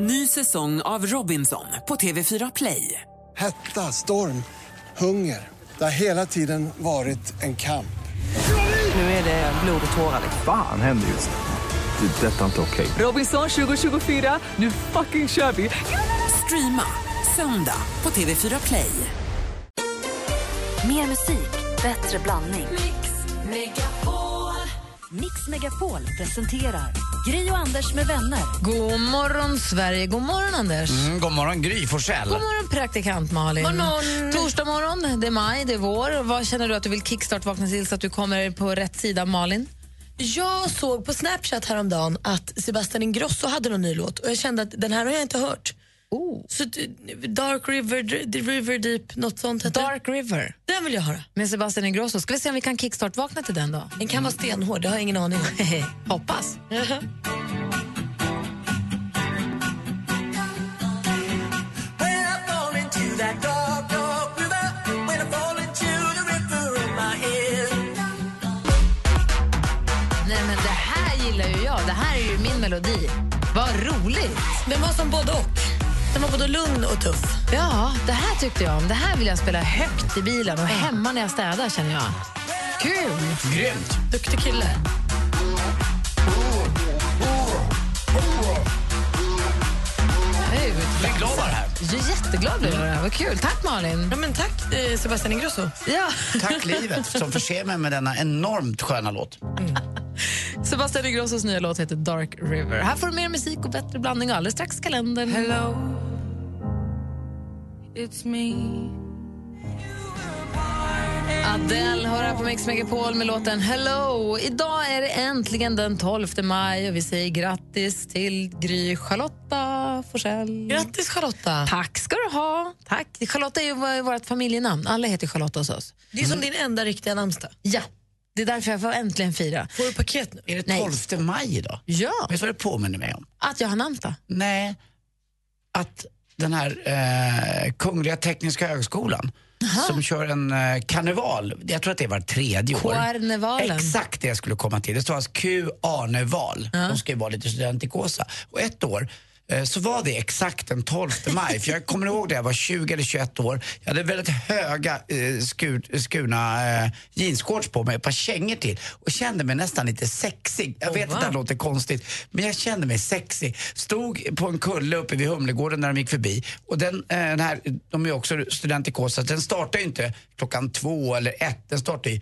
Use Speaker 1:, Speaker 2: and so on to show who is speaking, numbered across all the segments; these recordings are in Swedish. Speaker 1: Ny säsong av Robinson på TV4 Play.
Speaker 2: Hetta, storm, hunger. Det har hela tiden varit en kamp.
Speaker 1: Nu är det blod och tårar. liksom.
Speaker 3: Fan händer just nu. Det. är Detta är inte okej.
Speaker 1: Robinson 2024, nu fucking kör vi! Streama söndag på TV4 Play.
Speaker 4: Mer musik, bättre blandning. Mix Megapol. Mix Megapol presenterar Gry och Anders med vänner.
Speaker 5: God morgon, Sverige. God morgon, Anders.
Speaker 6: Mm, god morgon, Gry Forssell.
Speaker 5: God morgon, praktikant Malin. Torsdag morgon, det är maj, det är vår. Vad känner du att du vill kickstart-vakna till så att du kommer på rätt sida, Malin?
Speaker 7: Jag såg på Snapchat häromdagen att Sebastian Ingrosso hade någon ny låt och jag kände att den här har jag inte hört.
Speaker 5: Oh.
Speaker 7: Så d- Dark River, d- The River Deep, något sånt heter den.
Speaker 5: Dark River
Speaker 7: Den vill jag höra.
Speaker 5: med Sebastian Ingrosso. Ska vi se om vi kan kickstart-vakna till den då?
Speaker 7: Den kan vara stenhård, det har jag ingen aning om.
Speaker 5: Hoppas. Nej, men det här gillar ju jag. Det här är ju min melodi. Vad roligt!
Speaker 7: Den var som både och. Den var både lugn och tuff.
Speaker 5: Ja, det här tyckte jag om. Det här vill jag spela högt i bilen och hemma när jag städar, känner jag. Kul!
Speaker 6: Grymt.
Speaker 7: Duktig kille.
Speaker 5: Kul.
Speaker 6: Jag är glad att vara här.
Speaker 5: Jag är jätteglad över det här. Vad kul. Tack, Malin.
Speaker 7: Ja, men tack eh, Sebastian Ingrosso.
Speaker 5: Ja.
Speaker 6: Tack livet som förser mig med denna enormt sköna låt.
Speaker 5: Sebastian Ingrossos nya låt heter Dark River. Här får du mer musik och bättre blandning och alldeles strax kalendern.
Speaker 8: Hello, it's me.
Speaker 5: Adele hör här på Mix Megapol med låten Hello. Idag är det äntligen den 12 maj och vi säger grattis till Gry Charlotta Forsell.
Speaker 7: Grattis Charlotta.
Speaker 5: Tack ska du ha. Tack. Charlotta är ju vårt familjenamn. Alla heter Charlotta hos oss.
Speaker 7: Det är som din enda riktiga namnsdag.
Speaker 5: Ja, det är därför jag får äntligen fira.
Speaker 7: Får du paket nu?
Speaker 6: Är det
Speaker 5: Nej.
Speaker 6: 12 maj idag?
Speaker 5: Ja,
Speaker 6: Vet du vad det påminner mig om?
Speaker 5: att jag har namnsdag.
Speaker 6: Nej, att den här eh, Kungliga Tekniska Högskolan som kör en eh, karneval, jag tror att det är var tredje år.
Speaker 5: Karnevalen.
Speaker 6: Exakt det jag skulle komma till. Det stavas Q-arneval. De ska ju vara lite studentikosa. Och ett år eh, så var det exakt den 12 maj. För jag kommer ihåg det, jag var 20 eller 21 år. Jag hade väldigt höga eh, skur, skurna eh, jeansshorts på mig, ett par kängor till. Och kände mig nästan lite sexig. Jag vet att det här låter konstigt, men jag kände mig sexig. Stod på en kulle uppe vid Humlegården när de gick förbi. Och den, eh, den här, de är ju också studentikosa, den startar ju inte klockan två eller ett. Den startar ju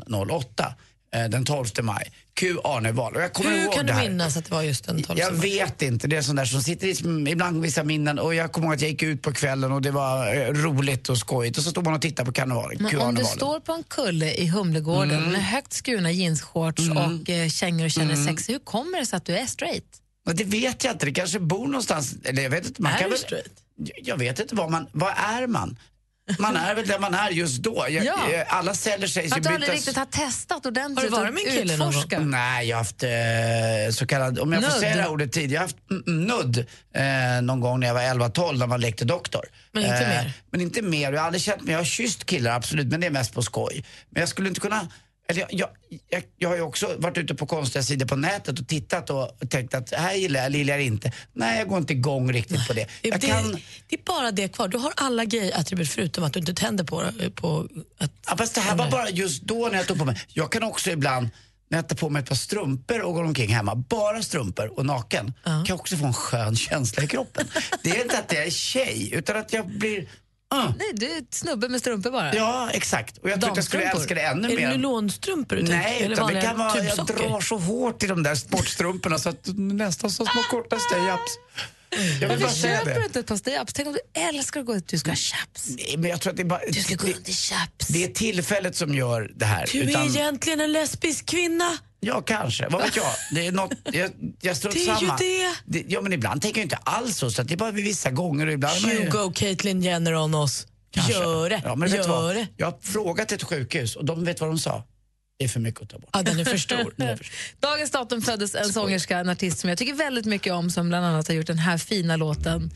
Speaker 6: 14.08 eh, den 12 maj. Q Arneval. Och jag kommer
Speaker 7: Hur
Speaker 6: ihåg
Speaker 7: kan
Speaker 6: det
Speaker 7: du
Speaker 6: här.
Speaker 7: minnas att det var just den 12
Speaker 6: Jag vet inte, det är sånt där som sitter i sm- ibland vissa minnen och jag kommer ihåg att jag gick ut på kvällen och det var eh, roligt och skojigt och så stod man och tittade på karnevalen.
Speaker 5: Men om du
Speaker 6: Q-arnevalen.
Speaker 5: står på en kulle i Humlegården
Speaker 6: Mm.
Speaker 5: med högt skurna jeansshorts och eh, kängor och känner
Speaker 6: Mm.
Speaker 5: dig sexig, hur kommer det sig att du är straight?
Speaker 6: Och Det vet jag inte, det kanske bor någonstans, eller jag vet inte. Man
Speaker 7: Är
Speaker 6: kan
Speaker 7: du
Speaker 6: väl,
Speaker 7: straight?
Speaker 6: Jag vet inte, vad, man, vad är man? Man är väl där man är just då. Jag,
Speaker 5: Ja.
Speaker 6: jag- Alla celler sägs ju
Speaker 5: Att du aldrig
Speaker 6: bytas.
Speaker 5: utforskat. riktigt har testat ordentligt
Speaker 7: Har du varit med en kille någon gång?
Speaker 5: utforskat.
Speaker 6: Nej, jag har haft eh, så kallad, om jag får
Speaker 5: Nudd.
Speaker 6: säga det här ordet tidigare, jag har haft mm, mm, nudd eh, någon gång när jag var 11-12 när man lekte doktor. Eh,
Speaker 7: Men inte mer?
Speaker 6: Men inte mer. Jag har aldrig känt mig, jag har kysst killar absolut, men det är mest på skoj. Men jag skulle inte kunna eller jag, jag, jag, jag har ju också varit ute på konstiga sidor på nätet och tittat och tänkt att här gillar jag, eller gillar jag inte. Nej, jag går inte igång riktigt på det.
Speaker 7: Det,
Speaker 6: Jag
Speaker 7: det,
Speaker 6: kan,
Speaker 7: det är bara det kvar. Du har alla gay-attribut förutom att du inte tänder på, på att
Speaker 6: Ja, fast det här var bara just då när jag tog på mig. Jag kan också ibland när jag tar på mig ett par strumpor och går omkring hemma, bara strumpor och naken, kan jag också få en skön känsla i kroppen. Det är inte att jag är tjej, utan att jag blir... ah,
Speaker 5: Nej, du är ett snubbe med strumpor bara.
Speaker 6: ja, exakt. Och jag tror att jag skulle
Speaker 5: Damstrumpor.
Speaker 6: älska det ännu
Speaker 7: Är
Speaker 6: mer.
Speaker 7: det nylonstrumpor
Speaker 5: typ?
Speaker 7: du tänker?
Speaker 6: Nej,
Speaker 7: Eller
Speaker 6: utan det
Speaker 7: vanliga
Speaker 6: kan vara, jag
Speaker 7: tubsockor?
Speaker 6: drar så hårt i de där sportstrumporna så att nästan som små korta stay-ups. Jag vill bara
Speaker 5: Varför
Speaker 6: säga
Speaker 5: köper du
Speaker 6: det.
Speaker 5: inte ett par stay-ups? Tänk om du älskar att gå ut, du ska ha chaps.
Speaker 6: Nej, Men jag tror att det är bara...
Speaker 5: Du ska gå
Speaker 6: det,
Speaker 5: runt i chaps.
Speaker 6: det är tillfället som gör det här.
Speaker 7: Du är egentligen en lesbisk kvinna.
Speaker 6: Ja, kanske. Vad vet jag? Det är något, jag, jag strunt
Speaker 7: Det är ju
Speaker 6: samma.
Speaker 7: det.
Speaker 6: Ja, men ibland tänker jag inte alls så. så att det är bara vid vissa gånger. Och ibland är man ju-
Speaker 7: Hugo, Caitlyn Jenner on oss.
Speaker 6: Kanske.
Speaker 7: Gör det,
Speaker 6: Ja, men vet du
Speaker 7: gör
Speaker 6: vad?
Speaker 7: det.
Speaker 6: Jag har frågat ett sjukhus och de vet vad de sa. Det är för mycket att ta bort.
Speaker 7: Ja, den är för stor.
Speaker 6: Det är för-
Speaker 5: Dagens datum föddes en sångerska, en artist som jag tycker väldigt mycket om som bland annat har gjort den här fina låten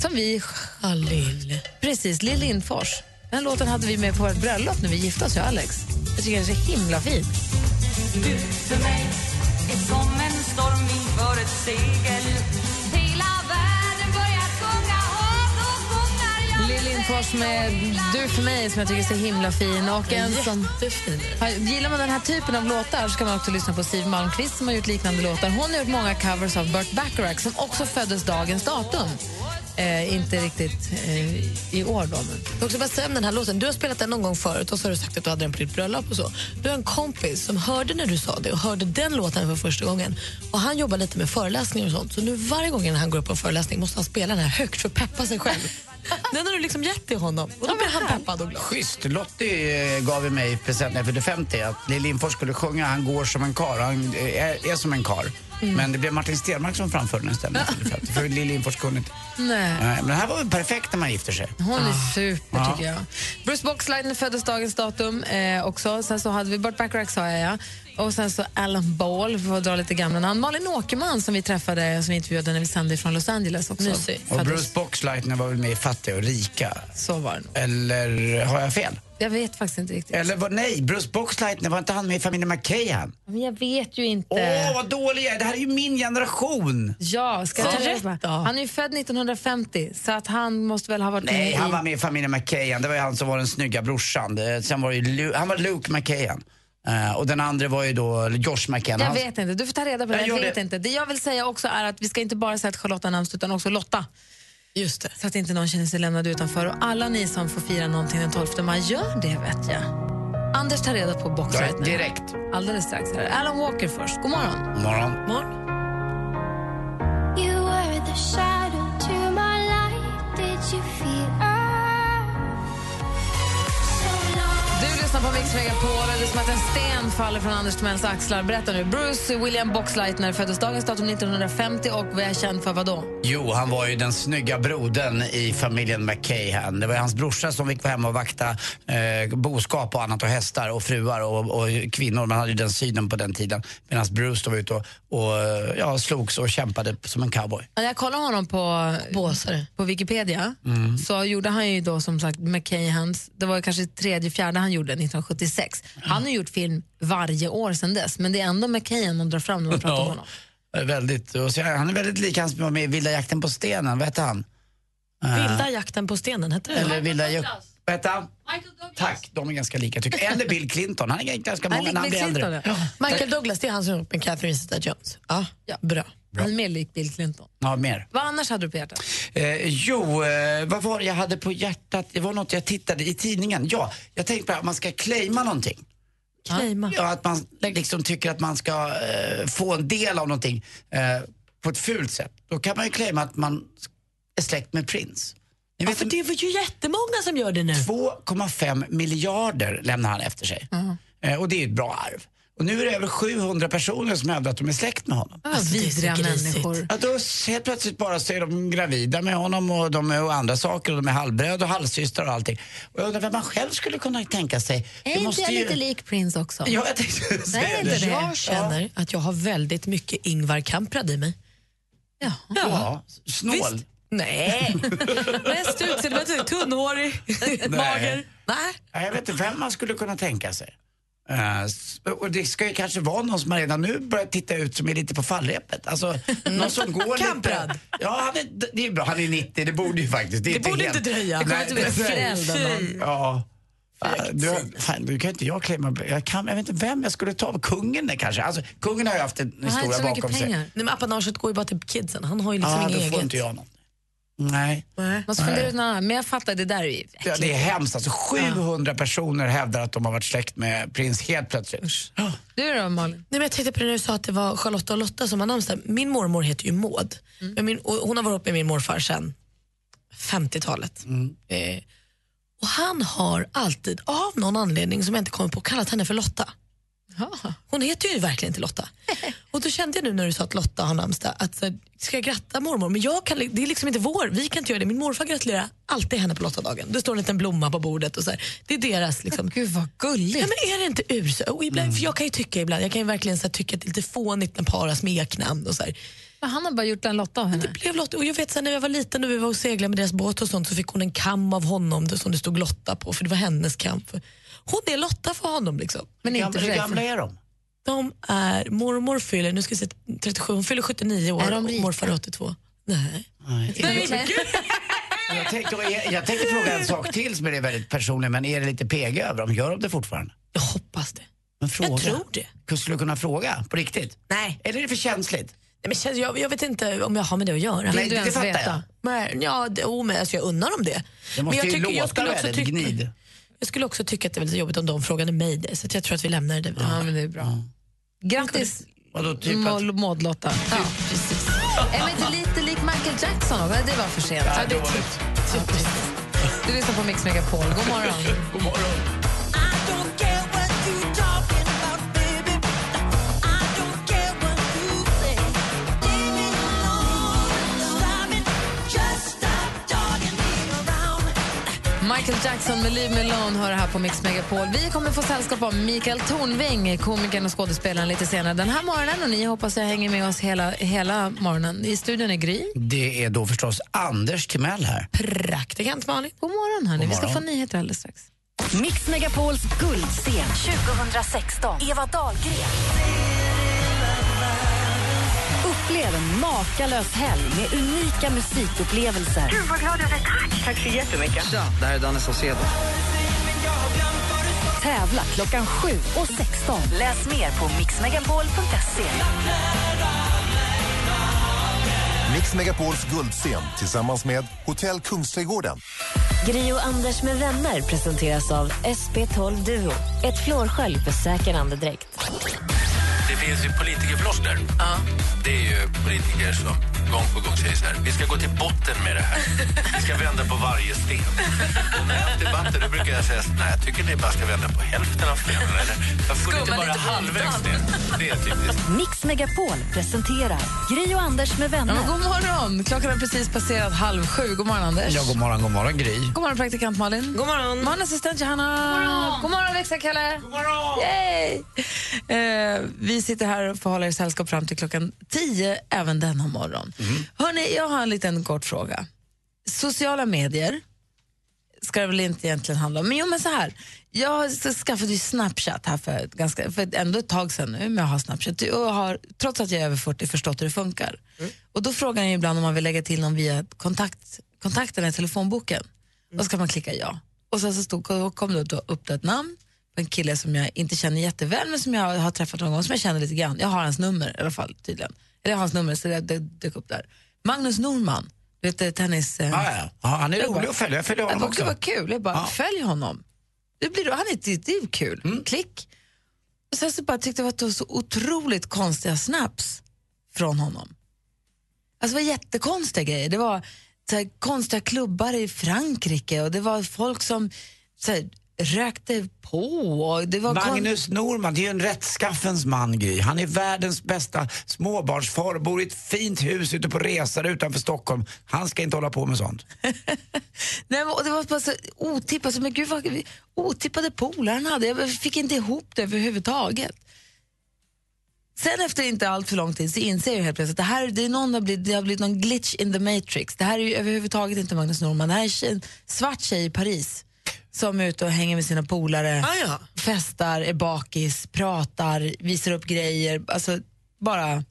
Speaker 5: som vi...
Speaker 7: Ah, Lill.
Speaker 5: Precis, Lill Lindfors. Den här låten hade vi med på vårt bröllop när vi gifte oss, jag och Alex. Jag tycker den är så himla fin.
Speaker 8: Du för mig är som en storm inför ett segel.
Speaker 9: Till
Speaker 5: Lars som är du för mig som jag tycker är så himla fin. Och en som,
Speaker 7: Jättefin.
Speaker 5: gillar man den här typen av låtar så kan man också lyssna på Siw Malmkvist som har gjort liknande låtar. Hon har gjort många covers av Burt Bacharach som också föddes dagens datum. Eh, inte riktigt eh, i år då, men
Speaker 7: Jag vill också bara säga om den här låten. Du har spelat den någon gång förut och så har du sagt att du hade den på ditt bröllop och så. Du har en kompis som hörde när du sa det och hörde den låten för första gången. Och han jobbar lite med föreläsningar och sånt. Så nu varje gång han går upp på en föreläsning måste han spela den här högt för att peppa sig själv. den har du liksom gett till honom. Och då blir han peppad och glad.
Speaker 6: Schysst. Lottie eh, gav ju mig i present när jag fyllde 50 att Lill Lindfors skulle sjunga Han går som en kar. Han eh, är, är som en kar.
Speaker 7: Mm.
Speaker 6: Men det blev Martin Stenmarck som framförde den istället. när jag fyllde 50, För Lill Lindfors kunde inte.
Speaker 5: Nej.
Speaker 6: Men det här var väl perfekt när man gifter sig.
Speaker 5: Hon är super,
Speaker 6: Ja.
Speaker 5: tycker jag. Bruce Boxleitner föddes dagens datum eh, också. Sen så hade vi Burt Bacharach, sa jag. Ja. Och sen så Alan Ball, för att dra lite gamla namn. Malin Åkerman, som vi träffade som vi intervjuade när vi sände från Los Angeles. också.
Speaker 7: Mysig.
Speaker 6: Och
Speaker 5: Föddes-
Speaker 6: Bruce Boxleitner var väl med i Fattiga och rika.
Speaker 5: Så var det nog.
Speaker 6: Eller har jag fel?
Speaker 5: Jag vet faktiskt inte riktigt.
Speaker 6: Eller var, nej, Bruce Boxleitner, var inte han med i familjen McKahan?
Speaker 5: Men jag vet ju inte.
Speaker 6: Åh, vad dålig jag är! Det här är ju min generation!
Speaker 5: Ja, ska jag
Speaker 7: Säg
Speaker 5: ta
Speaker 7: rätt
Speaker 5: reda på?
Speaker 7: då.
Speaker 5: Han är ju född 1950, så att han måste väl ha varit
Speaker 6: Nej,
Speaker 5: med
Speaker 6: han
Speaker 5: i...
Speaker 6: var med i familjen McKahan. Det var ju han som var den snygga brorsan. Det- Sen var det ju Lu- han var Luke McKahan. Eh, och den andra var ju då Josh McKahan.
Speaker 5: Jag
Speaker 6: Han-
Speaker 5: vet inte, du får ta reda på det.
Speaker 6: Jag
Speaker 5: Jag,
Speaker 6: gör
Speaker 5: vet
Speaker 6: det.
Speaker 5: inte. Det jag vill säga också är att vi ska inte bara säga att Charlotta har namnsdag utan också Lotta.
Speaker 7: Just det.
Speaker 5: Så att inte någon känner sig lämnad utanför. Och alla ni som får fira någonting den 12 maj, gör det vet jag. Anders tar reda på
Speaker 6: Ja,
Speaker 5: boxret nu.
Speaker 6: direkt.
Speaker 5: Alldeles strax. Här. Alan Walker först. God morgon.
Speaker 6: God morgon.
Speaker 7: Morgon.
Speaker 8: You were the shadow to my light. Did you feel us? So long.
Speaker 5: Du lyssnar på Mix Megapol och det är som att en sten faller från Anders Timells axlar. Berätta nu. Bruce William Boxleitner föddes dagens datum 1950 och var känd för vad då?
Speaker 6: Jo, han var ju den snygga brodern i familjen McKahan. Det var ju hans brorsa som fick vara hemma och vakta eh, boskap och annat och hästar och fruar och, och kvinnor. Man hade ju den synen på den tiden. Medan Bruce då var ute och, och eh, ja, slogs och kämpade som en cowboy.
Speaker 5: När jag kollade honom på,
Speaker 7: Båsare.
Speaker 5: på Wikipedia så gjorde han ju då som sagt McKayhans, det var ju kanske tredje, fjärde han gjorde 1976. Han har gjort film varje år sedan dess men det är ändå McKayhan man drar fram när man pratar om honom.
Speaker 6: Eh, Väldigt, och så, är- han är väldigt lik han som var med i Vilda jakten på stenen, vad hette han?
Speaker 7: Vilda jakten på stenen heter det.
Speaker 6: Eller Vilda ju- Vad hette han? Tack, de är ganska lika tycker jag. Eller Bill Clinton, han är ganska
Speaker 5: Han är
Speaker 6: många
Speaker 5: lik
Speaker 6: när han
Speaker 5: Bill
Speaker 6: blir äldre.
Speaker 5: Clinton, ja.
Speaker 7: Michael Douglas, det är han som har gjort med Catherine Zeta-Jones. Ja, bra.
Speaker 5: Han är mer lik Bill Clinton.
Speaker 6: Ja, mer.
Speaker 5: Vad annars hade du på hjärtat?
Speaker 6: Eh, jo, eh, vad var det jag hade på hjärtat? Det var något jag tittade i tidningen. Ja, jag tänkte på att man ska claima någonting.
Speaker 7: Claima.
Speaker 6: Ja, att man liksom tycker att man ska eh, få en del av någonting eh, på ett fult sätt. Då kan man ju claima att man är släkt med prins. Ni
Speaker 7: Ja,
Speaker 6: vet,
Speaker 7: för det var ju jättemånga som gör det nu.
Speaker 6: 2,5 miljarder lämnar han efter sig. Eh, och det är ett bra arv. Och nu är det över 700 personer som hävdar att de är släkt med
Speaker 5: Ah,
Speaker 6: honom.
Speaker 7: Alltså, det är så
Speaker 5: Vidriga
Speaker 7: grisigt.
Speaker 5: människor.
Speaker 6: Att då helt plötsligt bara så är de gravida med honom och de är och andra saker och de är halvbröd och halvsystrar och allting. Och jag undrar vem man själv skulle kunna tänka sig. Det
Speaker 5: Är inte jag lite lik Prince också?
Speaker 6: Ja, jag tänkte säga
Speaker 5: Nej,
Speaker 6: det.
Speaker 5: inte det.
Speaker 7: Jag känner att jag har väldigt mycket Ingvar Kamprad i mig.
Speaker 5: Ja.
Speaker 6: Ja, snål.
Speaker 7: Visst? Nej. Mest utseendemässigt tunnhårig, mager. Nej.
Speaker 6: Ja, Jag vet inte vem man skulle kunna tänka sig. Eh, s- och det ska ju kanske vara någon som redan nu börjar titta ut som är lite på fallrepet. Alltså, någon som går
Speaker 7: Kamprad.
Speaker 6: lite... Ja, han är, det är bra. Han är 90, det borde ju faktiskt. Det, är
Speaker 7: borde
Speaker 6: helt-
Speaker 7: inte dröja.
Speaker 6: Nej,
Speaker 7: Det kommer inte bli
Speaker 6: nej.
Speaker 5: förälder, man.
Speaker 6: Ja. Ah, Du, fan, du kan inte jag klämma... Jag, kan, jag vet inte vem jag skulle ta. Kungen är kanske. Alltså, kungen har ju haft en
Speaker 5: Han har inte
Speaker 6: historia
Speaker 5: så mycket
Speaker 6: bakom sig.
Speaker 5: pengar.
Speaker 7: Nej, men apanaget går ju bara till kidsen. Han har ju liksom
Speaker 6: Ja, då
Speaker 7: inget
Speaker 6: får
Speaker 7: eget.
Speaker 6: inte jag någon. Nej.
Speaker 7: Nej.
Speaker 5: Måste fundera ut något annat. Ah, Men jag fattar, det där är ju...
Speaker 6: Ja, det är hemskt. Alltså, 700 personer hävdar att de har varit släkt med prins helt plötsligt. Ja.
Speaker 5: Du då Malin?
Speaker 7: Nej, men jag tänkte på det när du sa att det var Charlotta och Lotta som har namnsdag. Min mormor heter ju Maud.
Speaker 5: Mm.
Speaker 7: Men min, och hon har varit ihop med min morfar sedan 50-talet.
Speaker 5: Mm.
Speaker 7: Eh, och han har alltid, av någon anledning som jag inte kommer på, kallat henne för Lotta. Hon heter ju verkligen inte Lotta. Och då kände jag nu när du sa att Lotta har namnsdag att så, här, ska jag gratta mormor? Men jag kan, det är liksom inte vår, vi kan inte göra det. Min morfar gratulerar alltid henne på Lottadagen. Det står en liten blomma på bordet och så här. Det är deras liksom.
Speaker 5: Gud vad gulligt. Mm.
Speaker 7: Ja, men är det inte urs... Och ibland, för jag kan ju tycka ibland, jag kan ju verkligen så här, tycka att det är lite fånigt när par har smeknamn och så här.
Speaker 5: Han har bara gjort en Lotta av henne.
Speaker 7: Blev Lotta, och jag vet så här, när jag var liten och vi var och seglade med deras båt och sånt så fick hon en kam av honom där, som det stod Lotta på för det var hennes kam. För- Hon är Lotta för honom liksom.
Speaker 5: Men inte för
Speaker 6: Hur
Speaker 5: dig.
Speaker 6: gamla är de?
Speaker 7: De är, mormor fyller, nu ska jag se, 37, hon fyller 79 år
Speaker 5: Är de
Speaker 7: och
Speaker 5: rika?
Speaker 7: morfar är 82. Nej.
Speaker 6: Nej.
Speaker 5: Nej, men gud.
Speaker 6: Jag tänker, jag, jag tänker fråga en sak till som är väldigt personlig, men är det lite PG över dem? Gör de det fortfarande?
Speaker 7: Jag hoppas det.
Speaker 6: Men fråga.
Speaker 7: tror det.
Speaker 6: Kunde- Skulle du kunna fråga på riktigt?
Speaker 7: Nej.
Speaker 6: Eller är det för känsligt?
Speaker 7: Nej, men känns- jag, jag vet inte om jag har med det att göra.
Speaker 5: Vill du
Speaker 6: det
Speaker 5: ens
Speaker 6: fattar
Speaker 5: veta?
Speaker 7: Men, ja, det, oh, men, alltså, jag unnar dem det.
Speaker 6: Det måste
Speaker 7: men jag
Speaker 6: ju låta
Speaker 7: skulle också
Speaker 6: väldigt gnid.
Speaker 7: jag skulle också tycka att det var lite jobbigt om de frågade mig det, så att jag tror att vi lämnar det där.
Speaker 5: Ja, men det är
Speaker 6: Mm.
Speaker 5: bra. Grattis,
Speaker 6: Vadå, typ att...
Speaker 5: Maud- Maud-Lotta. Ja, precis. Är man inte lite lik Michael Jackson? Då? Det var för sent. Ja, det är typ- ja, precis. Du lyssnar på Mix Megapol. God morgon.
Speaker 6: God morgon.
Speaker 5: Michael Jackson med Leave Me Alone hör här på Mix Megapol. Vi kommer få sällskap av Mikael Tornving, komikern och skådespelaren lite senare den här morgonen. Och ni hoppas jag hänger med oss hela, hela morgonen. I studion är Gry.
Speaker 6: Det är då förstås Anders Timell här.
Speaker 7: Praktikant Malin.
Speaker 5: God morgon, hörni. Vi ska få
Speaker 6: morgon.
Speaker 5: nyheter alldeles strax.
Speaker 4: Mix Megapols guldscen 2016. Eva Dahlgren. Upplev en makalös helg med unika musikupplevelser.
Speaker 9: Tja, det här är Danne Saucedo.
Speaker 4: Tävla klockan 7 och 16. Läs mer på mixmegapol.se.
Speaker 10: Mix Megapols guldscen tillsammans med Hotell Kungsträdgården.
Speaker 11: Gri och Anders med vänner presenteras av SP12 Duo. Ett flårskölj för säker andedräkt.
Speaker 12: Det finns ju politikerfloskler. Det är ju politiker som gång på gång säger så här. Vi ska gå till botten med det här. Vi ska vända på varje sten. Och när jag har haft debatter då brukar jag säga så här, nej, jag tycker ni bara ska vända på hälften av stenen. Eller varför går ni inte bara halvvägs ner? Det är typiskt.
Speaker 4: Mix Megapol presenterar Gri och Anders med
Speaker 5: Ja,
Speaker 4: vänner.
Speaker 5: men god morgon! Klockan har precis passerat halv sju. God morgon, Anders.
Speaker 6: Ja, god morgon, god morgon Gry.
Speaker 5: God morgon, praktikant Malin. God morgon. God morgon, assistent Johanna. God morgon, god morgon växelkalle. God morgon. Yay. Eh, vi sitter här och får hålla er sällskap fram till klockan tio även denna morgon. Hörni, jag har en liten kort fråga. Sociala medier ska det väl inte egentligen handla om. Men jo, men så här. Jag har s- skaffat ju Snapchat här för, ett ganska, för ett- ändå ett tag sedan nu, men jag har Snapchat och har, trots att jag är över 40, förstått hur det funkar. Mm. Och då frågar jag ibland om man vill lägga till någon via kontakt, kontakten i telefonboken. Och så kan man klicka ja. Och sen så stod, och kom det då upp ett namn på en kille som jag inte känner jätteväl, men som jag har träffat någon gång, som jag känner lite grann. Jag har hans nummer i alla fall, tydligen. Eller jag har hans nummer, så det, det dök upp där. Magnus Norman, du vet eh, tennis... eh,
Speaker 6: Ah, ja. ja, han är
Speaker 5: jag
Speaker 6: rolig
Speaker 5: bara-
Speaker 6: att följa. Jag följer honom
Speaker 5: jag tyckte
Speaker 6: också.
Speaker 5: det var kul. Jag bara,
Speaker 6: Ja. Mm.
Speaker 5: följ honom. Det blir, han är, det, det är ju kul. Klick. Och sen så bara tyckte jag att det var så otroligt konstiga snaps från honom. Alltså det var jättekonstiga grejer. Det var så här, konstiga klubbar i Frankrike och det var folk som så här, rökte på. Och det var kon-
Speaker 6: Magnus Norman, det är ju en rättskaffens man Gry. Han är världens bästa småbarnsfar, bor i ett fint hus ute på resor utanför Stockholm. Han ska inte hålla på med sånt.
Speaker 5: Nej, men, och det var bara så otippat. Så, men gud, vad, otippade polare han hade. Jag fick inte ihop det överhuvudtaget. Sen efter inte allt för lång tid så inser jag helt plötsligt att det här det är någon, det har, blivit, det har blivit någon glitch in the matrix. Det här är ju överhuvudtaget inte Magnus Norman. Det här är en tjej- svart tjej i Paris som är ute och hänger med sina polare,
Speaker 7: Ah, ja.
Speaker 5: festar, är bakis, pratar, visar upp grejer. Alltså bara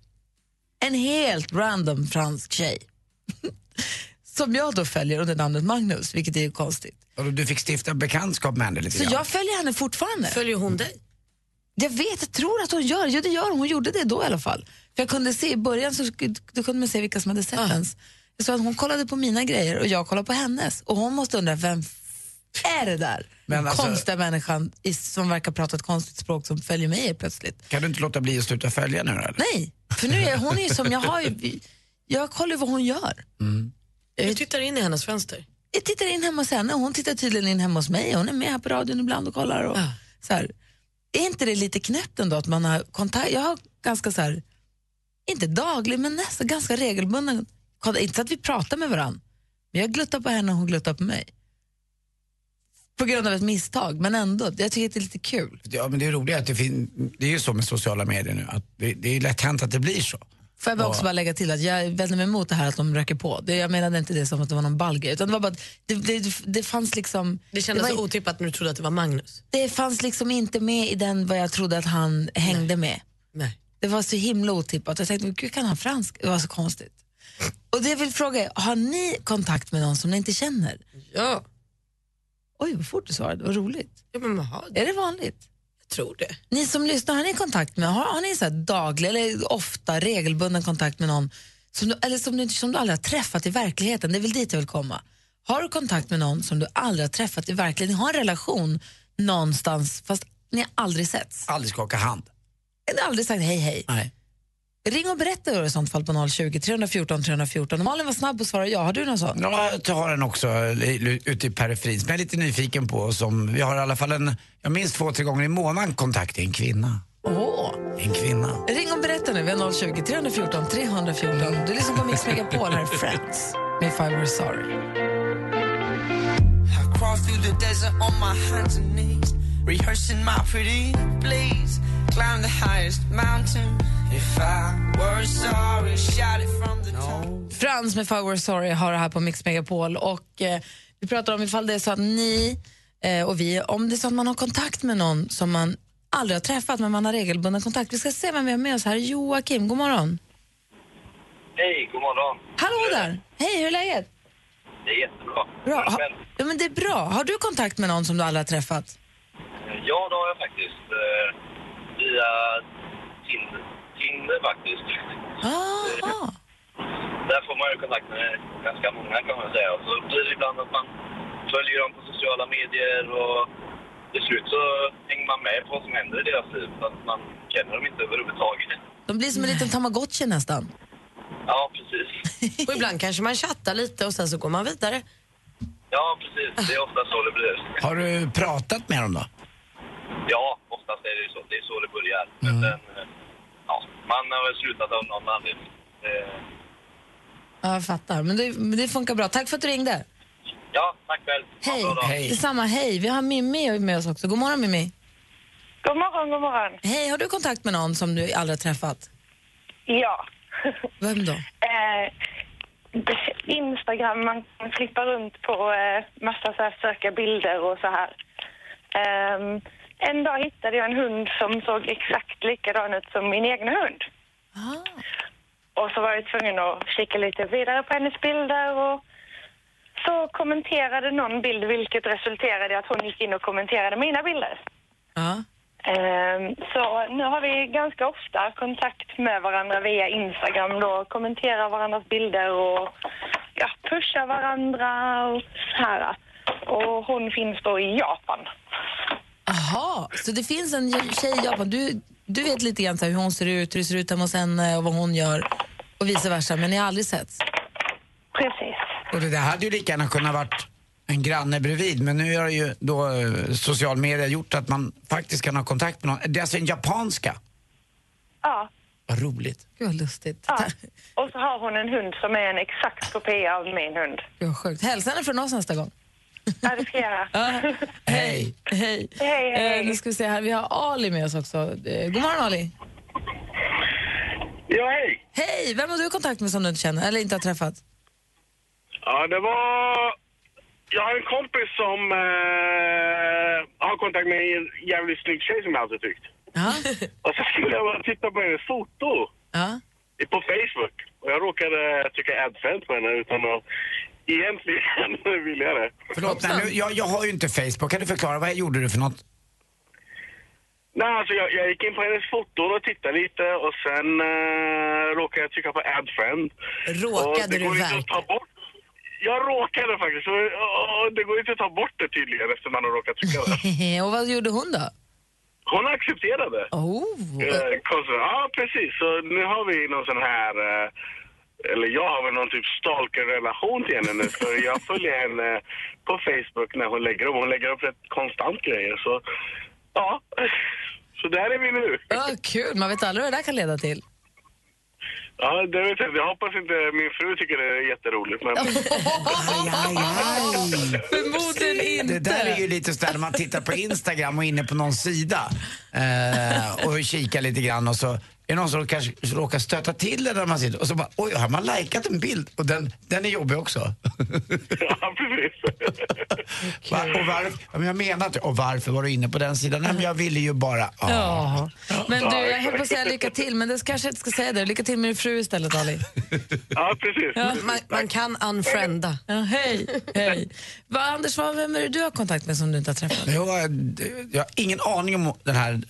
Speaker 5: en helt random fransk tjej. som jag då följer under namnet Magnus, vilket är ju konstigt.
Speaker 6: Och du fick stifta bekantskap med henne lite
Speaker 5: Så
Speaker 6: grann.
Speaker 5: jag följer henne fortfarande.
Speaker 7: Följer hon dig?
Speaker 5: Jag vet, jag tror att hon gör ja, det. Gör hon. hon gjorde det då i alla fall. För jag kunde se i början så sk- då kunde man se vilka som hade sett
Speaker 7: Ah.
Speaker 5: ens. Jag såg att hon kollade på mina grejer och jag kollade på hennes. Och hon måste undra, vem f- är det där?
Speaker 6: Men alltså-
Speaker 5: konstiga människan i- som verkar prata ett konstigt språk som följer mig helt plötsligt.
Speaker 6: Kan du inte låta bli att sluta följa nu då, eller?
Speaker 5: Nej, för nu är hon är ju som jag har ju, jag kollar ju vad hon gör.
Speaker 7: Jag tittar in i hennes fönster.
Speaker 5: Jag tittar in hemma hos henne och hon tittar tydligen in hemma hos mig. Hon är med här på radion ibland och kollar. Och,
Speaker 7: Ja.
Speaker 5: så här. Är inte det lite knäppt ändå att man har kontakt? Jag har ganska så här, inte daglig men nästan ganska regelbunden kontakt. Inte så att vi pratar med varandra, men jag gluttar på henne och hon gluttar på mig. På grund av ett misstag, men ändå. Jag tycker att det är lite kul.
Speaker 6: Ja, men det är roligt att det finns... Det är ju så med sociala medier nu, att det, det är lätt hänt att det blir så.
Speaker 5: Får jag bara också bara lägga till att jag vänder mig emot det här att de röker på. Det, jag menade inte det som att det var någon ball grej, utan det var bara att det, det, det fanns liksom...
Speaker 7: Det kändes
Speaker 5: var
Speaker 7: så otippat när du trodde att det var Magnus.
Speaker 5: det fanns liksom inte med i den vad jag trodde att han hängde med.
Speaker 7: Nej.
Speaker 5: Det var så himla otippat. Jag tänkte, men gud kan han fransk? Det var så konstigt. Och det jag vill fråga är, har ni kontakt med någon som ni inte känner? Ja. Oj, vad fort du svarade, vad roligt. Ja, men Är det vanligt? Jag tror det. Ni som lyssnar, har ni kontakt med, har, har ni så här daglig eller ofta regelbunden kontakt med någon som du, eller som, du, som du aldrig har träffat i verkligheten? Det är väl dit jag vill komma. Har du kontakt med någon som du aldrig har träffat i verkligheten? Ni har en relation någonstans fast ni har aldrig setts?
Speaker 6: Aldrig skaka hand.
Speaker 5: Ni har aldrig sagt hej hej?
Speaker 6: Nej.
Speaker 5: Ring och berätta då i sånt fall på 020 314 314. Malin var snabb och svarade ja. Har du någon sån?
Speaker 6: Ja, jag har en också l- ute i periferin som jag är lite nyfiken på. Som, vi har i alla fall en, jag minst två, tre gånger i månaden kontakt. Det är en kvinna.
Speaker 5: Åh.
Speaker 6: En kvinna.
Speaker 5: Ring och berätta nu. Vi har 020 314 314. Du lyssnar på Mix Megapol här, Friends, med If I Were Sorry.
Speaker 9: I crawl through the desert on my hands and knees, rehearsing my pretty please. Climb the highest mountain. If I were sorry, shout it from the top.
Speaker 5: Frans med If I Were Sorry har det här på Mix Megapol. Och, eh, vi pratar om ifall det är så att ni eh, och vi, om det är så att man har kontakt med någon som man aldrig har träffat men man har regelbunden kontakt. Vi ska se vem vi har med oss här. Joakim, god morgon.
Speaker 13: Hej, god morgon.
Speaker 5: Hallå där! Hej, hur är läget?
Speaker 13: Det är jättebra.
Speaker 5: Bra. Ha, ja, men det är bra. Har du kontakt med någon som du aldrig har träffat?
Speaker 13: eh, Ja, det har jag faktiskt. eh, Via Tinder, Tinder faktiskt.
Speaker 5: Aha.
Speaker 13: Där får man ju kontakt med ganska många kan man säga. Och så blir det ibland att man följer dem på sociala medier och till slut så hänger man med på vad som händer i deras liv. Så att man känner dem inte överhuvudtaget.
Speaker 5: De blir som en liten tamagotchi nästan.
Speaker 13: Ja, precis.
Speaker 7: Och ibland kanske man chattar lite och sen så går man vidare.
Speaker 13: Ja, precis. Det är ofta så det blir.
Speaker 6: Har du pratat med dem då?
Speaker 13: Ja, oftast är det ju så. Det är så det börjar. Men
Speaker 5: Mm.
Speaker 13: sen, eh, ja, man har väl slutat av någon anledning. Eh,
Speaker 5: Ja, jag fattar. Men det, men det funkar bra. Tack för att du ringde.
Speaker 13: Ja, tack själv.
Speaker 5: Hej. Detsamma. Hej. Vi har Mimmi med oss också. God morgon, Mimmi.
Speaker 14: God morgon, god morgon.
Speaker 5: Hej, har du kontakt med någon som du aldrig har träffat?
Speaker 14: Ja.
Speaker 5: Vem då?
Speaker 14: Eh, Instagram, man kan flippa runt på eh, massa så här söka bilder och så här. Ehm, en dag hittade jag en hund som såg exakt likadan ut som min egen hund. Och så var jag tvungen att kika lite vidare på hennes bilder och så kommenterade någon bild vilket resulterade i att hon gick in och kommenterade mina bilder.
Speaker 5: Ja.
Speaker 14: Ehm, Så nu har vi ganska ofta kontakt med varandra via Instagram då, kommenterar varandras bilder och ja, pushar varandra och så här. Och hon finns då i Japan.
Speaker 5: Aha, så det finns en tjej i Japan. Du, du vet lite grann så här hur hon ser ut, hur det ser ut hemma hos henne och vad hon gör och vice versa, men ni har aldrig setts?
Speaker 6: Och det där hade ju lika gärna kunnat varit en granne bredvid men nu har ju då eh, social media gjort att man faktiskt kan ha kontakt med någon. Det är alltså en japanska.
Speaker 14: Ja,
Speaker 6: Vad roligt.
Speaker 5: Gud vad lustigt.
Speaker 14: ja. Och så har hon en hund som är en exakt kopia av min hund.
Speaker 5: Gud vad sjukt. Hälsa henne från oss nästa gång.
Speaker 14: Ja, det ska jag göra.
Speaker 5: Hej. Hej. Eh, nu ska vi se här, vi har Ali med oss också. Eh, god morgon Ali.
Speaker 15: Ja, hej.
Speaker 5: Hej, vem har du kontakt med som du inte känner, eller inte har träffat?
Speaker 15: Ja, det var... Jag har en kompis som eh, har kontakt med en jävligt snygg tjej som jag alltid tyckt.
Speaker 5: Ja.
Speaker 15: Och så skulle jag bara titta på hennes foto
Speaker 5: Ja.
Speaker 15: på Facebook. Och jag råkade trycka adfriend på henne utan att egentligen vilja det.
Speaker 6: Förlåt, nej, nu, jag, jag har ju inte Facebook. Kan du förklara, vad gjorde du för något?
Speaker 15: Nej, alltså jag, jag gick in på hennes foton och tittade lite och sen eh, råkade jag trycka på add friend.
Speaker 7: Råkade
Speaker 15: Och det
Speaker 7: du
Speaker 15: går inte att ta bort. Jag råkade faktiskt. Och, och, och det går inte att ta bort det tydligen efter man har råkat trycka det.
Speaker 5: och vad gjorde hon då?
Speaker 15: Hon accepterade.
Speaker 5: Oh.
Speaker 15: Eh, konstigt. ja, precis. Så nu har vi någon sån här... Eh, eller jag har väl någon typ stalker-relation till henne nu. För jag följer henne på Facebook när hon lägger upp. Hon lägger upp rätt konstant grejer. Så ja, så där är vi nu.
Speaker 5: Ja, kul, man vet aldrig vad det där kan leda till.
Speaker 15: Ja, det vet jag. Jag hoppas inte min fru tycker det är jätteroligt. Men...
Speaker 5: Förmodligen inte.
Speaker 6: Det där är ju lite sådär när man tittar på Instagram och är inne på någon sida eh, och kikar lite grann och så är det någon som kanske råkar stöta till det där man sitter och så bara, oj, har man likat en bild? Och den, den är jobbig också. Va, och varför, ja, men jag menar inte, och varför var du inne på den sidan? Nej, men jag ville ju bara... ah.
Speaker 5: Ja. Men du, jag höll på att säga
Speaker 6: exakt.
Speaker 5: lycka till, men det kanske jag inte ska säga det. Lycka till med din fru istället, Ali.
Speaker 15: Ja, precis.
Speaker 5: Ja,
Speaker 15: precis.
Speaker 5: man-
Speaker 7: Man kan unfrienda.
Speaker 5: Ja, hej, hej. Vad, Anders, vad, vem är det du har kontakt med som du inte har träffat?
Speaker 6: Jag har, eh, jag har ingen aning om den här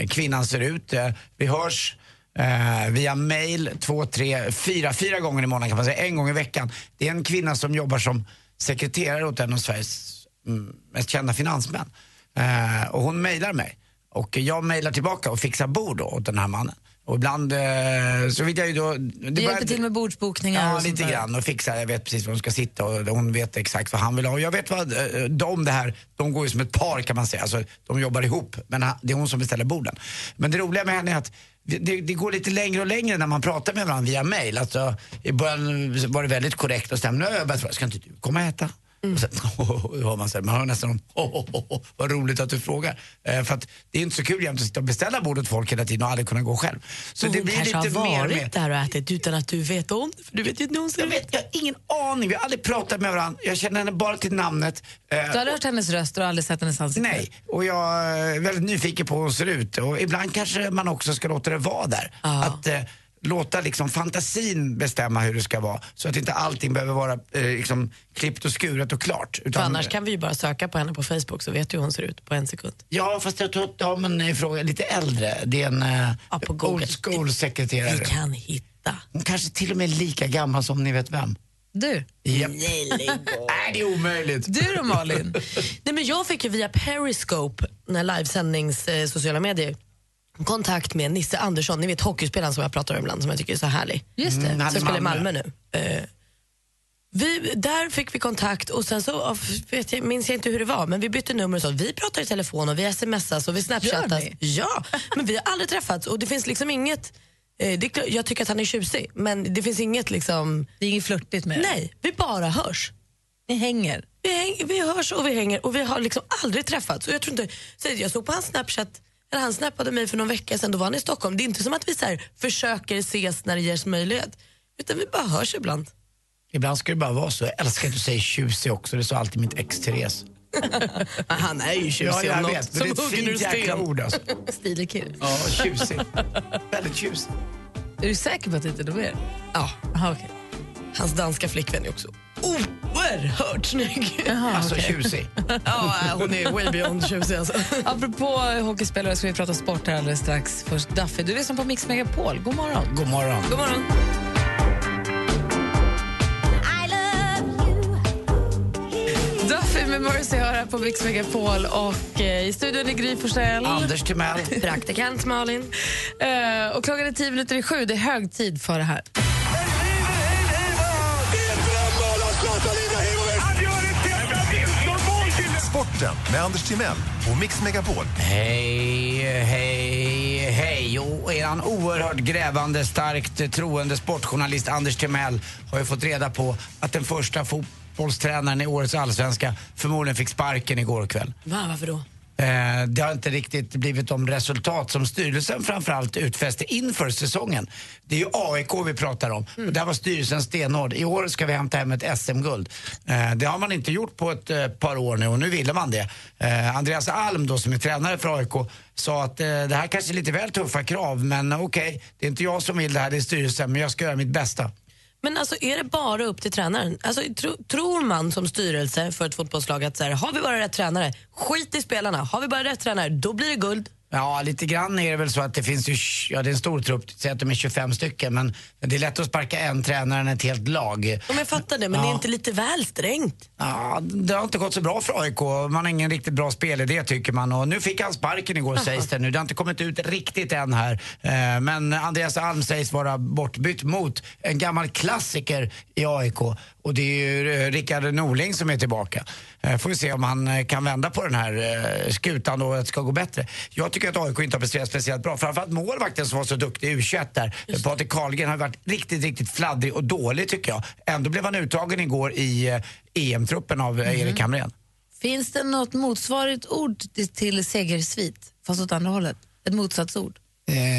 Speaker 6: eh, kvinnan ser ut. Eh, vi hörs eh, via mail två, tre, fyra, fyra gånger i månaden kan man säga. En gång i veckan. Det är en kvinna som jobbar som sekreterare åt en av Sveriges mm, mest kända finansmän. Eh, och hon mejlar mig. Och jag mejlar tillbaka och fixar bord då åt den här mannen. Och ibland eh, så vet jag ju då... Det
Speaker 5: Du hjälper
Speaker 6: börjar-
Speaker 5: till med bordsbokningar
Speaker 6: Ja,
Speaker 5: och sånt
Speaker 6: lite
Speaker 5: där.
Speaker 6: grann. Och fixar, jag vet precis var hon ska sitta och hon vet exakt vad han vill ha. Och jag vet vad eh, de det här, de går ju som ett par kan man säga. Alltså, de jobbar ihop, men han- det är hon som beställer borden. Men det roliga med henne är att det- det, det går lite längre och längre när man pratar med varandra via mail. Alltså, I början var det väldigt korrekt och stämde. Nu har jag börjat fråga, ska inte du komma och äta?
Speaker 5: Mm.
Speaker 6: Och sen, hör man, så här, man hör nästan om, oh, oh, oh, oh, vad roligt att du frågar. Eh, för att det är inte så kul jämt att sitta och beställa bordet folk hela tiden och aldrig kunna gå själv. Så
Speaker 7: hon
Speaker 6: det blir
Speaker 7: kanske
Speaker 6: lite
Speaker 7: har
Speaker 6: mer
Speaker 7: varit
Speaker 6: med.
Speaker 7: där och ätit utan att du vet om det. För du vet ju inte hur hon ser
Speaker 6: Jag vet, jag har ingen aning. Vi har aldrig pratat med varandra. Jag känner henne bara till namnet. Eh,
Speaker 5: Du har hört hennes röst och aldrig sett hennes ansikte?
Speaker 6: Nej, och jag är väldigt nyfiken på hur hon ser ut. Och ibland kanske man också ska låta det vara där. Att eh, låta liksom fantasin bestämma hur det ska vara. Så att inte allting behöver vara eh, liksom, klippt och skuret och klart. eh,
Speaker 7: För annars kan vi ju bara söka på henne på Facebook så vet du hur hon ser ut på en sekund.
Speaker 6: Ja, fast jag tror att damen är fråga, lite äldre. Det är en eh, old school-sekreterare. Vi
Speaker 7: kan hitta.
Speaker 6: Hon kanske till och med är lika gammal som ni vet vem.
Speaker 5: Du?
Speaker 6: Japp. Nej, det är omöjligt.
Speaker 5: Du då Malin?
Speaker 7: Nej, men jag fick ju via Periscope, när livesändnings eh, sociala medier, kontakt med Nisse Andersson, ni vet hockeyspelaren som jag pratar om ibland som jag tycker är så härlig.
Speaker 5: Just det. Mm, han
Speaker 7: Som
Speaker 5: är
Speaker 7: spelar i
Speaker 5: Malmö.
Speaker 7: Malmö nu. Eh, vi, där fick vi kontakt och sen så av- vet jag, minns jag inte hur det var men vi bytte nummer och så. Vi pratar i telefon och vi smsas och vi snapchattas. Ja, men vi har aldrig träffats och det finns liksom inget eh, det är klart, jag tycker att han är tjusig men det finns inget liksom...
Speaker 5: Det är inget flörtigt med det.
Speaker 7: Nej, vi bara hörs.
Speaker 5: Ni hänger?
Speaker 7: Vi, häng, vi hörs och vi hänger och vi har liksom aldrig träffats. Och jag, tror inte, så jag såg på hans Snapchat, eller han snappade mig för någon vecka sedan, då var han i Stockholm. Det är inte som att vi så här, försöker ses när det ges möjlighet, utan vi bara hörs ibland.
Speaker 6: Ibland ska det bara vara så. Jag älskar att du säger tjusig också. Det sa alltid mitt ex Therese.
Speaker 7: han är ju tjusig
Speaker 6: Ja,
Speaker 7: om
Speaker 6: jag
Speaker 7: något.
Speaker 6: vet.
Speaker 7: Som
Speaker 6: Men det är ett
Speaker 7: hugger ur
Speaker 6: fint jäkla
Speaker 7: sten.
Speaker 6: ord alltså.
Speaker 5: Stilig kille.
Speaker 6: Ja, tjusig. Väldigt tjusig.
Speaker 5: Är du säker på att det inte är de är?
Speaker 7: Ja.
Speaker 5: Aha, okay.
Speaker 7: Hans danska flickvän är också oerhört snygg.
Speaker 5: Ah,
Speaker 6: Alltså tjusig.
Speaker 7: ja, hon är way beyond tjusig alltså.
Speaker 5: Apropå hockeyspelare ska vi prata sport här alldeles strax. Först Daffy, du lyssnar på Mix Megapol. God morgon.
Speaker 6: God morgon.
Speaker 5: God morgon. Duffy med Mercy hör här på Mix Megapol och eh, i studion är Gry Forssell.
Speaker 6: Anders Timell.
Speaker 7: Praktikant Malin.
Speaker 5: Eh, och klockan är tio minuter i sju. Det är hög tid för det här.
Speaker 10: Sporten med Anders Timell och Mix Megapol.
Speaker 6: Hej, hej, hej. Och eran oerhört grävande, starkt troende sportjournalist Anders Timell har ju fått reda på att den första fotbollstränaren i årets allsvenska förmodligen fick sparken igår kväll.
Speaker 7: Va, varför då?
Speaker 6: Eh, Det har inte riktigt blivit de resultat som styrelsen framförallt utfäste inför säsongen. Det är ju AIK vi pratar om. Och där var styrelsen stenhård. I år ska vi hämta hem ett SM-guld. Eh, Det har man inte gjort på ett eh, par år nu och nu ville man det. Eh, Andreas Alm då som är tränare för AIK sa att eh, det här kanske är lite väl tuffa krav men eh, okej, det är inte jag som vill det här, det är styrelsen men jag ska göra mitt bästa.
Speaker 7: Men alltså, är det bara upp till tränaren? Alltså, tro, tror man som styrelse för ett fotbollslag att så här, har vi bara rätt tränare, skit i spelarna. Har vi bara rätt tränare, då blir det guld.
Speaker 6: Ja, lite grann är det väl så att det finns ju, ja det är en stor trupp, säg att de är 25 stycken, men det är lätt att sparka en tränare än ett helt lag.
Speaker 7: Om jag fattar det, men det är inte lite väl strängt?
Speaker 6: Ja, det har inte gått så bra för AIK. Man har ingen riktigt bra spelidé tycker man. Och nu fick han sparken igår sägs det nu. Det har inte kommit ut riktigt än här. Eh, Men Andreas Alm sägs vara bortbytt mot en gammal klassiker i AIK. Och det är ju eh, Rickard Norling som är tillbaka. Eh, Får vi se om han eh, kan vända på den här eh, skutan och att det ska gå bättre. Jag tycker att AIK inte har presterat speciellt bra. Framförallt målvakten som var så duktig i u där. Patrik Carlgren har varit riktigt, riktigt fladdrig och dålig tycker jag. Ändå blev han uttagen igår i eh, EM-truppen av eh, Erik Hamrén.
Speaker 5: Finns det något motsvarigt ord till segersvit, fast åt andra hållet? Ett motsatsord?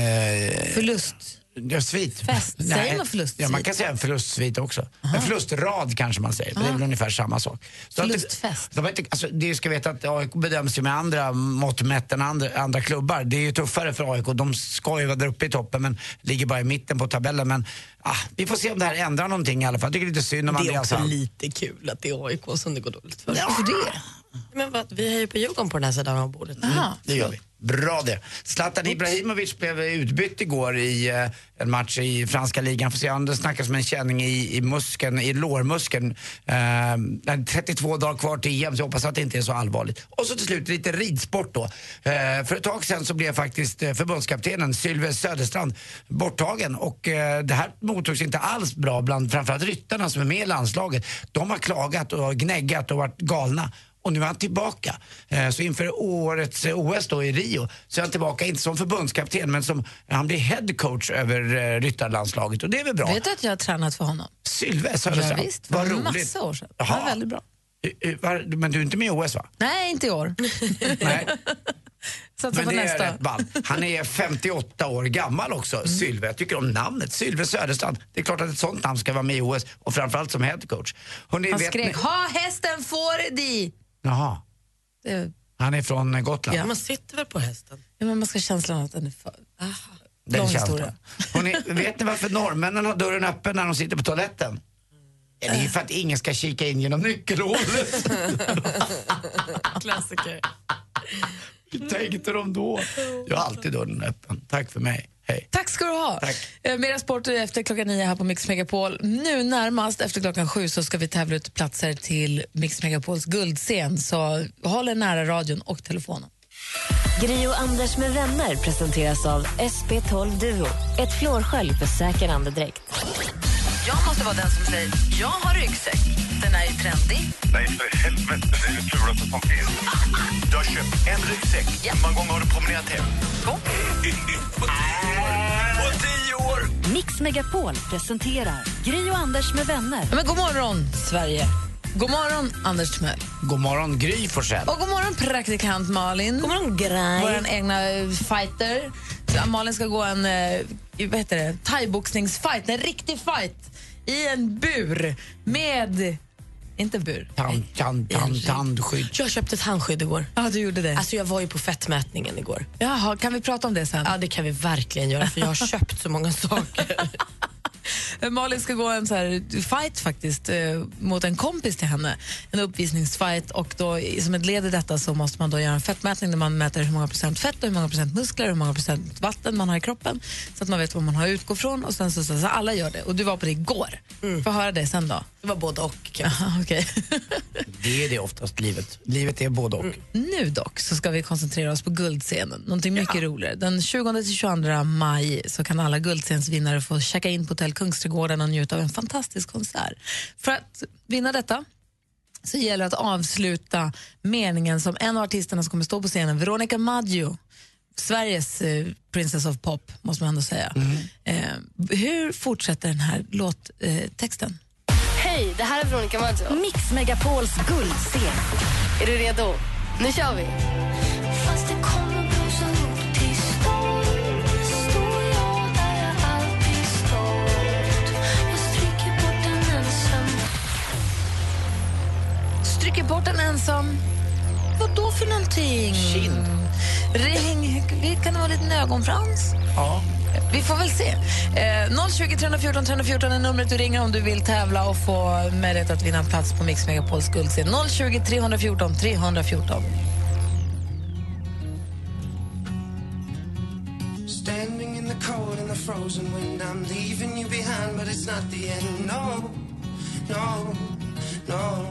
Speaker 6: Eh,
Speaker 5: Förlust.
Speaker 6: Ja, svit.
Speaker 5: Fest.
Speaker 6: Nej,
Speaker 5: Säger man förlustsvit
Speaker 6: Ja, man kan säga en förlustsvit också. En förlustrad kanske man säger. Det är väl ungefär samma sak. Så att det-
Speaker 5: Förlustfest.
Speaker 6: De har inte, alltså, det ska veta att AIK bedöms ju med andra mått mätt än andra, andra klubbar. Det är ju tuffare för AIK. De ska ju vara där uppe i toppen men ligger bara i mitten på tabellen. Men ah, vi får se om det här ändrar någonting i alla fall. Jag tycker det är lite synd om
Speaker 7: Det är
Speaker 6: Andreas
Speaker 7: också
Speaker 6: Alm.
Speaker 7: lite kul att det är AIK som det går dåligt för. Varför det? Men vad, vi hejar på Djurgården på den här sidan av bordet. Mm.
Speaker 6: Det gör vi. Bra det. Zlatan Ibrahimovic blev utbytt igår i eh, en match i franska ligan. Får se, han snackas om en känning i, i muskeln, i lårmuskeln. Eh, det är 32 dagar kvar till EM, så jag hoppas att det inte är så allvarligt. Och så till slut lite ridsport då. Eh, för ett tag sedan så blev faktiskt eh, förbundskaptenen Sylve Söderstrand borttagen och eh, det här mottogs inte alls bra bland framförallt ryttarna som är med i landslaget. De har klagat och gnäggat och varit galna. Och nu är han tillbaka. Eh, Så inför årets eh, OS då i Rio så är han tillbaka, inte som förbundskapten, men som han blir head coach över eh, ryttarlandslaget. Och det är väl bra?
Speaker 5: Vet du att jag har tränat för honom?
Speaker 6: Sylve
Speaker 5: Ja,
Speaker 6: Söderstrand,
Speaker 5: visst,
Speaker 6: vad
Speaker 5: för
Speaker 6: roligt.
Speaker 5: massa år sedan. Det
Speaker 6: Jaha.
Speaker 5: var väldigt bra.
Speaker 6: Eh, eh, var- Men du är inte med i OS va?
Speaker 5: Nej, inte i år. Satsa
Speaker 6: Men
Speaker 5: på
Speaker 6: det
Speaker 5: nästa. Mm.
Speaker 6: är rätt ball. Han är 58 år gammal också, Sylve. Jag tycker om namnet, Sylve Söderstrand. Det är klart att ett sånt namn ska vara med i OS och framförallt som head coach. Hörrni,
Speaker 5: Han
Speaker 6: vet
Speaker 5: skrek ha hästen får di.
Speaker 6: Jaha,
Speaker 5: Det-
Speaker 6: han är från eh, Gotland.
Speaker 5: Ja.
Speaker 7: Man sitter väl på hästen?
Speaker 5: Ja, men man ska ha känslan att den är för... Ah,
Speaker 6: Den
Speaker 5: lång
Speaker 6: känslan.
Speaker 5: historia.
Speaker 6: Hörrni, vet ni varför norrmännen har dörren öppen när de sitter på toaletten? Det är ju för att ingen ska kika in genom nyckelhålet.
Speaker 7: Klassiker.
Speaker 6: Hur tänkte de då? Jag har alltid dörren öppen. Tack för mig. Hej.
Speaker 5: Tack ska du ha.
Speaker 6: Tack.
Speaker 5: Eh, Mera sport efter klockan nio här på Mix Megapol. Nu närmast efter klockan sju så ska vi tävla ut platser till Mix Megapols guldscen. Så håll er nära radion och telefonen.
Speaker 11: Gri och Anders med vänner presenteras av SP12 Duo. Ett flårskölj för säker andedräkt.
Speaker 5: Jag måste vara den som säger jag har ryggsäck. Den är ju trendig.
Speaker 10: Nej, för helvete. Det är det fulaste som finns. Du har köpt en ryggsäck. Hur många gånger har du promenerat hem?
Speaker 12: På tio år!
Speaker 4: Mix Megapol presenterar Gri och Anders med vänner.
Speaker 5: Ja, men god morgon, Sverige. God morgon, Anders Timell.
Speaker 6: God morgon, Gry Forssell.
Speaker 5: Och god morgon, praktikant Malin. God morgon, Grej. Vår egna eh, fighter. Så Malin ska gå en eh, vad heter det? thaiboxningsfight, en riktig fight i en bur med... Inte bur.
Speaker 6: Tand, tand, tand, tandskydd.
Speaker 7: Jag köpte ett handskydd igår.
Speaker 5: Ja, du gjorde det.
Speaker 7: Alltså jag var ju på fettmätningen igår.
Speaker 5: Jaha, kan vi prata om det sen?
Speaker 7: Ja, det kan vi verkligen göra för jag har köpt så många saker.
Speaker 5: Eh, Malin ska gå en så här fight faktiskt eh, mot en kompis till henne. En uppvisningsfight och då, i- som ett led i detta så måste man då göra en fettmätning där man mäter hur många procent fett och hur många procent muskler och hur många procent vatten man har i kroppen så att man vet vad man har att utgå från och sen så, så, så alla gör det. Och du var på det igår. Får höra det sen då.
Speaker 7: Mm. Det var både och.
Speaker 5: Jaha, okej.
Speaker 6: Det är det oftast livet. Livet är både och.
Speaker 5: Nu dock så ska vi koncentrera oss på guldscenen. Någonting mycket roligare. Den 20-22 maj så kan alla guldscensvinnare få checka in på Hotell Kungsträdgården och njuta av en fantastisk konsert. För att vinna detta så gäller det att avsluta meningen som en av artisterna som kommer stå på scenen, Veronica Maggio, Sveriges eh, Princess of Pop, måste man ändå säga. Eh, hur fortsätter den här låttexten? Eh, texten?
Speaker 16: Hej, det här är Veronica Maggio. Mix Megapols guldscen. Är du redo? Nu kör vi!
Speaker 8: Fast det kommer blåsa upp till storm Står jag där jag alltid stått Jag stryker bort en ensam
Speaker 5: Stryker bort en ensam. Vad då för någonting? Kind. Ring. vi- Kan det vara en liten ögonfrans?
Speaker 6: Ja.
Speaker 5: Vi får väl se. Eh, 020 314 314 är numret du ringer om du vill tävla och få möjlighet att vinna en plats på Mix Megapols guldscen. 020 314 314.
Speaker 9: Standing in the cold and the frozen wind, I'm leaving you behind, but it's not the end. No, no, no.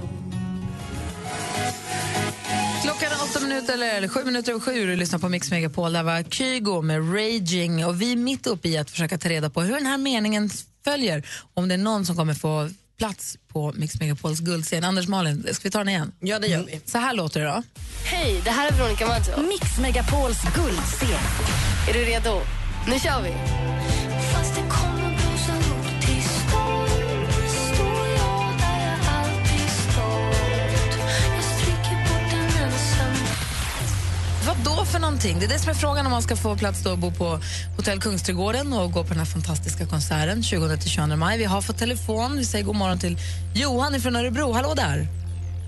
Speaker 5: Klockan är åtta minuter, eller, eller sju minuter över sju och du lyssnar på Mix Megapol. Där var Kygo med Raging och vi är mitt uppe i att försöka ta reda på hur den här meningen följer. Om det är någon som kommer få plats på Mix Megapols guldscen. Anders Malin, ska vi ta den igen? Ja, det gör vi. Så här låter det då.
Speaker 16: Hej, det här är Veronica Maggio. Mix Megapols guldscen. Är du redo? Nu kör vi!
Speaker 8: Fast det kommer blåsa upp till storm Står jag där jag alltid stått Jag stryker bort en ensam
Speaker 5: Vad då för någonting. Det är det som är frågan om man ska få plats då att bo på Hotell Kungsträdgården och gå på den här fantastiska konserten 20-22 maj. Vi har fått telefon. Vi säger god morgon till Johan från Örebro. Hallå där!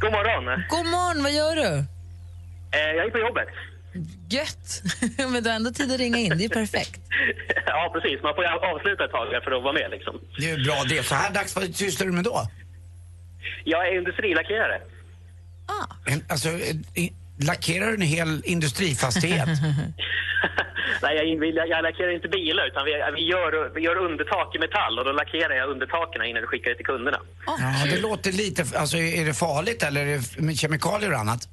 Speaker 17: God morgon.
Speaker 5: God morgon, vad gör du?
Speaker 17: Eh, jag är på jobbet.
Speaker 5: Gött! Men du har ändå tid att ringa in, det är perfekt.
Speaker 17: ja, precis. Man får ju avsluta ett tag här för att vara med liksom.
Speaker 6: Det är ju bra det. Så här dags, vad sysslar du med då?
Speaker 17: Jag är industrilackerare.
Speaker 6: En, alltså, i- lackerar du en hel industrifastighet?
Speaker 17: Nej, jag, vi- jag lackerar inte bilar utan vi, vi, gör, vi gör undertak i metall och då lackerar jag undertaken innan vi skickar det till kunderna.
Speaker 6: Ja, det låter lite... Alltså, är det farligt eller är det f- med kemikalier och annat?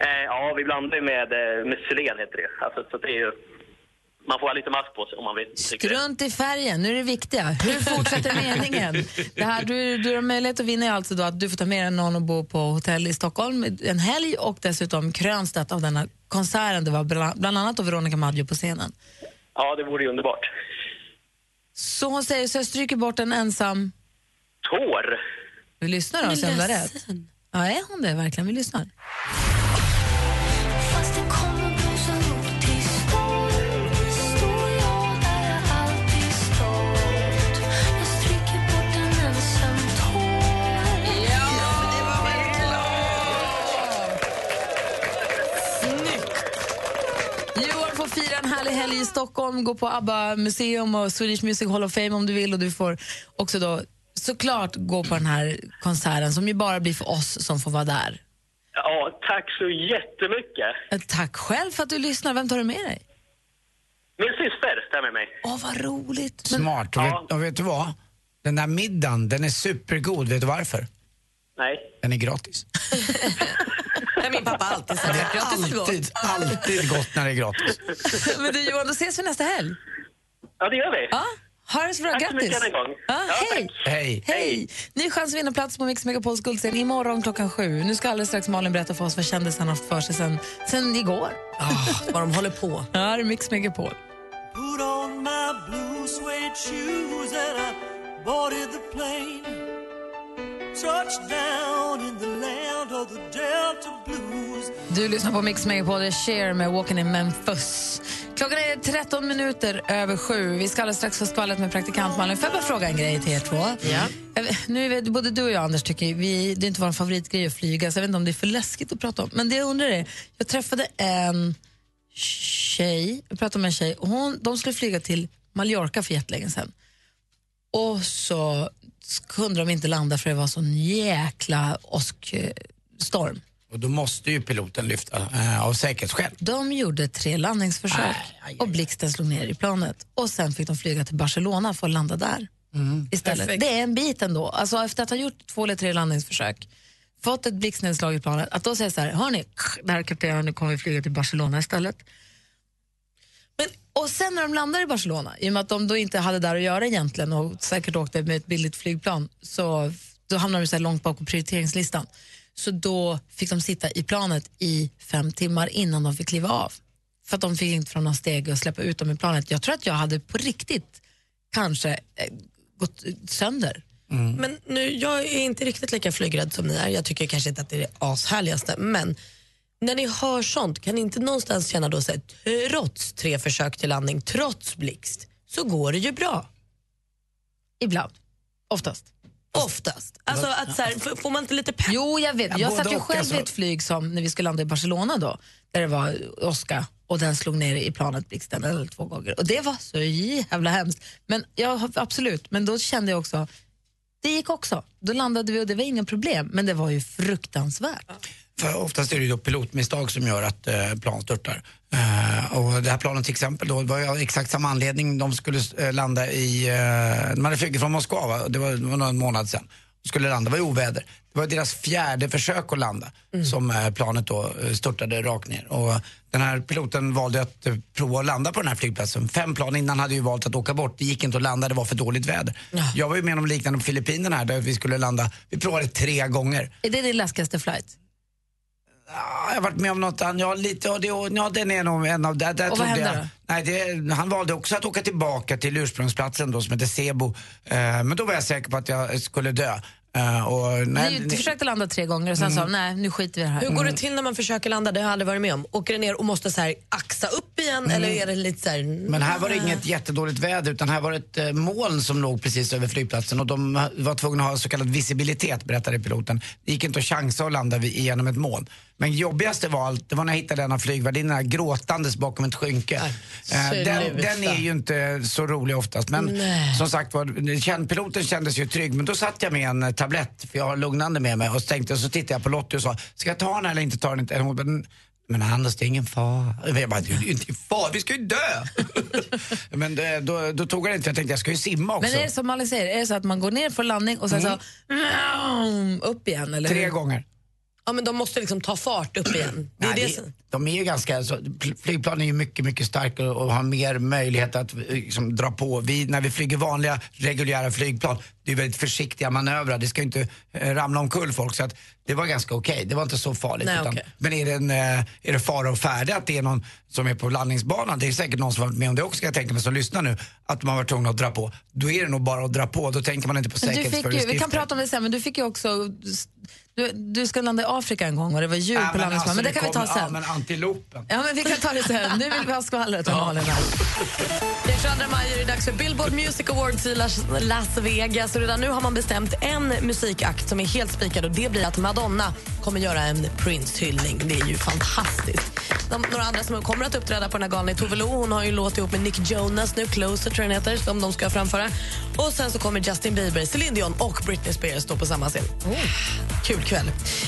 Speaker 17: Eh, ja, vi blandar ju med, eh, med selen heter det alltså, så det är ju, Man får ha lite mask på sig om man vill. tycker det.
Speaker 5: Strunt i färgen, nu är det viktiga. Hur fortsätter meningen? Det här, du, du har möjlighet att vinna är alltså då att du får ta med dig någon och bo på hotell i Stockholm en helg och dessutom kröns det av denna konserten. Det var bla- bland annat då Veronica Maggio på scenen.
Speaker 17: Ja, det vore ju underbart.
Speaker 5: Så hon säger, så jag stryker bort en ensam...
Speaker 17: Tår!
Speaker 5: Vi lyssnar då,
Speaker 17: Men
Speaker 5: och ser om du har rätt.
Speaker 17: ledsen.
Speaker 5: Ja, är hon det verkligen? Vi lyssnar.
Speaker 8: Fast det kommer blåsa upp till storm Står jag där jag alltid stått Jag stryker bort en ensam tår Ja, det var väl klart!
Speaker 5: Snyggt! Johan får fira en härlig helg i Stockholm, gå på ABBA museum och Swedish Music Hall of Fame om du vill och du får också då såklart gå på den här konserten som ju bara blir för oss som får vara där.
Speaker 17: Ja, tack så jättemycket.
Speaker 5: Eh, Tack själv för att du lyssnar. Vem tar du med dig?
Speaker 17: Min syster tar med mig.
Speaker 5: Åh, vad roligt.
Speaker 6: Smart. Och vet, och vet du vad? Den där middagen, den är supergod. Vet du varför?
Speaker 17: Nej.
Speaker 6: Den är gratis.
Speaker 5: Min pappa har alltid sagt att gratis Alltså, är
Speaker 6: Alltid, alltid gott när det är gratis.
Speaker 5: gott. Men du Johan, då ses vi nästa helg.
Speaker 17: Ja, det gör vi.
Speaker 5: Ja, ha det så bra.
Speaker 17: Tack så
Speaker 5: Grattis.
Speaker 17: mycket än en gång.
Speaker 5: Ja, hej.
Speaker 6: Hej.
Speaker 5: Hej! Ny chans att vinna plats på Mix Megapols guldscen imorgon klockan sju. Nu ska alldeles strax Malin berätta för oss vad kändisarna haft för sig sen, sen igår. vad de håller på. Ja, det är Mix Megapol.
Speaker 8: Put on my blue suede shoes and I boarded the plane. Touched down in the land of the Delta Blues.
Speaker 5: Du lyssnar på Mix Megapol, det är Cher med Walking in Memphis. Klockan är 13 minuter över sju. Vi ska alldeles strax få skvallret med praktikant Malin. Får jag bara fråga en grej till er två? Jag vet- Nu vet, både du och jag, Anders, tycker vi, det är inte vår favoritgrej att flyga, så jag vet inte om det är för läskigt att prata om. Men det jag undrar är, jag träffade en tjej, jag pratade med en tjej, och hon, de skulle flyga till Mallorca för jättelänge sedan. Och så kunde de inte landa för det var sån jäkla åskstorm.
Speaker 6: Och då måste ju piloten lyfta eh, av säkerhetsskäl.
Speaker 5: De gjorde tre landningsförsök och blixten slog ner i planet. Och sen fick de flyga till Barcelona för att landa där
Speaker 7: Mm.
Speaker 8: Mm.
Speaker 5: istället.
Speaker 8: Perfekt.
Speaker 5: Det är en bit ändå. Alltså efter att ha gjort två eller tre landningsförsök, fått ett blixtnedslag i planet, att då säga så här, hörni, det här är kaptenen, nu kommer vi flyga till Barcelona istället. Men, och sen när de landar i Barcelona, i och med att de då inte hade där att göra egentligen och säkert åkte med ett billigt flygplan, så då hamnade de så här långt bak på prioriteringslistan. Så då fick de sitta i planet i fem timmar innan de fick kliva av. För att de fick inte från någon steg och släppa ut dem i planet. Jag tror att jag hade på riktigt kanske eh, gått sönder.
Speaker 7: Men nu, jag är inte riktigt lika flygrädd som ni är. Jag tycker kanske inte att det är det ashärligaste. Men när ni hör sånt, kan ni inte någonstans känna då så här, trots tre försök till landning, trots blixt, så går det ju bra?
Speaker 5: Ibland. Oftast.
Speaker 7: Oftast. Alltså att så här, f- får man inte lite pepp?
Speaker 5: Jo, jag vet. Jag satt ju själv
Speaker 7: alltså.
Speaker 5: i ett flyg som när vi skulle landa i Barcelona då, där det var åska och den slog ner i planet blixten eller två gånger. Och det var så jävla hemskt. Men ja, absolut, men då kände jag också, det gick också. Då landade vi och det var inga problem, men det var ju fruktansvärt.
Speaker 6: För oftast är det ju då pilotmisstag som gör att eh, plan störtar. Eh, och det här planet till exempel då, det var ju av exakt samma anledning de skulle eh, landa i, eh, de hade flugit från Moskva va? Det, var, det var någon månad sedan. De skulle landa, det var ju oväder. Det var deras fjärde försök att landa som eh, planet då eh, störtade rakt ner. Och den här piloten valde att eh, prova att landa på den här flygplatsen. Fem plan innan hade ju valt att åka bort, det gick inte att landa, det var för dåligt väder. Jag var ju med om liknande på Filippinerna här där vi skulle landa, vi provade tre gånger.
Speaker 5: Är det din läskigaste flight?
Speaker 6: Ja, "Ah, Jag har varit med om något annat. Ja, lite ADHD. Ja, den är nog en av... Där, där
Speaker 5: Och vad
Speaker 6: trodde
Speaker 5: hände
Speaker 6: jag, nej, det, Han valde också att åka tillbaka till ursprungsplatsen då, som heter Sebo. Eh, men då var jag säker på att jag skulle dö. Eh, och, nej,
Speaker 5: ni, försökte landa tre gånger och sen sa de, nej, nu skiter vi i det här.
Speaker 7: Mm.
Speaker 5: Mm.
Speaker 7: Hur går det till när man försöker landa? Det har jag aldrig varit med om. Åker det ner och måste så här axa upp igen
Speaker 5: Mm.
Speaker 7: eller är det lite så här...
Speaker 6: Men här var det
Speaker 18: Mm.
Speaker 6: inget jättedåligt väder utan här var det ett eh, moln som låg precis över flygplatsen och de var tvungna att ha så kallad visibilitet berättade piloten. Det gick inte att chansa att landa vid- genom ett moln. Men jobbigaste var allt, det var när jag hittade en av flygvärdinnorna gråtandes bakom ett skynke. Eh, den,
Speaker 18: sluta.
Speaker 6: den är ju inte så rolig oftast men
Speaker 18: Nej.
Speaker 6: som sagt var, känd, piloten kändes ju trygg men då satt jag med en eh, tablett, för jag har lugnande med mig och så tänkte, och så tittade jag på Lottie och sa, ska jag ta den här eller inte ta den? inte?" Hon bara, "Mm, men Anders, det är ingen fara. Jag bara, det är ju inte fara, vi ska ju dö! men eh, då, då tog jag den inte, jag tänkte jag ska ju simma också.
Speaker 5: Men är det som Malin säger, är det så att man går ner för landning och sen
Speaker 6: Mm.
Speaker 5: så vroom, upp igen? Eller
Speaker 6: Tre
Speaker 5: hur?
Speaker 6: gånger.
Speaker 7: Ja, men de måste liksom ta fart upp igen. Det är
Speaker 6: Nej,
Speaker 7: det
Speaker 6: det-
Speaker 7: som-
Speaker 6: de är ju ganska, så, pl- flygplan är ju mycket, mycket starkare och har mer möjlighet att eh, liksom, dra på. Vi, när vi flyger vanliga, reguljära flygplan, det är väldigt försiktiga manövrar. Det ska ju inte eh, ramla omkull folk. Så att det var ganska okej, det var inte så farligt.
Speaker 18: Nej,
Speaker 6: utan,
Speaker 18: okej.
Speaker 6: Men är det, en, eh, är det fara och färde att det är någon som är på landningsbanan, det är säkert någon som har varit med om det också, ska jag tänka mig, som lyssnar nu, att man var tvungen att dra på. Då är det nog bara att dra på, då tänker man inte på
Speaker 5: Men Du fick ju,
Speaker 6: säkerhetsföreskrifter.
Speaker 5: vi kan prata om det sen, men du fick ju också... Du, du ska landa i Afrika en gång och det var djur
Speaker 6: Ja,
Speaker 5: på
Speaker 6: men
Speaker 5: landningsbanan,
Speaker 6: alltså,
Speaker 5: men det kan vi ta
Speaker 6: kommer-
Speaker 5: sen.
Speaker 6: Ja, men antilopen.
Speaker 5: Ja, men vi kan ta det sen. Nu vill vi ha skvallret av Malin här.
Speaker 7: Den 22 maj är det dags för Billboard Music Awards i Las, Las Vegas. Och redan nu har man bestämt en musikakt som är helt spikad och det blir att Madonna kommer göra en Prince-hyllning. Det är ju fantastiskt. De, några andra som kommer att uppträda på den här galan är Tove Lo. Hon har ju en låt ihop med Nick Jonas nu, Closer tror jag den heter, som de ska framföra. Och sen så kommer Justin Bieber, Celine Dion och Britney Spears stå på samma scen. Kul kväll.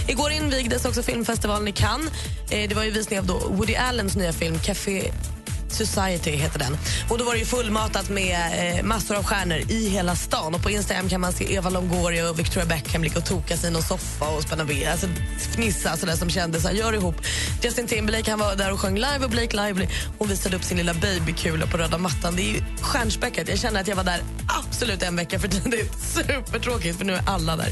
Speaker 7: Igår invigdes också filmfestivalen i Cannes. Eh, det var ju visning av då Woody Allens nya film Café Society heter den. Och då var det ju fullmatat med eh, massor av stjärnor i hela stan. Och på Instagram kan man se Eva Longoria och Victoria Beckham ligga och toka sig i någon soffa och spänna ben. Alltså fnissa sådär som kändisar gör ihop. Justin Timberlake han var där och sjöng live och Blake Lively hon visade upp sin lilla babykula på röda mattan. Det är ju stjärnspäckat. Jag känner att jag var där absolut en vecka för tidigt. Supertråkigt för nu är alla där.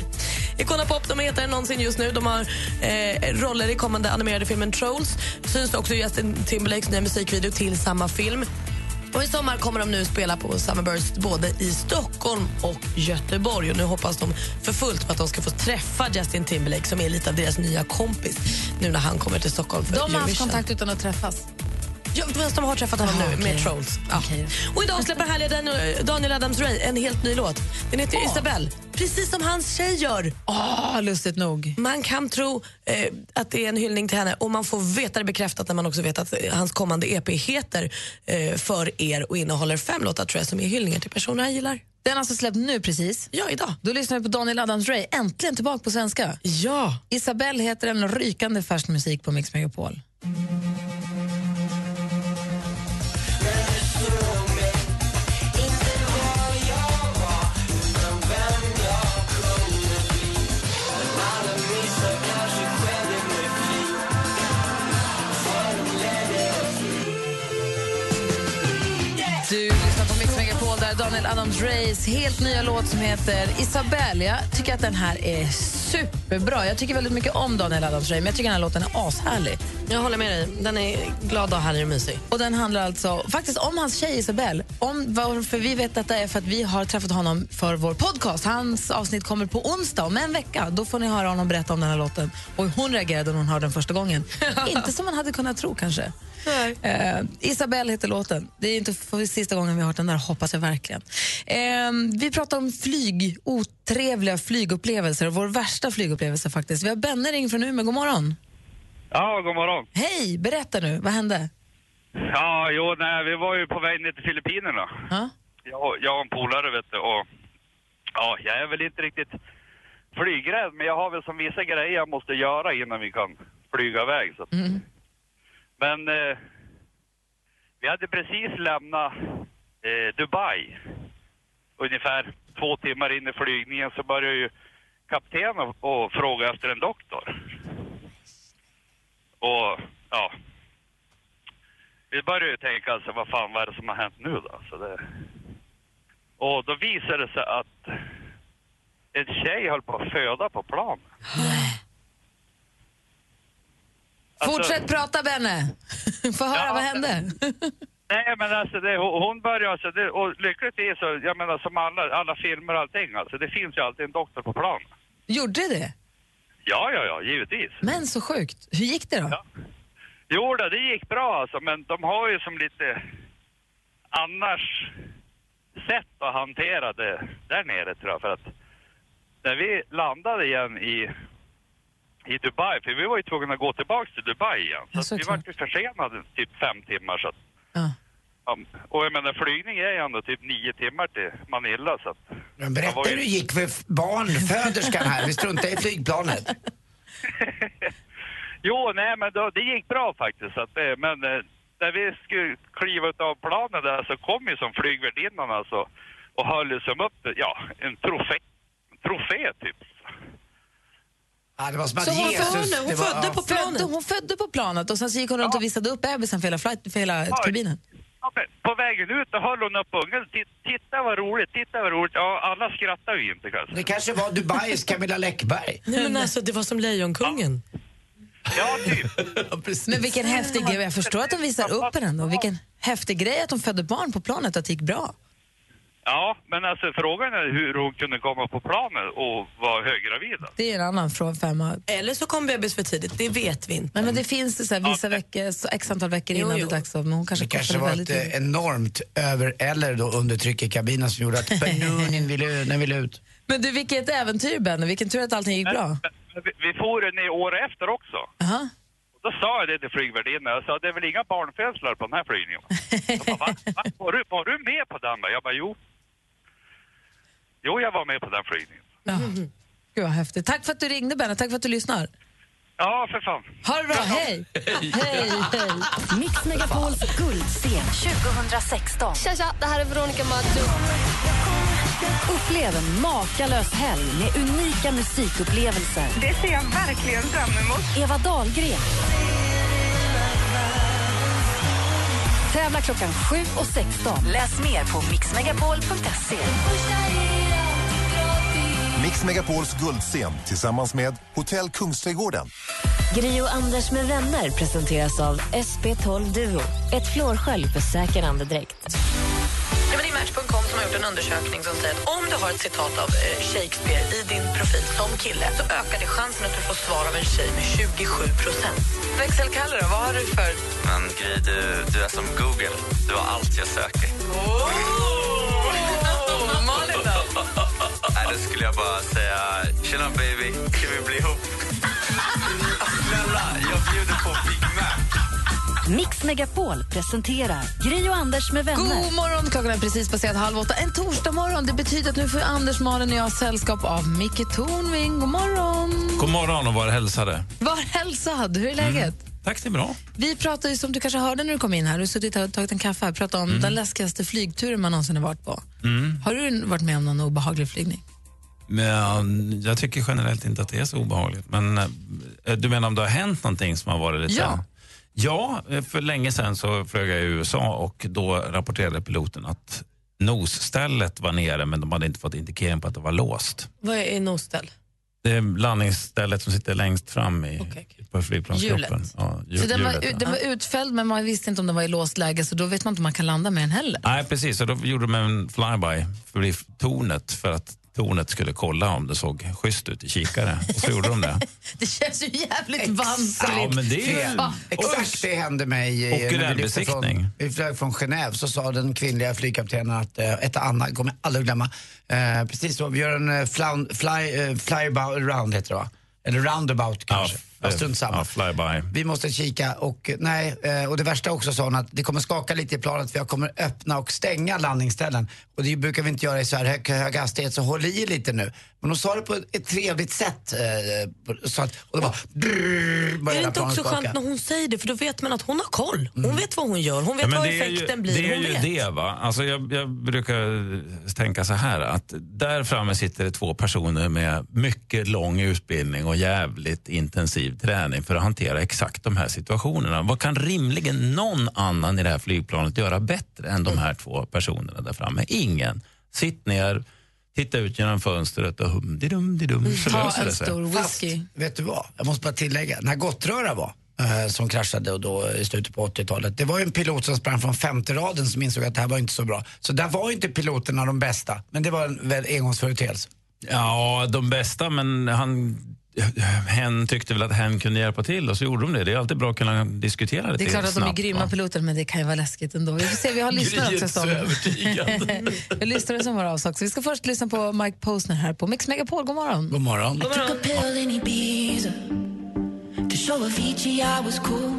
Speaker 7: Icona Pop de är hetare än någonsin just nu. De har eh, roller i kommande animerade filmen Trolls. Syns också i Justin Timberlakes nya musikvideo till samma film. Och I sommar kommer de nu spela på Summerburst både i Stockholm och Göteborg. Och Nu hoppas de för fullt på att de ska få träffa Justin Timberlake som är lite av deras nya kompis nu när han kommer till Stockholm för
Speaker 5: De har haft
Speaker 7: Eurovision.
Speaker 5: kontakt utan att träffas.
Speaker 7: Ja, fast de har träffat honom
Speaker 6: Ah,
Speaker 7: nu
Speaker 5: Jaha,
Speaker 7: med
Speaker 5: okej.
Speaker 7: Trolls. Ja. Och idag släpper härliga Dan- Daniel Adams-Ray en helt ny låt. Den heter Isabelle, precis som hans tjej gör. Ah,
Speaker 5: Oh, lustigt nog.
Speaker 7: Man kan tro eh, att det är en hyllning till henne och man får veta det bekräftat när man också vet att eh, hans kommande EP heter eh, För er och innehåller fem låtar tror jag som är hyllningar
Speaker 5: typ
Speaker 7: till personer han gillar.
Speaker 5: Den har alltså släppt nu precis.
Speaker 7: Ja, idag.
Speaker 5: Då lyssnar vi på Daniel Adams-Ray, äntligen tillbaka på svenska.
Speaker 7: Ja.
Speaker 5: Isabelle heter den och rykande färsk musik på Mix Megapol. Du lyssnar på Mix Megapol där Daniel Adams-Rays helt nya låt som heter Isabelle. Jag tycker att den här är superbra. Jag tycker väldigt mycket om Daniel Adams-Ray, men jag tycker den här låten är ashärlig.
Speaker 7: Jag håller med dig. Den är glad och härlig och mysig.
Speaker 5: Och den handlar alltså faktiskt om hans tjej Isabelle. Om varför vi vet detta är för att vi har träffat honom för vår podcast. Hans avsnitt kommer på onsdag om en vecka. Då får ni höra honom berätta om den här låten och hur hon reagerade när hon hörde den första gången. Inte som man hade kunnat tro kanske. Eh, Isabelle heter låten. Det är inte för sista gången vi har hört den där, hoppas jag verkligen. Eh, vi pratar om flyg, otrevliga flygupplevelser och vår värsta flygupplevelse faktiskt. Vi har Benne ring från Umeå, god morgon.
Speaker 19: Ja, god morgon.
Speaker 5: Hej, berätta nu, vad hände?
Speaker 19: Ja, jo, nej, vi var ju på väg ner till Filippinerna.
Speaker 5: Ja.
Speaker 19: Jag, jag och en polare, vet du, och ja, jag är väl inte riktigt flygrädd, men jag har väl som vissa grejer jag måste göra innan vi kan flyga iväg. Så. att-
Speaker 5: Mm.
Speaker 19: Men eh, vi hade precis lämnat eh, Dubai. Ungefär två timmar in i flygningen så började ju kaptenen att fråga efter en doktor. Och ja, vi började ju tänka alltså, vad fan vad är det som har hänt nu då? Så det... Och då visade det sig att en tjej höll på att föda på plan.
Speaker 6: Alltså-
Speaker 19: Alltså-
Speaker 5: Fortsätt prata, Benne. Få höra, vad hände?
Speaker 19: Nej, men alltså det, hon hon börjar alltså, det, och lyckligtvis så, jag menar som alla, alla filmer och allting alltså, det finns ju alltid en doktor på plan.
Speaker 5: Gjorde det?
Speaker 19: Ja, ja, ja, givetvis.
Speaker 5: Men så sjukt. Hur gick det då?
Speaker 19: Jo, då, det gick bra alltså, men de har ju som lite annars sätt att hantera det där nere tror jag. För att när vi landade igen i, i Dubai, för vi var ju tvungna att gå tillbaka till Dubai igen. Så
Speaker 5: att
Speaker 19: vi var ju försenade typ fem timmar. Så att, ja. Och jag menar flygning är ju ändå typ nio timmar till Manila. Så att,
Speaker 6: Men berätta hur det gick för barnföderskan här. Vi struntar i flygplanet.
Speaker 19: Jo, nej men då, det gick bra faktiskt. Så att, eh, men eh, när vi skulle kliva av planen där så kom ju som flygvärdinnan alltså och höll ju som upp, ja, en trofé, en trofé typ.
Speaker 6: Ja, det var som
Speaker 5: Så
Speaker 6: att
Speaker 5: hon
Speaker 6: Jesus...
Speaker 5: födde, hon
Speaker 6: det var,
Speaker 5: födde på planet? Hon födde på planet och sen så gick hon runt och visade upp bebisen för hela, flight, för hela
Speaker 19: Ja.
Speaker 5: kabinen.
Speaker 19: Ja, men På vägen ut då höll hon upp ungen. Ti- Titta vad roligt, titta vad roligt. Ja, alla skrattar ju inte kanske.
Speaker 6: Det kanske var Dubais Camilla Läckberg.
Speaker 7: Nej, men alltså, det var som Lejonkungen.
Speaker 5: Men vilken häftig grej. Jag förstår att de visar upp den ändå. Vilken häftig grej att de födde barn på planet och att det gick bra.
Speaker 19: Ja, men alltså frågan är hur hon kunde komma på planen och vara höggravid. alltså.
Speaker 5: Det är en annan från femma.
Speaker 7: Eller så kom bebis för tidigt, det vet vi inte.
Speaker 5: Nej, men det finns det så här, vissa veckor, så x antal veckor innan det är dags. Men hon kanske
Speaker 6: Det kanske
Speaker 5: korsade
Speaker 6: var
Speaker 5: väldigt
Speaker 6: ett
Speaker 5: tidigt.
Speaker 6: eh, enormt över eller då undertryck i kabinen som gjorde att balloonen ville, ut- den ville ut.
Speaker 5: Men du, vilket äventyr Benny. Vilken tur att allting gick bra.
Speaker 19: Men Vi, vi for ju ner året efter också.
Speaker 5: Aha.
Speaker 19: Och Då sa jag det till flygvärdinnan. Jag sa det är väl inga barnfödslar på den här flygningen? va?" De bara, "Va? Va? Var, du, var du med på den? va?" Jag bara jo. Jo, jag var med på den flygningen.
Speaker 5: Ja. Gud vad häftigt. Tack för att du ringde Benny. Tack för att du lyssnar.
Speaker 19: Ja, för fan.
Speaker 5: Ha det bra. Hej! Hej, hej.
Speaker 11: Mix Megapols guldscen 2016.
Speaker 16: Tja, tja, det här är Veronica Maggio.
Speaker 11: Upplev en makalös helg med unika musikupplevelser.
Speaker 9: Det ser jag verkligen fram emot.
Speaker 11: Eva Dahlgren. Tävla klockan 7 och 16. Läs mer på mixmegapol.se.
Speaker 10: Mix Megapols guldscen tillsammans med Hotell Kungsträdgården.
Speaker 11: Gri och Anders med vänner presenteras av SP12 Duo. Ett flårskölj för säker andedräkt.
Speaker 7: Nej, men det är Match.com som har gjort en undersökning som säger att om du har ett citat av eh, Shakespeare i din profil som kille så ökar det chansen att du får svar av en tjej med 27 procent. Växelkalle då, vad har du för...
Speaker 18: Men Gry, du, du är som Google. Du har allt jag söker.
Speaker 7: Malin då?
Speaker 18: Nej, då skulle jag bara säga “Tjena baby, ska vi bli ihop?” Snälla, jag bjuder på Big Mac.
Speaker 11: Mix Megapol presenterar Gri och Anders med vänner.
Speaker 5: God morgon! Klockan är precis passerat halv åtta. En torsdag morgon. Det betyder att nu får Anders, Malin och jag sällskap av Micke Tornving. God morgon!
Speaker 20: God morgon och var hälsade.
Speaker 5: Var hälsad! Hur är läget?
Speaker 20: Tack, det är bra.
Speaker 5: Vi pratar ju, som du kanske hörde när du kom in här, du har suttit här och tagit en kaffe här, pratat om
Speaker 20: Mm.
Speaker 5: den läskigaste flygturen man någonsin har varit på.
Speaker 20: Mm.
Speaker 5: Har du varit med om någon obehaglig flygning?
Speaker 20: Men jag tycker generellt inte att det är så obehagligt. Men eh, du menar om det har hänt någonting som har varit lite...
Speaker 5: Ja.
Speaker 20: Ja, eh, för länge sedan så flög jag i USA och då rapporterade piloten att nosstället var nere men de hade inte fått indikering på att det var låst.
Speaker 7: Vad är nosställ?
Speaker 20: Det är landningsstället som sitter längst fram i, på flygplanskroppen.
Speaker 7: Hjulet.
Speaker 20: Eh, Ja, ju-
Speaker 5: så den var,
Speaker 20: hjulet, ja.
Speaker 5: ut- den var utfälld, men man visste inte om den var i låst läge, så då vet man inte om man kan landa med den heller.
Speaker 20: Nej, precis. Och då gjorde de en flyby förbi tornet för att tornet skulle kolla om det såg schysst ut i kikare. Och så gjorde de det.
Speaker 5: Det känns ju jävligt vanskligt.
Speaker 20: Ja, men det är-
Speaker 5: Fan.
Speaker 6: Exakt det hände mig. eh,
Speaker 20: Och
Speaker 6: när vi lyfte
Speaker 20: rälbesiktning.
Speaker 6: från- Vi flög från Genève så sa den kvinnliga flygkaptenen att, eh, ett Anna, kommer jag aldrig glömma, eh, precis så, vi gör en eh, flan- fly, eh, flyaround heter det va? Eller roundabout kanske. Ja, strunt samma.
Speaker 20: Ja, flyby.
Speaker 6: Vi måste kika och eh, nej, eh, och det värsta också sa hon att det kommer skaka lite i planet för jag kommer öppna och stänga landningsställen. Och det brukar vi inte göra i så här hög, hög hastighet så håll i er lite nu. Men hon sa det på ett, ett trevligt sätt. Eh, på- så att, och det bara... Brrr,
Speaker 7: Är
Speaker 6: började
Speaker 7: det inte
Speaker 6: planet
Speaker 7: också
Speaker 6: skaka.
Speaker 7: skönt när hon säger det? För då vet man att hon har koll. Hon vet vad hon gör, hon vet
Speaker 20: Mm. Ja, men
Speaker 7: vad
Speaker 20: det är ju-
Speaker 7: effekten blir.
Speaker 20: Det är
Speaker 7: hon
Speaker 20: ju
Speaker 7: vet.
Speaker 20: det. Va? Alltså jag, jag brukar tänka så här att där framme sitter det två personer med mycket lång utbildning och jävligt intensiv träning för att hantera exakt de här situationerna. Vad kan rimligen någon annan i det här flygplanet göra bättre än de här två personerna där framme? Ingen. Sitt ner, titta ut genom fönstret och
Speaker 7: Mm,
Speaker 20: hum-di-dum-di-dum så Mm. löser det sig.
Speaker 6: whisky. Fast, vet du vad? Jag måste bara tillägga. Den här gottröra var, eh, som kraschade och då i slutet på 80-talet. Det var ju en pilot som sprang från femte raden som insåg att det här var inte så bra. Så där var ju inte piloterna de bästa, men det var en väl engångsföreteelse.
Speaker 20: Ja, de bästa, men han... Hen tyckte väl att hen kunde hjälpa till och så gjorde de det. Det är alltid bra att kunna diskutera det
Speaker 5: Det är klart att de är
Speaker 20: snabbt,
Speaker 5: grymma
Speaker 20: va?
Speaker 5: piloter, men det kan ju vara läskigt ändå. Vi får se, vi har lyssnare också
Speaker 20: Gryet så
Speaker 5: som... vi har lyssnare som har av sig också. Vi ska först lyssna på Mike Posner här på Mix Megapol. God morgon.
Speaker 6: God morgon.
Speaker 8: I took a pill in Ibiza to show Avicii I was cool.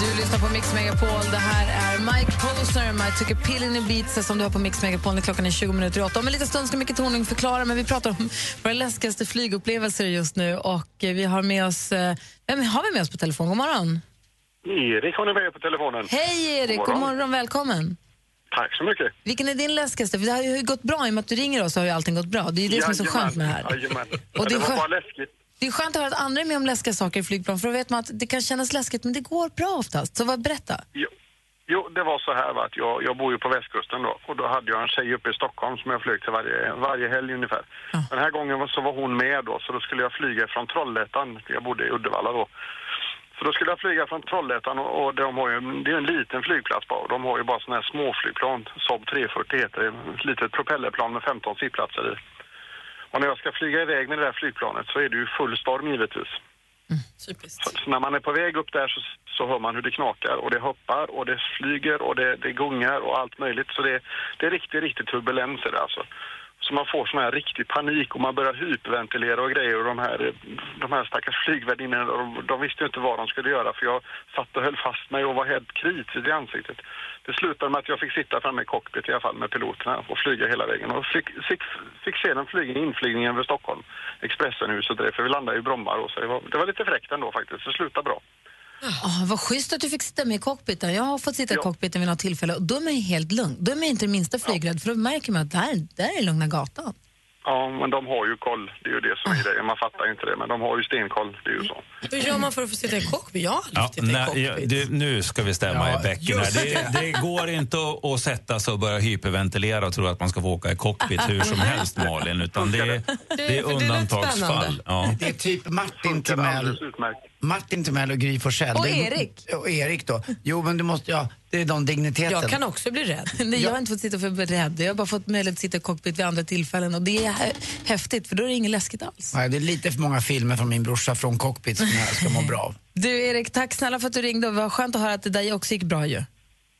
Speaker 5: Du lyssnar på Mix Megapol. Det här är Mike Posner med I took a pill in Ibiza som du har på Mix Megapol. när Klockan är 20 minuter i åtta. Om en liten stund ska Micke Tornving förklara, men vi pratar om våra läskigaste flygupplevelser just nu. Och eh, vi har med oss... eh, Vem har vi med oss på telefon? God morgon.
Speaker 21: Erik har ni med på telefonen.
Speaker 5: Hej Erik, god morgon. Välkommen.
Speaker 21: Tack så mycket.
Speaker 5: Vilken är din läskigaste? För det har ju gått bra. I och med att du ringer oss så har ju allting gått bra. Det är ju det som är så
Speaker 21: Jajamän,
Speaker 5: skönt med det här.
Speaker 21: Jajamän.
Speaker 5: Och
Speaker 21: Och
Speaker 5: det
Speaker 21: det,
Speaker 5: är
Speaker 21: var
Speaker 5: skö-
Speaker 21: bara läskigt.
Speaker 5: Det är skönt att höra att andra är med om läskiga saker i flygplan för då vet man att det kan kännas läskigt men det går bra oftast. Så vad, berätta.
Speaker 21: Jo. jo, det var så här va, att jag, jag bor ju på västkusten då och då hade jag en tjej uppe i Stockholm som jag flög till varje, varje helg ungefär. Den här gången var- så var hon med då så då skulle jag flyga från Trollhättan, jag bodde i Uddevalla då. Så då skulle jag flyga från Trollhättan och, och de har ju, det är ju en liten flygplats bara och de har ju bara sådana här småflygplan, Saab 340 heter det, ett litet propellerplan med 15 sittplatser i. Och när jag ska flyga iväg med det där flygplanet så är det ju full storm givetvis.
Speaker 7: Så,
Speaker 21: så när man är på väg upp där så, så hör man hur det knakar och det hoppar och det flyger och det, det gungar och allt möjligt. Så det, det är riktigt, riktigt turbulens är det alltså. Så man får sån här riktig panik och man börjar hyperventilera och grejer och de här, de här stackars flygvärdinnorna, de, de visste ju inte vad de skulle göra för jag satt och höll fast mig och var helt kritisk i ansiktet. Det slutade med att jag fick sitta framme i cockpit i alla fall med piloterna och flyga hela vägen och fick, fick, fick se den flyga inflygningen över Stockholm, Expressenhuset och det, för vi landade i Bromma då, så det var, det var lite fräckt ändå faktiskt, det slutade bra.
Speaker 5: Ah, vad schysst att du fick sitta med i cockpiten. Jag har fått sitta i cockpiten vid något tillfälle och då är man ju helt lugn. Då är man ju inte det minsta flygrädd för då märker man att där, där är lugna gatan.
Speaker 21: Ja, men de har ju koll, det är ju det som är grejen, man fattar ju inte det, men de har ju stenkoll, det är ju så.
Speaker 7: Hur gör man för att få sitta i cockpit? Ja.
Speaker 20: Ja, nej, ja, du, nu ska vi stämma i bäcken. Här.
Speaker 7: just
Speaker 20: Det, det går inte att, att sätta sig och börja hyperventilera och tro att man ska få åka i cockpit hur som helst, Malin. Utan det, är- det är undantagsfall. Ja.
Speaker 6: Det är typ Martin Timell. Martin Timell och Gry Forssell.
Speaker 5: Och
Speaker 6: Det är-
Speaker 5: Erik.
Speaker 6: Och Erik då. Jo, men du måste, ja, det är de digniteten.
Speaker 5: Jag kan också bli rädd. Nej, jag
Speaker 6: Ja.
Speaker 5: har inte fått sitta för att bli rädd. Jag har bara fått möjlighet att sitta i cockpit vid andra tillfällen och det är hä- häftigt för då är det inget läskigt alls.
Speaker 6: Nej, det är lite för många filmer från min brorsa från cockpit som jag ska må bra av.
Speaker 5: Du Erik, tack snälla för att du ringde och det var skönt att höra att det där också gick bra ju.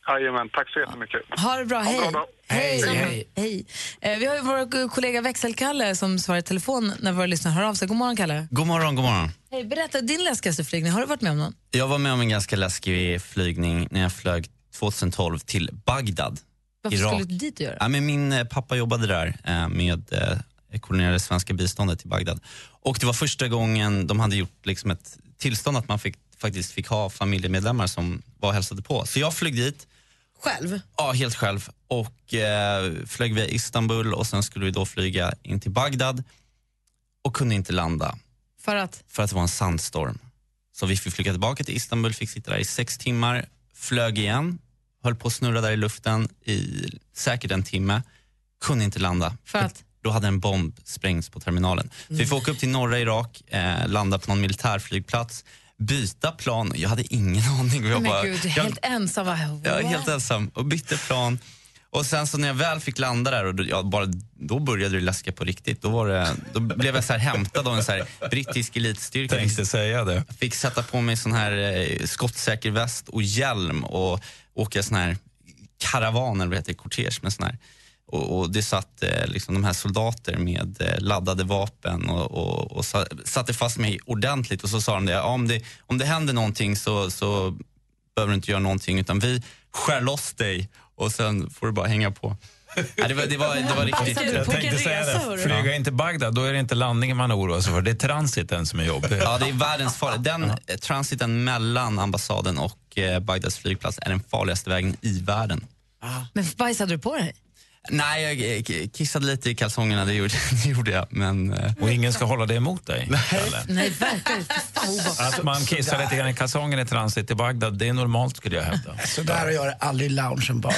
Speaker 21: Jajamän, tack så jättemycket.
Speaker 5: Ha det bra, hej.
Speaker 21: bra dag.
Speaker 5: hej.
Speaker 21: Hej,
Speaker 5: hej.
Speaker 21: hej.
Speaker 5: Eh, vi har ju vår k- kollega växelkalle som svarar i telefon när våra lyssnare hör av sig. God morgon Kalle.
Speaker 22: God morgon, god morgon.
Speaker 5: Hej, berätta din läskigaste flygning. Har du varit med om någon?
Speaker 22: Jag var med om en ganska läskig flygning när jag flög 2012 till Bagdad.
Speaker 5: Varför
Speaker 22: Irak.
Speaker 5: skulle du dit och göra?
Speaker 22: Ja, men min eh, pappa jobbade där eh, med eh, koordinerade svenska biståndet till Bagdad. Och det var första gången de hade gjort liksom ett tillstånd att man fick, faktiskt fick ha familjemedlemmar som var och hälsade på. Så jag flög dit.
Speaker 7: Själv?
Speaker 22: Ja, helt själv. Och eh, flög via Istanbul och sen skulle vi då flyga in till Bagdad och kunde inte landa
Speaker 5: För att?
Speaker 22: för att det var en sandstorm. Så vi fick flyga tillbaka till Istanbul, fick sitta där i sex timmar, flög igen, höll på att snurra där i luften i säkert en timme, kunde inte landa.
Speaker 5: För att?
Speaker 22: Då hade en bomb sprängts på terminalen. Så vi får åka upp till norra Irak, eh, landa på någon militärflygplats, byta plan. Jag hade ingen aning. Jag,
Speaker 5: Men
Speaker 22: bara,
Speaker 5: gud,
Speaker 22: jag-
Speaker 5: helt ensam. Vad-
Speaker 22: jag är
Speaker 5: What?
Speaker 22: helt ensam och bytte plan. Och sen så när jag väl fick landa där, och då, ja, bara, då började det läska på riktigt. Då, var det, då blev jag så här hämtad av en så här brittisk elitstyrka. Tänkte
Speaker 20: säga det.
Speaker 22: Fick sätta på mig sån här eh, skottsäker väst och hjälm och åka sån här karavan, eller vad heter det, kortege med sån här. Och, och det satt eh, liksom de här soldater med eh, laddade vapen och, och, och sa, satte fast mig ordentligt och så sa de det, ja, om det, om det händer någonting så, så behöver du inte göra någonting utan vi skär loss dig och sen får du bara hänga på. Nej, det, var, det, var, det var
Speaker 20: Alltså,
Speaker 22: riktigt...
Speaker 20: Jag tänkte säga det. Flyga in till Bagdad, då är det inte landningen man oroar sig för. Det är transiten som är jobbig.
Speaker 22: Ja, det är världens farligaste. Den eh, transiten mellan ambassaden och eh, Bagdads flygplats är den farligaste vägen i världen.
Speaker 5: Men bajsade du på dig?
Speaker 22: Nej, jag eh, k- kissade lite i kalsongerna, det gjorde, det gjorde jag. Men, eh,
Speaker 20: och ingen ska hålla det emot dig?
Speaker 5: Nej, verkligen. Fy fan, vad obehagligt.
Speaker 20: Att man kissar lite grann i kalsongen i transit till Bagdad, det är normalt skulle jag hävda.
Speaker 6: Så där har jag det aldrig i loungen bara.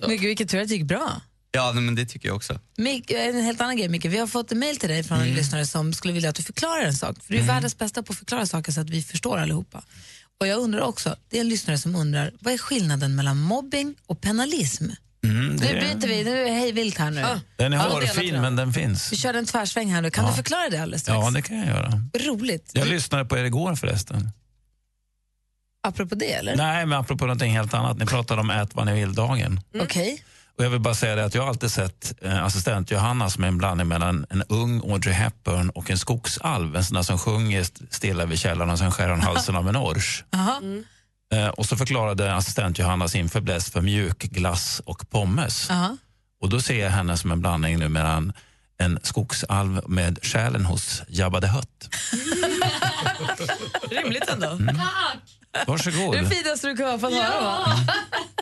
Speaker 5: Men gud, vilken tur att det gick bra.
Speaker 22: Ja, nej, men det tycker jag också.
Speaker 5: Mik- en helt annan grej, Micke. Vi har fått en mail till dig från
Speaker 20: Mm.
Speaker 5: en lyssnare som skulle vilja att du förklarar en sak. För du är världens bästa på att förklara saker så att vi förstår allihopa. Och jag undrar också, det är en lyssnare som undrar, vad är skillnaden mellan mobbing och penalism?
Speaker 20: Mm,
Speaker 5: Nu byter vi, nu är det hej vilt här nu.
Speaker 20: Den är
Speaker 5: Ja,
Speaker 20: hårfin, men den finns.
Speaker 5: Vi kör en tvärsväng här nu. Kan
Speaker 20: Ja.
Speaker 5: du förklara det alldeles strax?
Speaker 20: Ja, det kan jag göra.
Speaker 5: Roligt.
Speaker 20: Jag lyssnade på er igår förresten.
Speaker 5: Apropå det, eller?
Speaker 20: Nej, men apropå någonting helt annat. Ni pratade om ät vad ni vill-dagen.
Speaker 5: Okej.
Speaker 20: Och jag vill bara säga det att jag har alltid sett eh, assistent Johanna som är en blandning mellan en ung Audrey Hepburn och en skogsalv. En sån där som sjunger st- stilla vid källan och sen skär hon halsen av en ors.
Speaker 5: Jaha.
Speaker 7: Mm.
Speaker 20: Eh, och så förklarade assistent Johanna sin fäbless för mjukglass och pommes.
Speaker 5: Jaha.
Speaker 20: Och då ser jag henne som en blandning nu mellan en skogsalv med själen hos Jabba the Hutt.
Speaker 7: Rimligt ändå.
Speaker 20: Mm. Varsågod.
Speaker 5: finaste du kan få
Speaker 7: höra, va?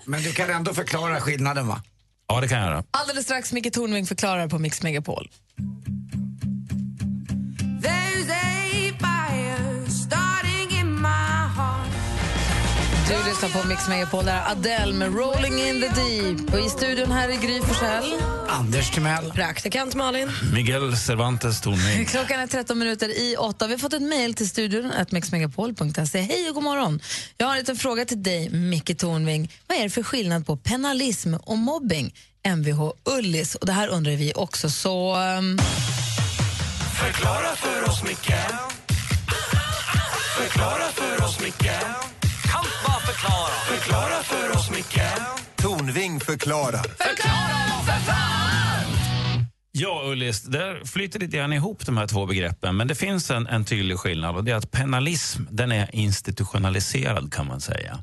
Speaker 6: Men du kan ändå förklara skillnaden va?
Speaker 20: Ja, det kan jag göra.
Speaker 5: Alldeles strax Micke Tornving förklarar på Mix Megapol.
Speaker 8: There's a fire starting in my heart.
Speaker 5: Du lyssnar på Mix Megapol, där är Adele med Rolling in the deep. Och i studion här är Gry Forssell.
Speaker 6: Anders Timell.
Speaker 5: Praktikant Malin.
Speaker 20: Miguel Cervantes Tornving.
Speaker 5: Klockan är 13 minuter i 8. Vi har fått ett mejl till studion, att mixmegapol.se. Hej och god morgon. Jag har en liten fråga till dig, Micke Tornving. Vad är det för skillnad på penalism och mobbing? Mvh Ullis. Och det här undrar vi också, så... ehm,
Speaker 8: Förklara för oss, Micke. Förklara för oss, Micke. Kan bara förklara. Förklara för oss, Micke.
Speaker 2: Tornving förklarar.
Speaker 20: Ja, Ullis, där flyter lite grann ihop de här två begreppen. Men det finns en, en tydlig skillnad och det är att penalism den är institutionaliserad kan man säga.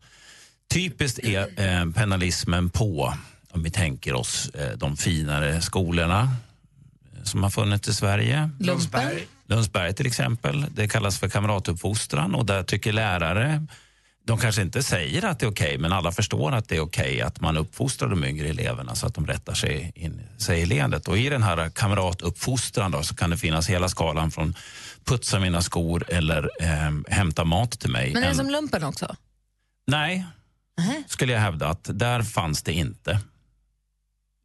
Speaker 20: Typiskt är eh, penalismen på, om vi tänker oss, eh, de finare skolorna eh, som har funnits i Sverige.
Speaker 5: Lundsberg.
Speaker 20: Lundsberg till exempel. Det kallas för kamratuppfostran och där tycker lärare de kanske inte säger att det är okej, men alla förstår att det är okej att man uppfostrar de yngre eleverna så att de rättar sig, in, sig i ledet. Och i den här kamratuppfostran då, så kan det finnas hela skalan från putsa mina skor eller eh, hämta mat till mig.
Speaker 5: Men är det
Speaker 20: En-
Speaker 5: som lumpen också?
Speaker 20: Nej, skulle jag hävda att där fanns det inte.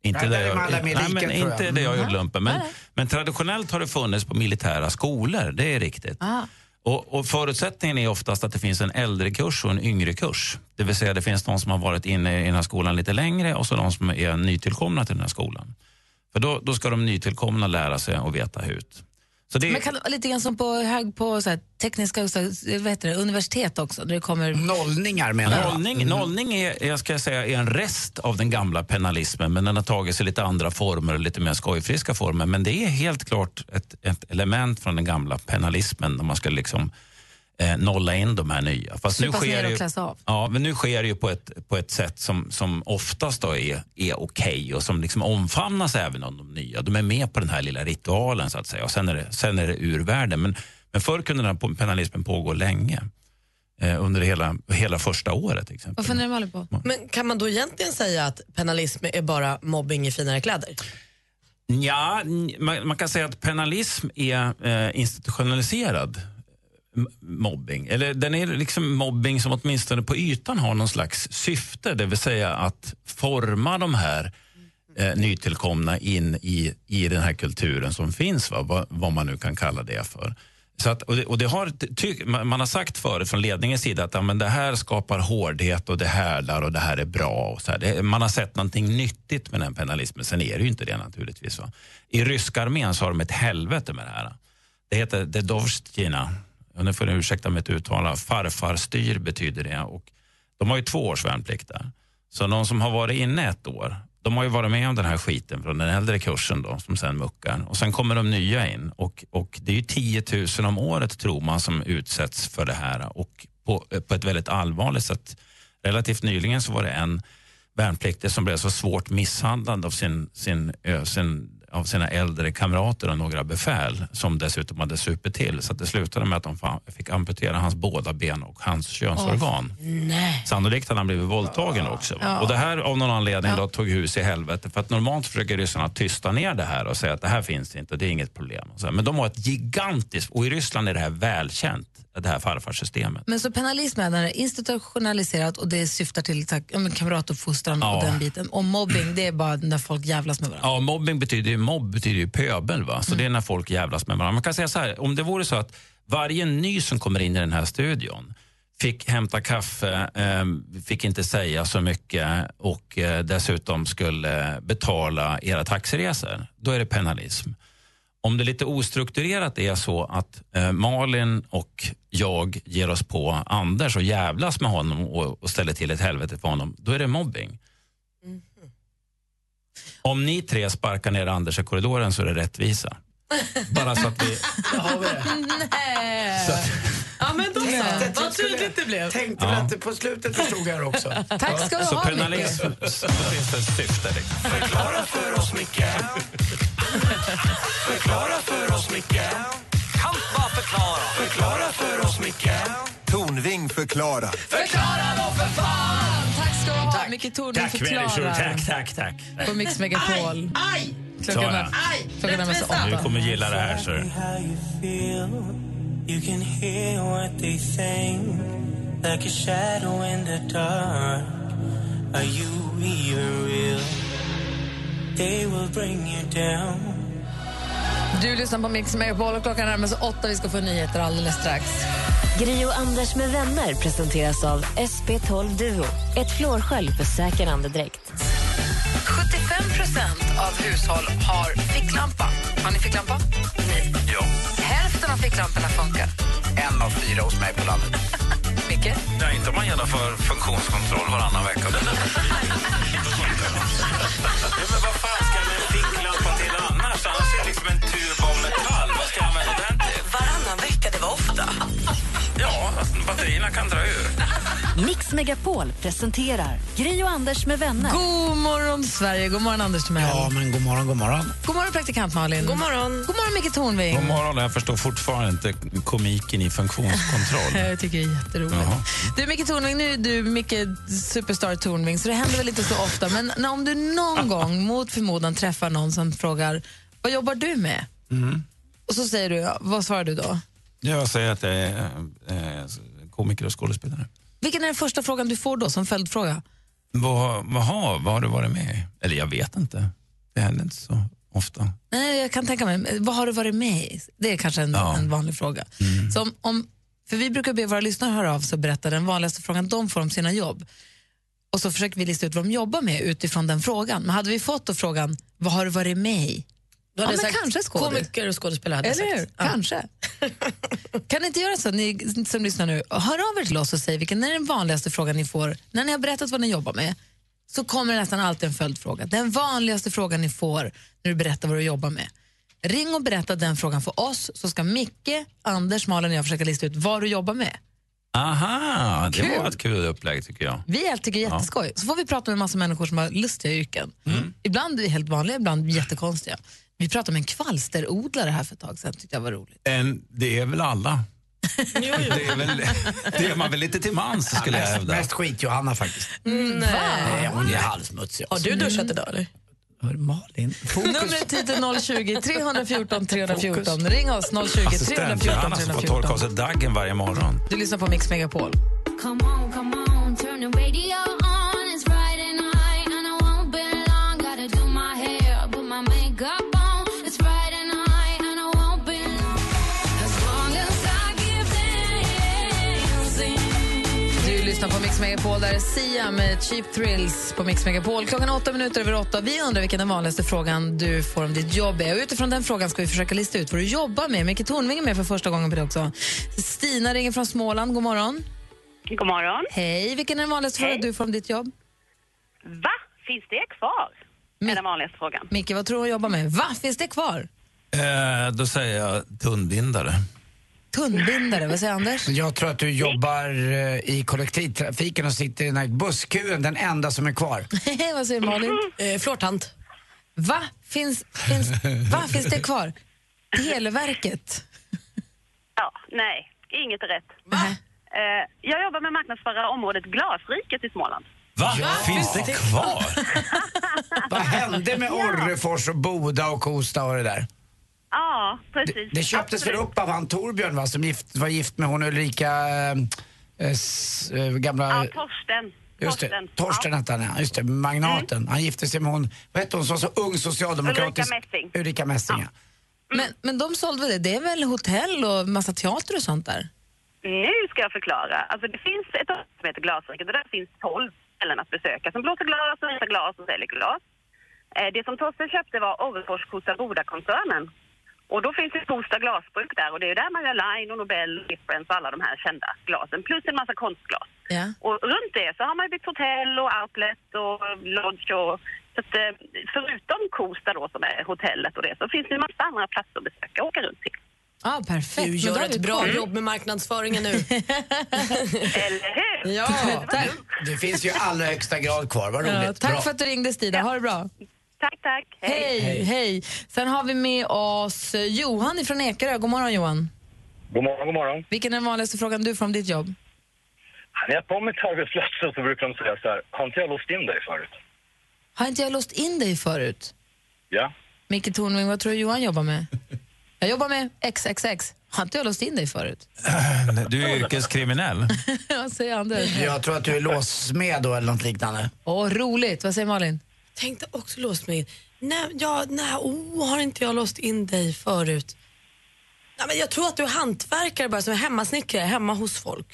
Speaker 20: Inte
Speaker 6: Nej,
Speaker 20: där
Speaker 6: där är
Speaker 20: jag,
Speaker 6: man alla med
Speaker 20: nej,
Speaker 6: lika,
Speaker 20: men
Speaker 6: tror jag.
Speaker 20: inte det jag
Speaker 6: Mm.
Speaker 20: gjorde lumpen. Men,
Speaker 6: Nej.
Speaker 20: men traditionellt har det funnits på militära skolor, det är riktigt.
Speaker 5: Ah.
Speaker 20: Och, och förutsättningen är oftast att det finns en äldre kurs och en yngre kurs. Det vill säga det finns de som har varit inne i den här skolan lite längre och så de som är nytillkomna till den här skolan. För då, då ska de nytillkomna lära sig och veta hut. Så det är-
Speaker 5: Men kan det vara lite grann som på, hög, på så här, tekniska högsta- vad heter det, universitet också? Där det kommer...
Speaker 6: Nollningar
Speaker 5: Mm.
Speaker 20: Nollning, nollning är, jag ska säga, är en rest av den gamla penalismen men den har tagit sig lite andra former och lite mer skojfriska former. Men det är helt klart ett, ett element från den gamla penalismen när man ska liksom eh, nolla in de här nya.
Speaker 5: Supas ner och
Speaker 20: det ju-
Speaker 5: klassa av.
Speaker 20: Ja, men nu sker det ju på ett, på ett sätt som, som oftast då är, är okej och som liksom omfamnas även av de nya. De är med på den här lilla ritualen så att säga och sen är det, sen är det ur världen. Men, men förr kunde den här penalismen pågå länge. Eh, under hela, hela första året till exempel.
Speaker 7: Vad
Speaker 5: funderar Malin på?
Speaker 7: Men kan man då egentligen säga att penalism är bara mobbing i finare kläder?
Speaker 20: Ja, n- man, man kan säga att penalism är eh, institutionaliserad m- mobbing. Eller den är liksom mobbing som åtminstone på ytan har någon slags syfte, det vill säga att forma de här eh, nytillkomna in i, i den här kulturen som finns, va? Vad, vad man nu kan kalla det för. Så att, och det, och det har, ty, man man har sagt förut från ledningens sida att ja, men det här skapar hårdhet och det härdar och det här är bra. Och så här. Det, man har sett någonting nyttigt med den här penalismen. Sen är det ju inte det naturligtvis. Va? I ryska armén så har de ett helvete med det här. Det heter Dedovstina. Och nu får ni ursäkta mitt uttal. Farfarstyr betyder det. Och de har ju två års värnplikt där. Så de som har varit inne ett år, de har ju varit med om den här skiten från den äldre kursen då, som sen muckar. Och sen kommer de nya in och, och det är ju 10 000 om året tror man som utsätts för det här och på, på ett väldigt allvarligt sätt. Relativt nyligen så var det en värnpliktig som blev så svårt misshandlad av sin, sin, ö, sin av sina äldre kamrater och några befäl som dessutom hade supit till. Så att det slutade med att de fa- fick amputera hans båda ben och hans könsorgan.
Speaker 7: Nej.
Speaker 20: Sannolikt hade han blivit våldtagen också. va?
Speaker 7: Ja.
Speaker 20: Och det här av någon anledning då, tog hus i helvete. För att normalt försöker ryssarna tysta ner det här och säga att det här finns inte, det är inget problem. Och så här. Men de har ett gigantiskt, och i Ryssland är det här välkänt, det här farfarsystemet.
Speaker 5: Men så penalism är när det är institutionaliserat och det syftar till tack, ja, men kamratuppfostran och
Speaker 20: Ja.
Speaker 5: den biten. Och mobbing, det är bara när folk jävlas med varandra.
Speaker 20: Ja, mobbing betyder ju, mobb betyder ju pöbel. Va? Så det är när folk jävlas med varandra. Man kan säga så här, om det vore så att varje ny som kommer in i den här studion fick hämta kaffe, eh, fick inte säga så mycket och eh, dessutom skulle betala era taxiresor, då är det penalism. Om det lite ostrukturerat är så att eh, Malin och jag ger oss på Anders och jävlas med honom och, och ställer till ett helvete för honom, då är det mobbing. Om ni tre sparkar ner Anders i korridoren så är det rättvisa. Bara så att vi...
Speaker 5: Nej.
Speaker 7: Ja, men då
Speaker 6: Tänkte
Speaker 7: så.
Speaker 6: att jag
Speaker 7: Vad
Speaker 6: skulle-
Speaker 7: tydligt det blev.
Speaker 6: Tänkte
Speaker 20: Ja.
Speaker 6: väl att det på slutet förstod jag det också.
Speaker 5: Tack ska du
Speaker 20: så
Speaker 5: ha,
Speaker 20: penalism,
Speaker 5: Micke.
Speaker 20: så finns det ett syfte. liksom.
Speaker 2: Förklara för oss, Micke. Förklara för oss, Micke. Kan bara förklara. Förklara för oss, Micke. Tornving förklarar.
Speaker 5: Förklara då för fan! Tack ska du ha, Micke Tornving
Speaker 20: Tack människor,
Speaker 5: förklarar.
Speaker 20: tack, tack, tack.
Speaker 5: På Mix Megapol.
Speaker 7: Aj!
Speaker 20: Så,
Speaker 5: Klockan
Speaker 20: ja.
Speaker 5: är klockan närmar sig
Speaker 20: Du
Speaker 5: åtta.
Speaker 20: kommer gilla det här, sir.
Speaker 1: how you feel. You can hear what they think, like a shadow in the dark. Are you even real? They will bring you down.
Speaker 5: Du lyssnar på Mix Megapol och klockan närmar sig åtta. Vi ska få nyheter alldeles strax.
Speaker 11: Gri och Anders med vänner presenteras av SP12 Duo. Ett flårskölj för säker andedräkt.
Speaker 5: 75 procent av hushåll har ficklampa. Har ni ficklampa? Nej.
Speaker 6: Ja.
Speaker 5: Hälften av ficklamporna funkar.
Speaker 6: En av fyra hos mig på landet.
Speaker 5: Micke?
Speaker 12: Nej, inte om man genomför funktionskontroll varannan vecka. ja, men vad fan ska en ficklampa till annars? Annars är det liksom en tub av metall. Vad ska jag använda den till? Varannan vecka, det var ofta. ja, batterierna kan dra ur.
Speaker 4: Mix Megapol presenterar Gri och Anders med vänner.
Speaker 5: God morgon, Sverige. God morgon, Anders Timell.
Speaker 6: Ja, men god morgon, god morgon.
Speaker 5: God morgon, praktikant Malin. God morgon. God morgon, Micke Tornving.
Speaker 20: God morgon, jag förstår fortfarande inte komiken i funktionskontroll.
Speaker 5: Jag tycker det är jätteroligt.
Speaker 20: Jaha.
Speaker 5: Du, Micke Tornving, nu är du Micke Superstar Tornving, så det händer väl inte så ofta. Men när, om du någon gång mot förmodan träffar någon som frågar vad jobbar du med?
Speaker 20: Mm.
Speaker 5: Och så säger du, ja, vad svarar du då?
Speaker 20: Jag säger att jag är eh, komiker och skådespelare.
Speaker 5: Vilken är den första frågan du får då som följdfråga?
Speaker 20: Vad, vad, har, vad har du varit med i? Eller jag vet inte. Det händer inte så ofta.
Speaker 5: Nej, jag kan tänka mig, vad har du varit med i? Det är kanske en, en vanlig fråga. Så om, om, för vi brukar be våra lyssnare höra av sig och berätta den vanligaste frågan de får om sina jobb. Och så försöker vi lista ut vad de jobbar med utifrån den frågan. Men hade vi fått då frågan, vad har du varit med i?
Speaker 7: Då hade
Speaker 5: ja,
Speaker 7: jag
Speaker 5: men
Speaker 7: sagt
Speaker 5: kanske skådis.
Speaker 7: komiker och skådespelare hade jag
Speaker 5: Eller hur?
Speaker 7: sagt. Ja.
Speaker 5: Kanske. kan ni inte göra så, ni som lyssnar nu, hör av er till oss och säg vilken är den vanligaste frågan ni får när ni har berättat vad ni jobbar med? Så kommer det nästan alltid en följdfråga. Den vanligaste frågan ni får när du berättar vad du jobbar med. Ring och berätta den frågan för oss så ska Micke, Anders, Malin och jag försöka lista ut vad du jobbar med.
Speaker 20: Aha, det
Speaker 5: Kul.
Speaker 20: var ett kul upplägg tycker jag.
Speaker 5: Vi helt tycker det är
Speaker 20: Ja. Mm.
Speaker 5: jätteskoj. Så får vi prata med en massa människor som har lustiga yrken.
Speaker 6: Mm.
Speaker 5: Ibland är det helt vanliga, ibland jättekonstiga. Vi pratade med en kvalsterodlare här för ett tag sedan, tyckte jag var roligt.
Speaker 20: En, det är väl alla. Det, är väl, det är man väl lite till mans skulle jag
Speaker 6: mest-
Speaker 20: hävda.
Speaker 6: mest skit Johanna faktiskt.
Speaker 7: Mm,
Speaker 5: Nej.
Speaker 6: Nej, hon är halvsmutsig.
Speaker 7: Har du duschat idag eller?
Speaker 6: Hör Malin, fokus.
Speaker 5: Numret hit är 020 314 314.
Speaker 6: Fokus.
Speaker 5: Ring oss 020 314
Speaker 20: Assistent Johanna som får
Speaker 5: 314.
Speaker 20: torka av sig daggen varje morgon.
Speaker 5: Du lyssnar på Mix Megapol.
Speaker 8: Come on, come on, turn the radio on. It's Friday night, and I won't be long. Gotta do my hair, put my makeup on. It's Friday night, and I won't be long. As long as I give dancing.
Speaker 5: Du lyssnar på Mix Megapol. Där är Sia med Cheap Thrills på Mix Megapol. Klockan är åtta minuter över åtta. Vi undrar vilken den vanligaste frågan du får om ditt jobb är. Och utifrån den frågan ska vi försöka lista ut vad du jobbar med. Micke Tornving är med för första gången på det också. Stina ringer från Småland. God morgon.
Speaker 3: God morgon.
Speaker 5: Hej. Vilken är den vanligaste frågan du får om ditt jobb?
Speaker 3: Va? Finns det kvar? Är den vanligaste frågan.
Speaker 5: Micke, vad tror du hon jobbar med? Va? Finns det kvar?
Speaker 20: Eh, då säger jag tunnbindare.
Speaker 5: Tunnbindare. Vad säger Anders?
Speaker 6: Jag tror att du jobbar eh, i kollektivtrafiken och sitter i den här busskuren, den enda som är kvar.
Speaker 5: vad säger Malin?
Speaker 7: Eh, Flårtant.
Speaker 5: Va? Finns, finns, va? finns det kvar? Televerket?
Speaker 3: Ja, nej, inget är rätt. Eh, jag jobbar med marknadsföra området Glasriket i Småland.
Speaker 20: Va?
Speaker 6: Finns
Speaker 20: det kvar?
Speaker 6: Vad hände med Orrefors och Boda och Kosta och det där?
Speaker 3: Ja, precis.
Speaker 6: Det köptes väl
Speaker 3: Absolut.
Speaker 6: upp av han Torbjörn va, som gift, var gift med hon Ulrika... eh, s- eh,
Speaker 3: Ja,
Speaker 6: gamla...
Speaker 3: Torsten.
Speaker 6: Just det,
Speaker 3: Torsten.
Speaker 6: Torsten hette han ja. Just det, magnaten. Han gifte sig med hon, vad hette hon som var så ung socialdemokratisk?
Speaker 5: Ulrika Messing.
Speaker 6: Ulrika Messing ja.
Speaker 5: Men, men de sålde väl det? Det är väl hotell och massa teater och sånt där?
Speaker 3: Nu ska jag förklara. Alltså, det finns ett område som heter Glasriket och där finns 12 ställen att besöka som blåser glas och visar glas och säljer glas. Eh, det som Torsten köpte var Orrefors Kosta Boda-koncernen. Och då finns det Kosta glasbruk där och det är där man gör Line och Nobel och Difference och alla de här kända glasen. Plus en massa konstglas.
Speaker 5: Ja.
Speaker 3: Och runt det så har man ju byggt hotell och outlet och lodge och... Så att, eh, förutom Kosta då som är hotellet och det så finns det en massa andra platser att besöka och åka runt till.
Speaker 5: Ja, perfekt.
Speaker 7: Du
Speaker 5: Men
Speaker 7: gör
Speaker 5: då har
Speaker 7: ett
Speaker 5: vi
Speaker 7: bra
Speaker 5: koll.
Speaker 7: jobb med marknadsföringen nu.
Speaker 3: Eller hur?
Speaker 7: Ja.
Speaker 6: Det finns ju i allra högsta grad kvar, vad roligt.
Speaker 5: Ja, tack
Speaker 6: Bra.
Speaker 5: för att du ringde Stina, ha det bra.
Speaker 3: Tack, tack.
Speaker 5: Hej.
Speaker 6: Hej.
Speaker 5: Hej. Sen har vi med oss Johan ifrån Ekerö. God morgon Johan.
Speaker 13: God morgon, god morgon.
Speaker 5: Vilken är den vanligaste frågan du får om ditt jobb?
Speaker 13: När jag kommer till arbetsplatsen så brukar de säga så här, har inte jag låst in dig förut?
Speaker 5: Har inte jag låst in dig förut?
Speaker 13: Ja.
Speaker 5: Micke Tornving, vad tror du Johan jobbar med? Jag jobbar med XXX. Har inte jag låst in dig förut?
Speaker 20: Du är yrkeskriminell.
Speaker 5: Vad säger Anders?
Speaker 6: Jag tror att du är låssmed då eller något liknande.
Speaker 5: Åh, roligt. Vad säger Malin?
Speaker 7: Tänkte också låst mig in. Nej, ja, nej, oh, har inte jag låst in dig förut? Nej, men jag tror att du är hantverkare bara, som är hemmasnickare, hemma hos folk.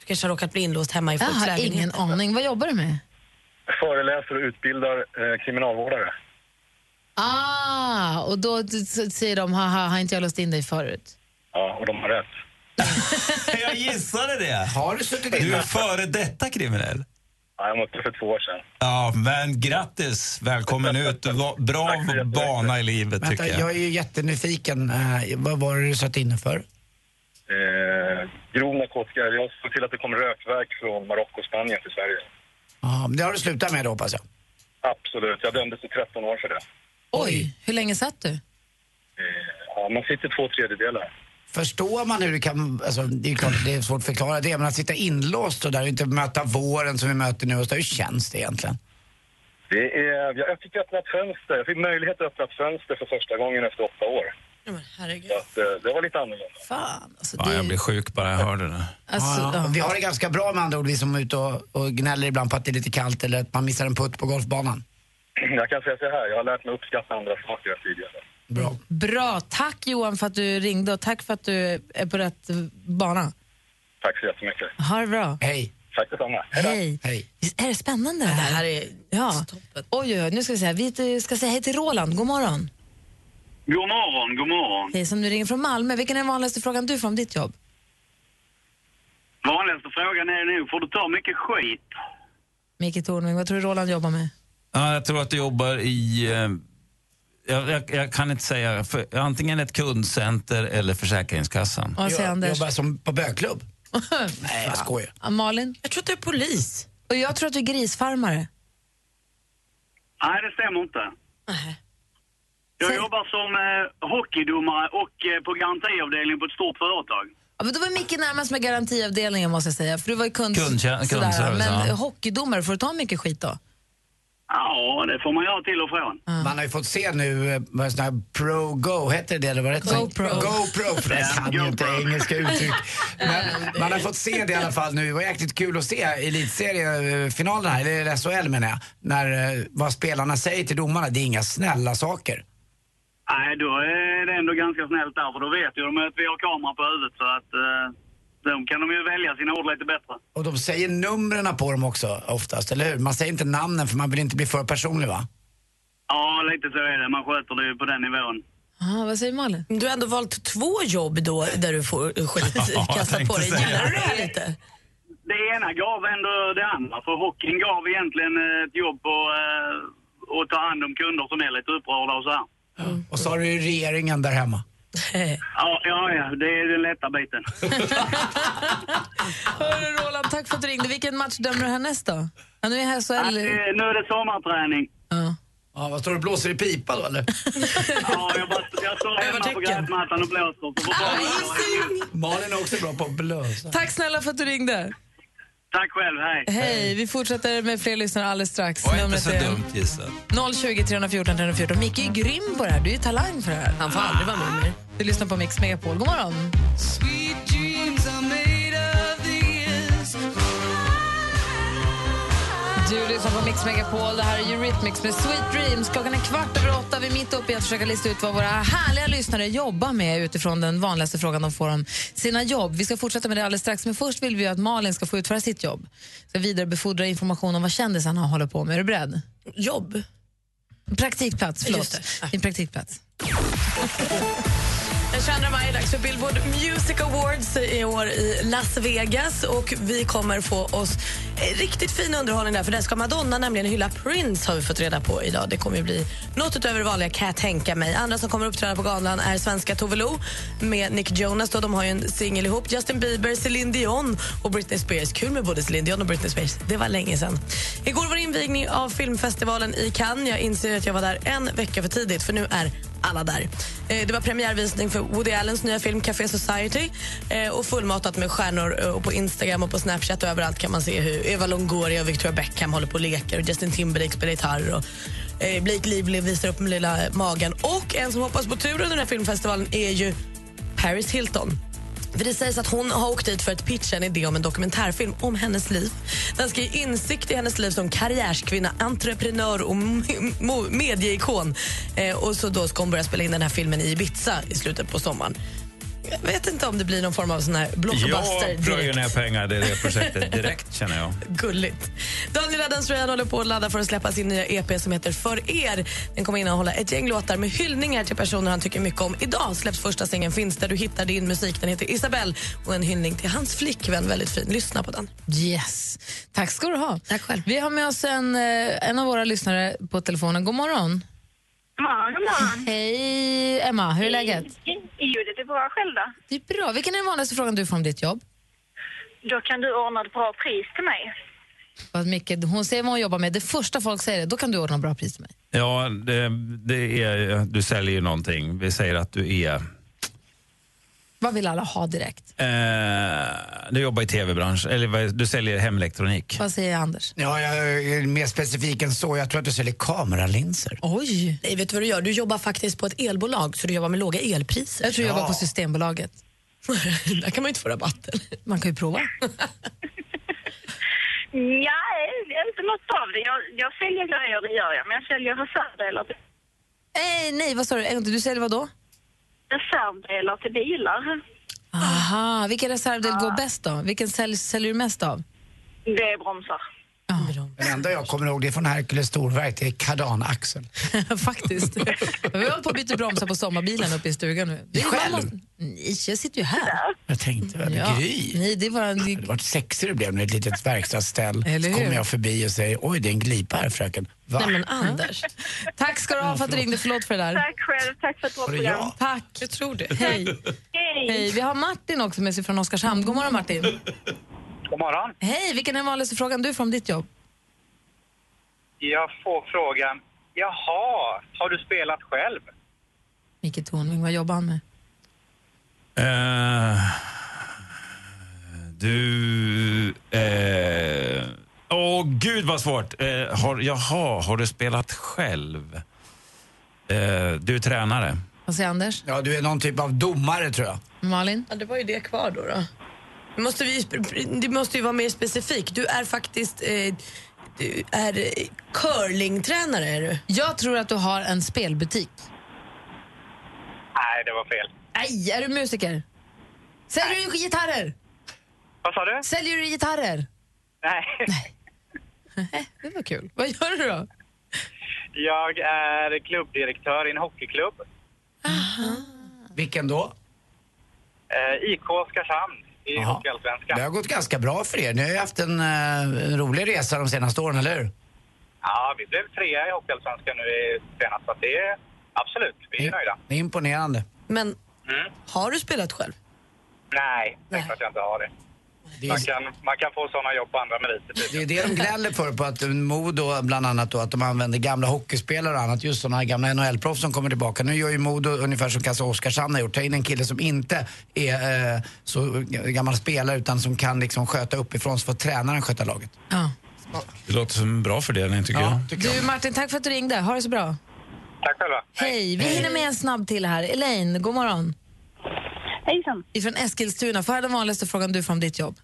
Speaker 7: Du kanske har råkat bli inlåst hemma i
Speaker 5: Jag
Speaker 7: folks
Speaker 5: har
Speaker 7: lägenhet.
Speaker 5: ingen aning. Vad jobbar du med?
Speaker 13: Föreläser och utbildar eh, kriminalvårdare.
Speaker 5: Ah, och då s- s- säger de, haha, har inte jag låst in dig förut?
Speaker 13: Ja, och de har rätt.
Speaker 20: Jag gissade det.
Speaker 6: Har du suttit
Speaker 20: Du är före detta kriminell.
Speaker 13: Ja, jag mötte för två år sedan.
Speaker 20: Ja, men grattis. Välkommen ut. Du var- Bra bana i livet,
Speaker 6: Vänta,
Speaker 20: tycker
Speaker 6: jag
Speaker 20: jag.
Speaker 6: är ju jättenyfiken. Eh, vad var det du satt inne för?
Speaker 13: Eh, grov narkotika. eller Jag såg till att det kom rökverk från Marocko och Spanien till Sverige.
Speaker 6: Ja, men det har du slutat med då hoppas jag.
Speaker 13: Absolut. Jag dömdes till 13 år för det.
Speaker 5: Oj, hur länge satt du?
Speaker 13: Eh, ja, man sitter två tredjedelar.
Speaker 6: Förstår man hur det kan, alltså, det är ju klart att det är svårt att förklara det, men att sitta inlåst och där och inte möta våren som vi möter nu och så där, hur känns det egentligen?
Speaker 13: Det är, jag fick öppna ett fönster. Jag fick möjlighet att öppna ett fönster för första gången efter åtta år. Så att, eh, det var lite annorlunda.
Speaker 5: Fan, alltså
Speaker 20: Ja, jag blir sjuk bara jag hör det. där.
Speaker 5: Alltså,
Speaker 6: ja, och Vi har det ganska bra med andra ord, vi som är ute och, och gnäller ibland på att det är lite kallt eller att man missar en putt på golfbanan.
Speaker 13: Jag kan säga så här, jag har lärt mig uppskatta andra saker än tidigare.
Speaker 5: Bra. Tack Johan för att du ringde och tack för att du är på rätt bana.
Speaker 13: Tack så jättemycket.
Speaker 5: Ha det bra.
Speaker 6: Hej.
Speaker 13: Tack detsamma.
Speaker 5: Hej. Visst Är det spännande det här?
Speaker 7: det här är
Speaker 5: ja. Oj, oj, oj, nu ska vi säga, vi ska säga hej till Roland. God morgon.
Speaker 14: God morgon, god morgon.
Speaker 5: Hej, som nu ringer från Malmö. Vilken är den vanligaste frågan du får om ditt jobb?
Speaker 14: Vanligaste frågan är nu, får du ta mycket skit?
Speaker 5: Micke Tornving, vad tror du Roland jobbar med?
Speaker 20: Ja, jag tror att du jobbar i... eh, Jag, jag, jag kan inte säga. För, antingen ett kundcenter eller Försäkringskassan.
Speaker 5: Vad säger
Speaker 6: Jag
Speaker 5: Anders?
Speaker 6: jobbar som på bögklubb. Nej, jag skojar.
Speaker 5: Ja, Malin?
Speaker 7: Jag tror att du är polis.
Speaker 5: Och jag tror att du är grisfarmare.
Speaker 14: Nej, det stämmer inte. Jag jobbar som eh, hockeydomare och eh, på garantiavdelningen på ett stort företag.
Speaker 5: Ja, men då var Micke närmast med garantiavdelningen måste jag säga, för du var ju kund...
Speaker 14: Kundtjä-
Speaker 5: sådär,
Speaker 14: kundservice,
Speaker 5: Men
Speaker 14: ja.
Speaker 5: hockeydomare, får du ta mycket skit då?
Speaker 14: Ja, det får man göra till och från.
Speaker 6: Man har ju fått se nu, eh, vad sån här pro-go, hette det det eller vad hette det?
Speaker 5: GoPro.
Speaker 6: GoPro, för jag kan ju inte engelska uttryck. Men man har fått se det i alla fall nu. Det var jäkligt kul att se elitseriefinalen här, eller SHL menar jag, när, eh, vad spelarna säger till domarna. Det är inga snälla saker.
Speaker 14: Nej, då är det ändå ganska snällt där, för då vet ju de att vi har kamera på huvudet så att eh, de kan de ju välja sina ord lite bättre.
Speaker 6: Och de säger numren på dem också oftast, eller hur? Man säger inte namnen för man vill inte bli för personlig va?
Speaker 14: Ja, lite så är det. Man sköter det ju på den nivån.
Speaker 5: Aha, vad säger Malin?
Speaker 7: Du har ändå valt två jobb då där du får
Speaker 14: Ja,
Speaker 7: skit
Speaker 14: jag
Speaker 7: kastat på
Speaker 14: tänkte
Speaker 7: dig.
Speaker 14: säga
Speaker 7: Gillar du det här
Speaker 14: det.
Speaker 7: lite?
Speaker 14: Det ena gav ändå det andra, för hockeyn gav egentligen eh, ett jobb på eh, att ta hand om kunder som är lite upprörda och så här.
Speaker 6: Och så har du ju regeringen där hemma.
Speaker 14: Ja, ja, ja, det är den lätta biten.
Speaker 5: Hörru Roland, tack för att du ringde. Vilken match dömer du härnäst då? Ja, nu är här så
Speaker 14: Att, eh, nu är det sommarträning.
Speaker 5: Ja.
Speaker 6: Ja, vad står du blåser i pipa då eller?
Speaker 14: Ja, jag, bara, jag står hemma på gräsmattan och blåser. på barnen.
Speaker 6: Malin är också bra på att blåsa.
Speaker 5: Tack snälla för att du ringde.
Speaker 14: Tack själv, hej.
Speaker 5: Hej, vi fortsätter med fler lyssnare alldeles strax.
Speaker 22: Var inte så dumt gissat.
Speaker 5: 020 314 314. Micke är grym på det här. Du är talang för det här. Han får aldrig vara med mer. Du lyssnar på Mix Megapol. God morgon.
Speaker 8: Sweet dreams are made of these.
Speaker 5: Du lyssnar på Mix Megapol. Det här är Eurythmics med Sweet Dreams. Klockan är kvart över åtta. Vi är mitt uppe i att försöka lista ut vad våra härliga lyssnare jobbar med utifrån den vanligaste frågan de får om sina jobb. Vi ska fortsätta med det alldeles strax, men först vill vi ju att Malin ska få utföra sitt jobb. Ska vidarebefordra information om vad kändisarna håller på med. Är du beredd?
Speaker 7: Jobb?
Speaker 5: Praktikplats, förlåt.
Speaker 7: Just det.
Speaker 5: Din praktikplats.
Speaker 7: Den 22 maj är det dags för Billboard Music Awards i år i Las Vegas och vi kommer få oss eh, riktigt fin underhållning där för där ska Madonna nämligen hylla Prince har vi fått reda på idag. Det kommer ju bli något utöver det vanliga kan jag tänka mig. Andra som kommer uppträda på galan är svenska Tove Lo med Nick Jonas då, de har ju en singel ihop. Justin Bieber, Celine Dion och Britney Spears. Kul med både Celine Dion och Britney Spears. Det var länge sedan. Igår var det invigning av filmfestivalen i Cannes. Jag inser att jag var där en vecka för tidigt för nu är alla där. Eh, Det var premiärvisning för Woody Allens nya film Café Society eh, och fullmatat med stjärnor eh, och på Instagram och på Snapchat och överallt kan man se hur Eva Longoria och Victoria Beckham håller på och leker och Justin Timberlake spelar gitarr och eh, Blake Lively visar upp den lilla magen. Och en som hoppas på tur under den här filmfestivalen är ju Paris Hilton. För det sägs att hon har åkt dit för att pitcha en idé om en dokumentärfilm om hennes liv. Den ska ge insikt i hennes liv som karriärskvinna, entreprenör och m- mo- medieikon. Eh, och så då ska hon börja spela in den här filmen i Ibiza i slutet på sommaren. Jag vet inte om det blir någon form av sån här blockbuster
Speaker 20: Jag plöjer
Speaker 7: direkt.
Speaker 20: ner pengar i det projektet direkt känner jag.
Speaker 7: Gulligt. Daniel Adams-Ryan håller på att ladda för att släppa sin nya EP som heter För er. Den kommer innehålla ett gäng låtar med hyllningar till personer han tycker mycket om. Idag släpps första singeln Finns där du hittar din musik. Den heter Isabelle och en hyllning till hans flickvän. Väldigt fin. Lyssna på den.
Speaker 5: Yes. Tack ska du ha. Tack själv. Vi har med oss en, eh, en av våra lyssnare på telefonen. God morgon.
Speaker 15: God morgon, god morgon.
Speaker 5: Hej, Emma. Hur är läget?
Speaker 15: Jo, det är bra. Själv då?
Speaker 5: Det är bra. Vilken är den vanligaste frågan du får om ditt jobb?
Speaker 15: Då kan du ordna ett bra pris till mig.
Speaker 5: Vad Micke, hon säger vad hon jobbar med. Det första folk säger, då kan du ordna bra pris till mig.
Speaker 20: Ja, det, det är, du säljer ju någonting. Vi säger att du är...
Speaker 5: Vad vill alla ha direkt?
Speaker 20: Eh, du jobbar i tv-branschen, eller vad- du säljer hemelektronik.
Speaker 5: Vad säger Anders?
Speaker 6: Ja, jag är mer specifik än så. Jag tror att du säljer kameralinser.
Speaker 5: Oj!
Speaker 7: Nej, vet du vad du gör? Du jobbar faktiskt på ett elbolag så du jobbar med låga elpriser.
Speaker 5: Jag tror jag jobbar på Systembolaget.
Speaker 7: Där kan man ju inte få rabatten.
Speaker 5: Man kan ju prova.
Speaker 15: Nej, det är eh, inte något av det. Jag, jag säljer grejer, det gör jag. Men jag säljer reservdelar, till-
Speaker 5: Nej, Eh, nej, vad sa du? En gång till. Du säljer vad då?
Speaker 15: reservdelar till bilar.
Speaker 5: Aha, vilken reservdel går bäst då? Vilken sälj, säljer du mest av?
Speaker 15: Det är bromsar.
Speaker 6: Den enda jag kommer ihåg det är från Hercules storverk, det är kardanaxeln.
Speaker 5: Faktiskt. Vi håller på att byta bromsar på sommarbilen uppe i stugan nu. Det är
Speaker 6: Själv?
Speaker 5: mamma- Nej, jag sitter ju här.
Speaker 6: Jag tänkte, väl,
Speaker 5: Ja.
Speaker 6: Gry.
Speaker 5: Nej, det var en...
Speaker 6: Vad sexig du blev med ett litet verkstadsställ.
Speaker 5: Eller
Speaker 6: Så
Speaker 5: hur?
Speaker 6: kommer jag förbi och säger, oj det är en glipa här fröken. Va?
Speaker 5: Nej, men Anders. Tack ska du ha för att du ringde. Förlåt för det där.
Speaker 15: Tack själv. Tack för ett bra
Speaker 6: Var det jag? program.
Speaker 5: Tack. Jag tror det. Hej. Hej. Vi har Martin också med sig från Oskarshamn. God morgon Martin.
Speaker 17: God morgon.
Speaker 5: Hej, vilken är den vanligaste frågan du får om ditt jobb?
Speaker 17: Jag får frågan, jaha, har du spelat själv?
Speaker 5: Micke Tornving, vad jobbar han med?
Speaker 20: Eh, du... eh, Åh, gud vad svårt! Eh, har, jaha, har du spelat själv? Eh, du är tränare.
Speaker 5: Vad säger Anders?
Speaker 6: Ja, du är någon typ av domare tror jag.
Speaker 5: Malin?
Speaker 7: Ja, det var ju det kvar då. då. Det, måste vi, det måste ju vara mer specifikt. Du är faktiskt eh, du är eh, curlingtränare. Är du.
Speaker 5: Jag tror att du har en spelbutik.
Speaker 17: Nej, det var fel.
Speaker 5: Nej, är du musiker? Säljer du gitarrer?
Speaker 17: Vad sa du?
Speaker 5: Säljer du gitarrer?
Speaker 17: Nej.
Speaker 5: Nej. det var kul. Vad gör du då?
Speaker 17: Jag är klubbdirektör i en hockeyklubb.
Speaker 6: Vilken då?
Speaker 17: Eh, IK Oskarshamn i Hockeyallsvenskan.
Speaker 6: Det har gått ganska bra för er. Ni har ju haft en, eh, en rolig resa de senaste åren, eller hur?
Speaker 17: Ja, vi blev trea i Hockeyallsvenskan nu i senast, så att det är absolut, vi
Speaker 5: Mm.
Speaker 17: är nöjda.
Speaker 6: Det är imponerande.
Speaker 7: Men
Speaker 17: Mm.
Speaker 7: har du spelat själv?
Speaker 17: Nej, det är klart jag inte har det.
Speaker 6: Det är-
Speaker 17: Man kan, man kan få sådana jobb på andra meriter. typ.
Speaker 6: Det är det de gnäller för, på att Modo bland annat då, att de använder gamla hockeyspelare och annat. Just sådana här gamla NHL-proffs som kommer tillbaka. Nu gör ju Modo ungefär som kanske Oskarshamn har gjort. Ta in en kille som inte är eh, så gammal spelare utan som kan liksom sköta uppifrån så får tränaren sköta laget.
Speaker 20: Det låter som en bra fördelning tycker jag.
Speaker 5: Du Martin, tack för att du ringde. Ha det så bra.
Speaker 17: Tack själva.
Speaker 5: Hej, vi hinner med en snabb till här. Elaine, god morgon.
Speaker 15: Hejsan.
Speaker 5: Ifrån Eskilstuna. Får jag den vanligaste frågan du får om ditt jobb?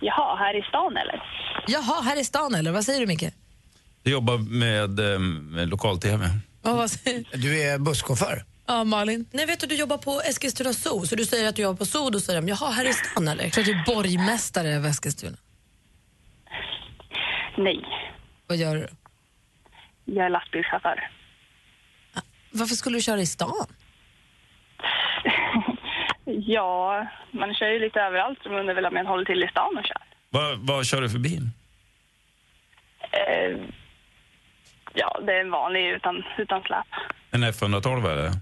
Speaker 15: Jaha, här i stan eller?
Speaker 5: Jaha, här i stan eller? Vad säger du Micke?
Speaker 20: Jag jobbar med, eh, med lokal-tv.
Speaker 5: Och vad säger...
Speaker 6: Du är busschaufför.
Speaker 5: Ja, Malin?
Speaker 7: Nej, vet du, du jobbar på Eskilstuna Zoo, så du säger att du jobbar på Zoo, då säger de jaha, här i stan eller?
Speaker 5: Jag tror att du är borgmästare över Eskilstuna.
Speaker 15: Nej,
Speaker 5: Vad gör du?
Speaker 15: jag är lastbilschaufför.
Speaker 5: Ah, Varför skulle du köra i stan?
Speaker 15: Ja, man kör ju lite överallt som undrar väl om man håller till i stan och kör.
Speaker 20: Vad, vad kör du för bil?
Speaker 15: Eh, ja, det är en vanlig utan, utan släp.
Speaker 20: En F112 eller?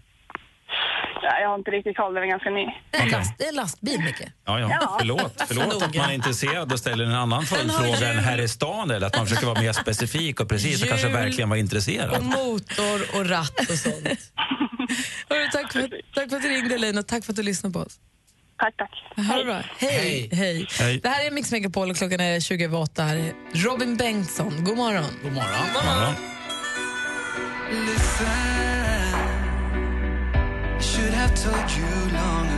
Speaker 15: Ja, jag har inte riktigt koll, den är ganska ny.
Speaker 5: En, last, en lastbil, Micke.
Speaker 20: Ja, ja.
Speaker 15: Ja.
Speaker 20: Förlåt, förlåt
Speaker 15: Noga.
Speaker 20: att man är intresserad och ställer en annan
Speaker 5: Den har
Speaker 20: följdfråga
Speaker 5: hjul.
Speaker 20: än här i stan eller att man försöker vara mer specifik och precis och kanske
Speaker 5: Hjul.
Speaker 20: verkligen vara intresserad.
Speaker 5: Och motor och ratt och sånt. Hörru, tack, för, tack för att du ringde Elaine och tack för att du lyssnade på oss.
Speaker 15: Tack, tack.
Speaker 5: Ha det bra. Hej. Hej.
Speaker 8: Hej.
Speaker 5: Det här är Mix Megapol och klockan är 20 över åtta. Här är Robin Bengtsson. God morgon.
Speaker 6: God morgon.
Speaker 8: God morgon.
Speaker 9: Should have told you long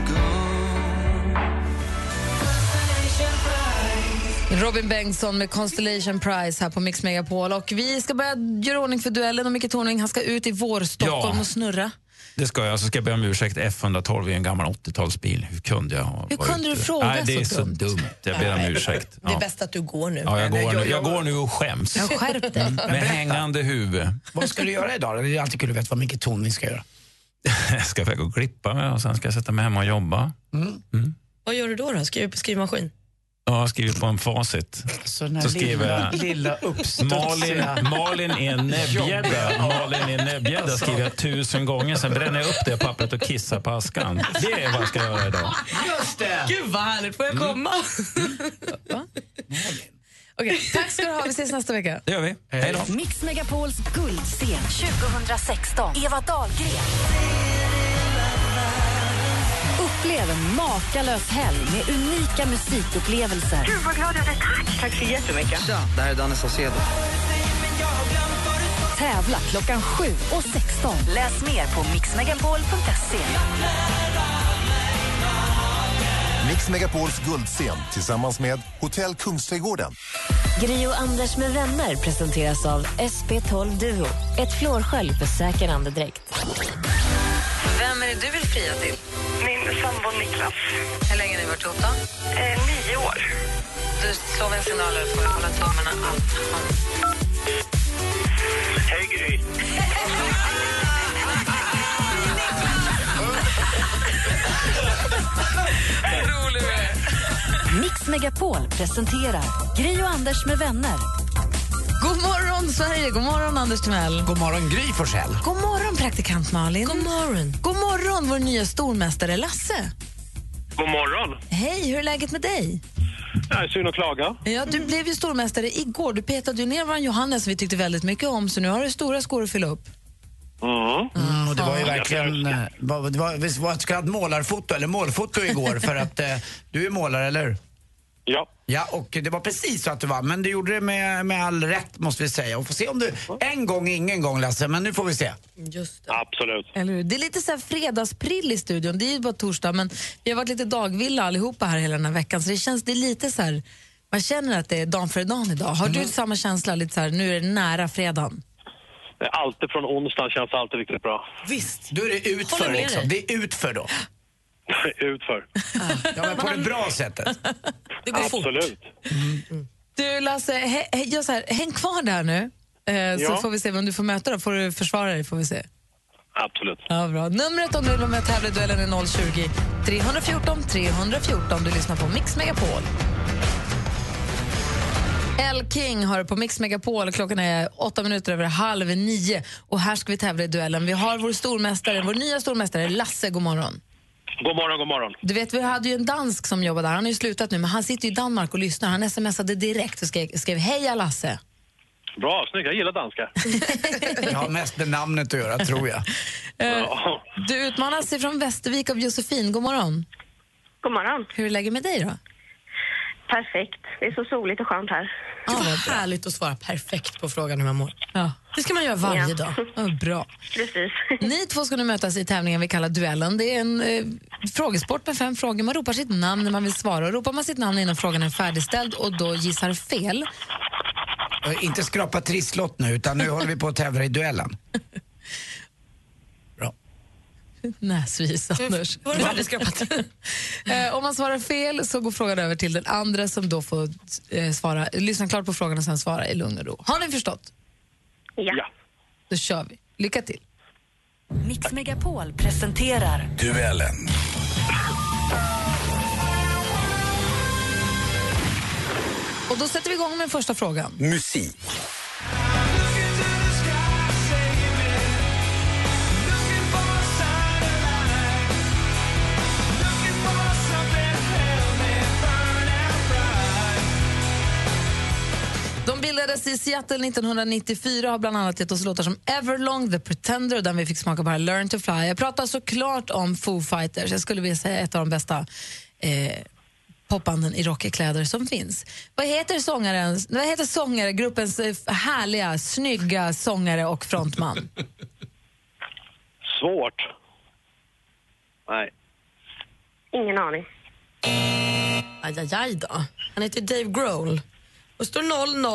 Speaker 5: Robin Bengtsson med Constellation Prize här på Mix Megapol. Och vi ska börja göra ordning för duellen och Micke Tornving han ska ut i vår-Stockholm
Speaker 20: Ja.
Speaker 5: och snurra.
Speaker 20: Det ska jag. Så ska jag be om ursäkt. F112 är en gammal 80-talsbil. Hur kunde jag ha
Speaker 5: Hur
Speaker 20: varit
Speaker 5: kunde du
Speaker 20: ute?
Speaker 5: fråga
Speaker 20: Nej, Det är
Speaker 5: så
Speaker 20: så
Speaker 5: dumt?
Speaker 20: dumt. Jag ber om ursäkt.
Speaker 7: Det är
Speaker 20: Ja.
Speaker 7: bäst att du går nu.
Speaker 20: Ja, jag, går nu. jag går nu och skäms.
Speaker 7: Ja, skärp dig.
Speaker 20: Mm. Med hängande huvud.
Speaker 6: Vad ska du göra idag då? Det är alltid kul att veta vad Micke Tornving ska göra.
Speaker 20: Jag ska iväg och klippa mig och sen ska jag sätta mig hemma och jobba.
Speaker 7: Vad gör du då? då? Skriver på skrivmaskin?
Speaker 20: Ja, jag har skrivit på en facit.
Speaker 6: Så, den här
Speaker 20: så skriver
Speaker 6: lilla-
Speaker 20: jag...
Speaker 6: lilla uppstudsiga-
Speaker 20: Malin, Malin är en näbbgädda. Malin är en näbbgädda skriver jag tusen gånger. Sen bränner jag upp det pappret och kissar på askan. Det är vad jag ska göra idag.
Speaker 6: Just det!
Speaker 7: Gud vad härligt, får jag
Speaker 16: Mm.
Speaker 7: komma?
Speaker 5: Okej, tack ska du ha. Vi ses nästa vecka.
Speaker 20: Det gör vi. Hej då.
Speaker 4: Mix Megapols guldscen 2016. Eva Dahlgren. Upplev en makalös helg med unika musikupplevelser.
Speaker 15: Gud, vad glad jag blev. Tack! Tack så jättemycket.
Speaker 16: Det här är Danne Saucedo.
Speaker 4: Tävla klockan 7 och 16. Läs mer på mixmegapol.se.
Speaker 19: Mix Megapols guldscen tillsammans med Hotell Kungsträdgården.
Speaker 11: Gri och Anders med vänner presenteras av SP12 Duo. Ett flårskölj för säker andedräkt.
Speaker 5: Vem är det du vill fria till?
Speaker 15: Min sambo Niklas. Eh,
Speaker 5: Hur länge har ni varit ihop då?
Speaker 15: nio år.
Speaker 5: Du slår väl signaler för att hålla tummarna allt.
Speaker 17: Hej Gry!
Speaker 4: Mix Megapol presenterar Gri och Anders med vänner.
Speaker 5: God morgon, Sverige! God morgon, Anders Timell.
Speaker 6: God morgon, Gry Forssell.
Speaker 5: God morgon, praktikant Malin. God morgon. God morgon, vår nya stormästare Lasse.
Speaker 23: God morgon.
Speaker 5: Hej, hur är läget med dig? Mm.
Speaker 23: Nej, synd att klaga.
Speaker 5: Ja, du blev ju stormästare igår. Du petade ju ner vår Johannes som vi tyckte väldigt mycket om, så nu har du stora skor att fylla upp.
Speaker 6: Mm, och det var ju verkligen... eh, vad- Det var, visst var det ett så kallat målarfoto, eller målfoto igår, för att eh, du är målare, eller hur?
Speaker 23: Ja.
Speaker 6: Ja, och det var precis så att du vann, men du gjorde det med, med all rätt, måste vi säga. Och får se om du... En gång, ingen gång, Lasse, men nu får vi se.
Speaker 7: Just
Speaker 23: Absolut.
Speaker 5: Eller hur? Det är lite så här fredagsprill i studion. Det är ju bara torsdag, men vi har varit lite dagvilla allihopa här hela den här veckan, så det känns det är lite så här... Man känner att det är dan för dan idag. Har du samma känsla? Lite så här, nu är det nära fredagen.
Speaker 23: Alltid från onsdag känns alltid riktigt bra.
Speaker 6: Visst. Då är det
Speaker 5: Håller
Speaker 6: utför,
Speaker 5: med dig.
Speaker 6: liksom. Det är utför då.
Speaker 23: Utför.
Speaker 6: Ja, men på det bra sättet.
Speaker 23: Absolut.
Speaker 5: Du Lasse, hä- hä- gör så här, häng kvar där nu. Eh, Så
Speaker 23: Ja.
Speaker 5: får vi se vem du får möta då. Får du försvara dig får vi se.
Speaker 23: Absolut.
Speaker 5: Ja, bra. Numret om du vill vara med och tävla i duellen är 020 314 314. Du lyssnar på Mix Megapol. El King har på Mix Megapol. Klockan är åtta minuter över halv nio. Och här ska vi tävla i duellen. Vi har vår stormästare, vår nya stormästare Lasse. God morgon.
Speaker 23: God morgon, god morgon.
Speaker 5: Du vet, vi hade ju en dansk som jobbade där. Han har ju slutat nu, men han sitter ju i Danmark och lyssnar. Han smsade direkt och skrev, skrev heja Lasse.
Speaker 23: Bra, snyggt. Jag gillar danska.
Speaker 6: Det har mest med namnet att göra, tror jag.
Speaker 5: Eh, Du utmanas ifrån Västervik av Josefin. God morgon.
Speaker 15: God morgon.
Speaker 5: Hur är läget med dig då?
Speaker 15: Perfekt. Det är så soligt och skönt här.
Speaker 7: Gud, vad härligt att svara perfekt på frågan hur man mår.
Speaker 5: Ja.
Speaker 7: Det ska man göra varje
Speaker 5: Ja.
Speaker 7: dag. Ja, bra.
Speaker 15: Precis.
Speaker 5: Ni två ska nu mötas i tävlingen vi kallar Duellen. Det är en eh, frågesport med fem frågor. Man ropar sitt namn när man vill svara. Och ropar man sitt namn innan frågan är färdigställd och då gissar fel,
Speaker 6: Eh, Inte skrapa trisslott nu, utan nu håller vi på att tävla i duellen.
Speaker 5: Näsvis, Anders.
Speaker 7: Var det väldigt skrapat?
Speaker 5: Eh, Om man svarar fel så går frågan över till den andra som då får eh, svara, lyssna klart på frågan och sen svara i lugn och ro. Har ni förstått?
Speaker 23: Ja.
Speaker 5: Då kör vi. Lycka till.
Speaker 4: Mix Megapol presenterar
Speaker 2: Duellen.
Speaker 5: Och då sätter vi igång med den första frågan.
Speaker 2: Musik.
Speaker 5: De bildades i Seattle 1994 och har bland annat gett oss låtar som Everlong, The Pretender och den vi fick smaka på här, Learn to Fly. Jag pratar såklart om Foo Fighters. Jag skulle vilja säga ett av de bästa eh, popbanden i rockkläder som finns. Vad heter, sångaren, vad heter sångare, gruppens eh, härliga, snygga sångare och frontman?
Speaker 23: Svårt. Nej.
Speaker 15: Ingen aning.
Speaker 7: Aj, aj, aj då. Han heter Dave Grohl. Och står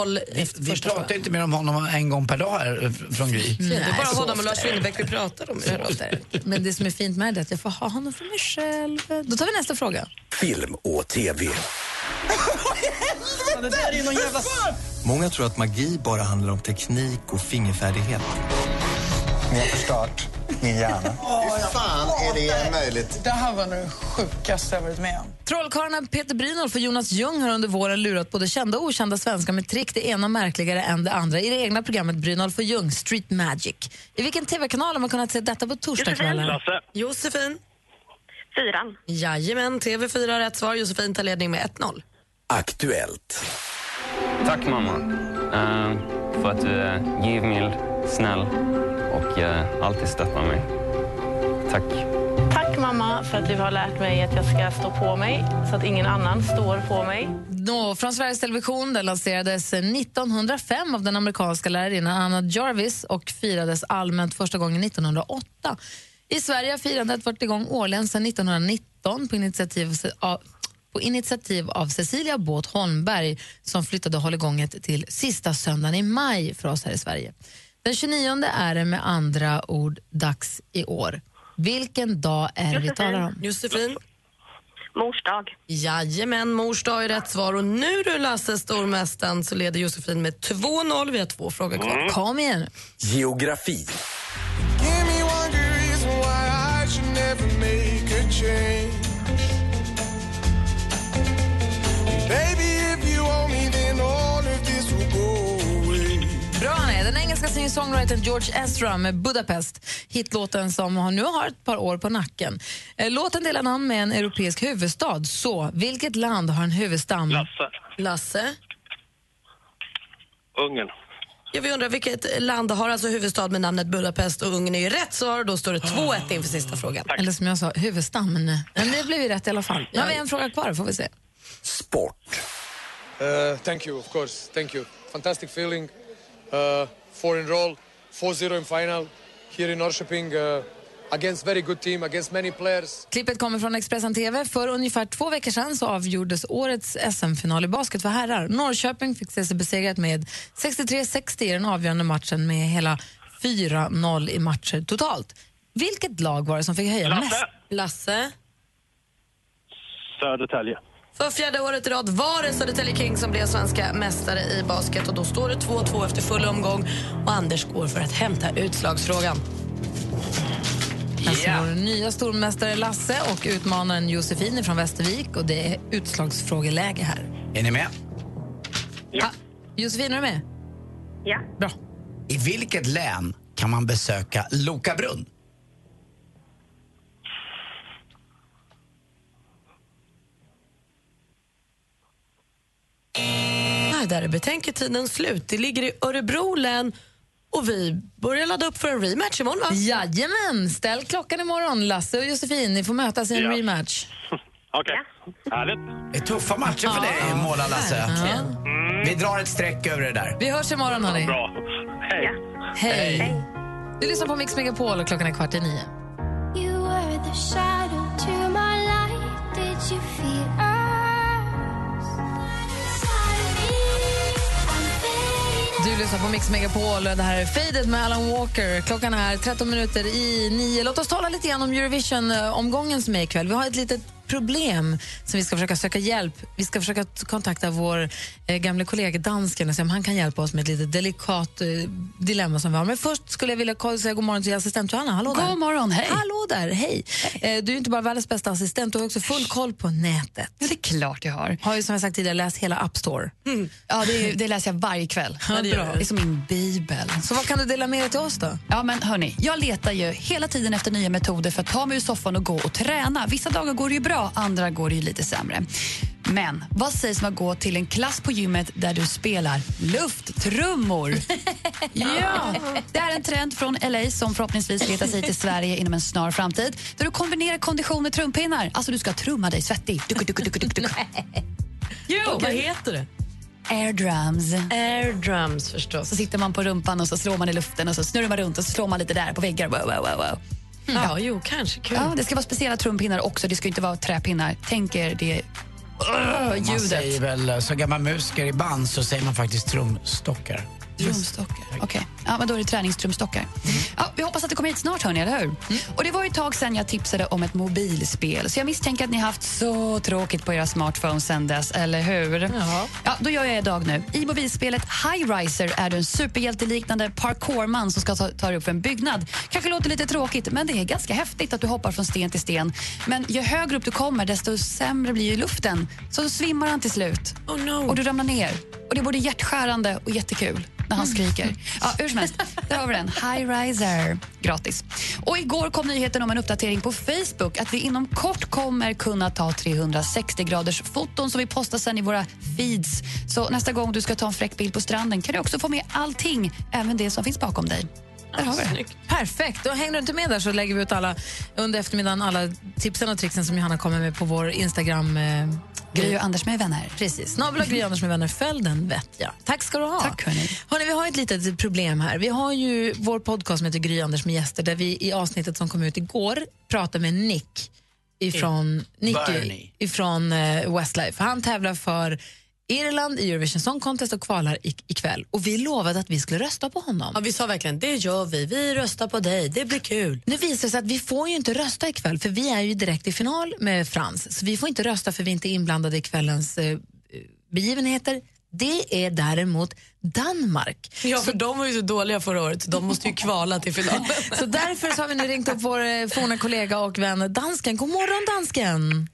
Speaker 7: 0-0 efter
Speaker 6: Vi
Speaker 7: första
Speaker 6: pratar
Speaker 7: frågan.
Speaker 6: inte mer om honom en gång per dag här eh, från Gry.
Speaker 7: Det är bara
Speaker 5: så
Speaker 7: honom och
Speaker 5: ofta
Speaker 7: Lars
Speaker 5: är det
Speaker 7: Winnerbäck vi pratar om.
Speaker 5: Men det som är fint med det är att jag får ha honom för mig själv. Då tar vi nästa fråga.
Speaker 2: Film och TV.
Speaker 5: Det där är ju någon jävla...
Speaker 2: Många tror att magi bara handlar om teknik och fingerfärdighet.
Speaker 10: Ni har förstört min hjärna.
Speaker 16: Hur fan är det
Speaker 10: möjligt?
Speaker 16: Det här var det sjukaste jag varit med om.
Speaker 5: Trollkarlarna Peter Brynolf och Jonas Ljung har under våren lurat både kända och okända svenskar med trick, det ena märkligare än det andra, i det egna programmet Brynolf och Ljung, Street Magic. I vilken TV-kanal har man kunnat se detta på torsdagskvällen?
Speaker 7: Josefin.
Speaker 15: Fyran.
Speaker 7: Jajamän, TV4 rätt svar. Josefin tar ledning med 1-0.
Speaker 2: Aktuellt.
Speaker 18: Tack mamma. Eh, för att eh, du är givmild, snäll och eh, alltid stöttar mig. Tack. Tack mamma för att du har lärt mig att jag ska stå på mig så att ingen annan står på mig.
Speaker 5: Nå, från Sveriges Television den lanserades 1905 av den amerikanska lärarinnan Anna Jarvis och firades allmänt första gången 1908. I Sverige har firandet varit igång årligen sedan 1919 på initiativ av, på initiativ av Cecilia Båth Holmberg som flyttade hålligånget till sista söndagen i maj för oss här i Sverige. Den 29 är det med andra ord dags i år. Vilken dag är det vi talar om?
Speaker 7: Josefin.
Speaker 15: Mors dag.
Speaker 7: Jajamän, mors dag är rätt svar. Och nu du Lasse, stormästaren, så leder Josefin med 2-0. Vi har två frågor kvar.
Speaker 2: Mm.
Speaker 5: Kom igen.
Speaker 2: Geografi.
Speaker 10: Give me one good reason why I should never make a change. Baby, if you owe me, then all of this will go away.
Speaker 5: Bra han är. Den engelska singer-songwritern George Ezra med Budapest. Hitlåten som har- nu har ett par år på nacken. Eh, Låten delar namn med en europeisk huvudstad. Så, vilket land har en huvudstad?
Speaker 23: Lasse.
Speaker 7: Lasse?
Speaker 23: Ungern.
Speaker 7: Ja, vi undrar vilket land har alltså huvudstad med namnet Budapest och Ungern är ju rätt svar. Då står det 2-1 inför sista frågan.
Speaker 5: Eller som jag sa, huvudstammen. Men det blev ju rätt i alla fall. Nu har vi en fråga kvar, får vi se.
Speaker 24: Uh, thank you, of course. Thank you. Fantastic feeling. Uh, four in roll, 4-0 in final here in Norrköping uh, against very good team, against many players.
Speaker 5: Klippet kommer från Expressen TV. För ungefär två veckor sedan så avgjordes årets SM-final i basket för herrar. Norrköping fick se sig besegrat med 63-60 i den avgörande matchen med hela 4-0 i matcher totalt. Vilket lag var det som fick höja
Speaker 23: Lasse.
Speaker 5: mest?
Speaker 7: Lasse?
Speaker 23: Södertälje.
Speaker 7: För fjärde året i rad var det Södertälje King som blev svenska mästare i basket och då står det 2-2 efter full omgång och Anders går för att hämta utslagsfrågan.
Speaker 5: Alltså vår nya stormästare Lasse och utmanaren Josefin från Västervik och det är utslagsfrågeläge här.
Speaker 6: Är ni med?
Speaker 5: Josefin, är du med?
Speaker 15: Ja.
Speaker 5: Bra.
Speaker 6: I vilket län kan man besöka Lokabrunn?
Speaker 7: vidare. Betänk er tidens slut. Det ligger i Örebro län och vi börjar ladda upp för en rematch imorgon va?
Speaker 5: Jajamän, ställ klockan imorgon. Lasse och Josefin, ni får mötas i en
Speaker 6: Ja.
Speaker 5: rematch.
Speaker 23: Okej. Härligt.
Speaker 6: Det är tuffa matcher för dig, Målarlasse. Vi drar ett streck över det där.
Speaker 5: Vi hörs imorgon hörni.
Speaker 6: Bra.
Speaker 23: Hej.
Speaker 5: Hej. Du lyssnar på Mix Megapol och klockan är kvart i nio.
Speaker 8: You were the shadow to my light. Did you feel us? Inside me, I'm faded.
Speaker 5: Du lyssnar på Mix Megapol och det här är Faded med Alan Walker. Klockan är 13 minuter i nio. Låt oss tala lite grann om Eurovision-omgången som är ikväll. Vi har ett litet problem som vi ska försöka söka hjälp. Vi ska försöka t- kontakta vår eh, gamle kollega dansken och se om han kan hjälpa oss med ett litet delikat eh, dilemma som vi har. Men först skulle jag vilja ko- säga god morgon till assistent Johanna. Hallå där.
Speaker 1: God morgon, hej.
Speaker 5: Hallå där, hej. Eh, Du är inte bara världens bästa assistent, du har också full koll på nätet.
Speaker 1: Ja, det är klart jag har. Mm.
Speaker 5: Har ju som jag sagt tidigare läst hela App Store.
Speaker 1: Ja, det, det läser jag varje kväll.
Speaker 5: Ja,
Speaker 1: det,
Speaker 5: det gör du.
Speaker 1: är som min bibel.
Speaker 5: Så vad kan du dela med dig till oss då?
Speaker 1: Ja, men hörni, jag letar ju hela tiden efter nya metoder för att ta mig ur soffan och gå och träna. Vissa dagar går det ju bra, andra går det ju lite sämre. Men vad sägs om att gå till en klass på gymmet där du spelar lufttrummor? ja! Det är en trend från LA som förhoppningsvis letar sig till Sverige inom en snar framtid. Där du kombinerar kondition med trumpinnar. Alltså, du ska trumma dig svettig. Duk, duk, duk, duk, duk.
Speaker 7: Jo, vad heter det?
Speaker 1: Airdrums.
Speaker 7: Airdrums förstås.
Speaker 1: Så sitter man på rumpan och så slår man i luften och så snurrar man runt och så slår man lite där på väggar. Wow, wow, wow, wow.
Speaker 7: Mm. Ja, jo, kanske kul.
Speaker 1: Ja, det ska vara speciella trumpinnar också. Det ska ju inte vara träpinnar. Tänk er det Ugh,
Speaker 6: Man
Speaker 1: ljudet.
Speaker 6: säger väl, som gammal musiker i band så säger man faktiskt trumstockar.
Speaker 1: Trumstockar. Okej, ja, men då är det träningstrumstockar. Ja, vi hoppas att det kommer hit snart, hörni, eller hur? Och det var ju ett tag sedan jag tipsade om ett mobilspel så jag misstänker att ni har haft så tråkigt på era smartphones sedan dess, eller hur? Ja, då gör jag idag nu. I mobilspelet High Riser är du en superhjälteliknande parkourman som ska ta, ta dig upp för en byggnad. Kanske låter lite tråkigt, men det är ganska häftigt att du hoppar från sten till sten. Men ju högre upp du kommer, desto sämre blir ju luften. Så då svimmar han till slut. Och du ramlar ner. Och det är både hjärtskärande och jättekul när han skriker. Ja, hur som helst, där har vi den. High Riser. Gratis. Och igår kom nyheten om en uppdatering på Facebook att vi inom kort kommer kunna ta 360 graders foton som vi postar sen i våra feeds. Så nästa gång du ska ta en fräck bild på stranden kan du också få med allting, även det som finns bakom dig. Där har vi det.
Speaker 5: Perfekt. Och hänger du inte med där så lägger vi ut alla under eftermiddagen alla tipsen och tricksen som Johanna kommer med på vår Instagram. Eh,
Speaker 1: Gry och Anders med vänner.
Speaker 5: Precis. Snabel och Gry och Anders med vänner. Följ den vet jag. Tack ska du ha. Tack
Speaker 1: hörni.
Speaker 5: vi har ett litet problem här. Vi har ju vår podcast som heter Gry och Anders med gäster där vi i avsnittet som kom ut igår pratade med Nick ifrån,
Speaker 6: Bernie.
Speaker 5: Nicky, ifrån eh, Westlife. Han tävlar för Irland i Eurovision Song Contest och kvalar i- ikväll. Och vi lovade att vi skulle rösta på honom.
Speaker 7: Ja, vi sa verkligen det gör vi. Vi röstar på dig. Det blir kul.
Speaker 5: Nu visar det sig att vi får ju inte rösta ikväll för vi är ju direkt i final med Frans. Så vi får inte rösta för vi är inte inblandade i kvällens eh, begivenheter. Det är däremot Danmark.
Speaker 7: Ja, för de var ju så dåliga förra året. så De måste ju kvala till finalen.
Speaker 5: Så därför så har vi nu ringt upp vår eh, forna kollega och vän dansken. God morgon dansken!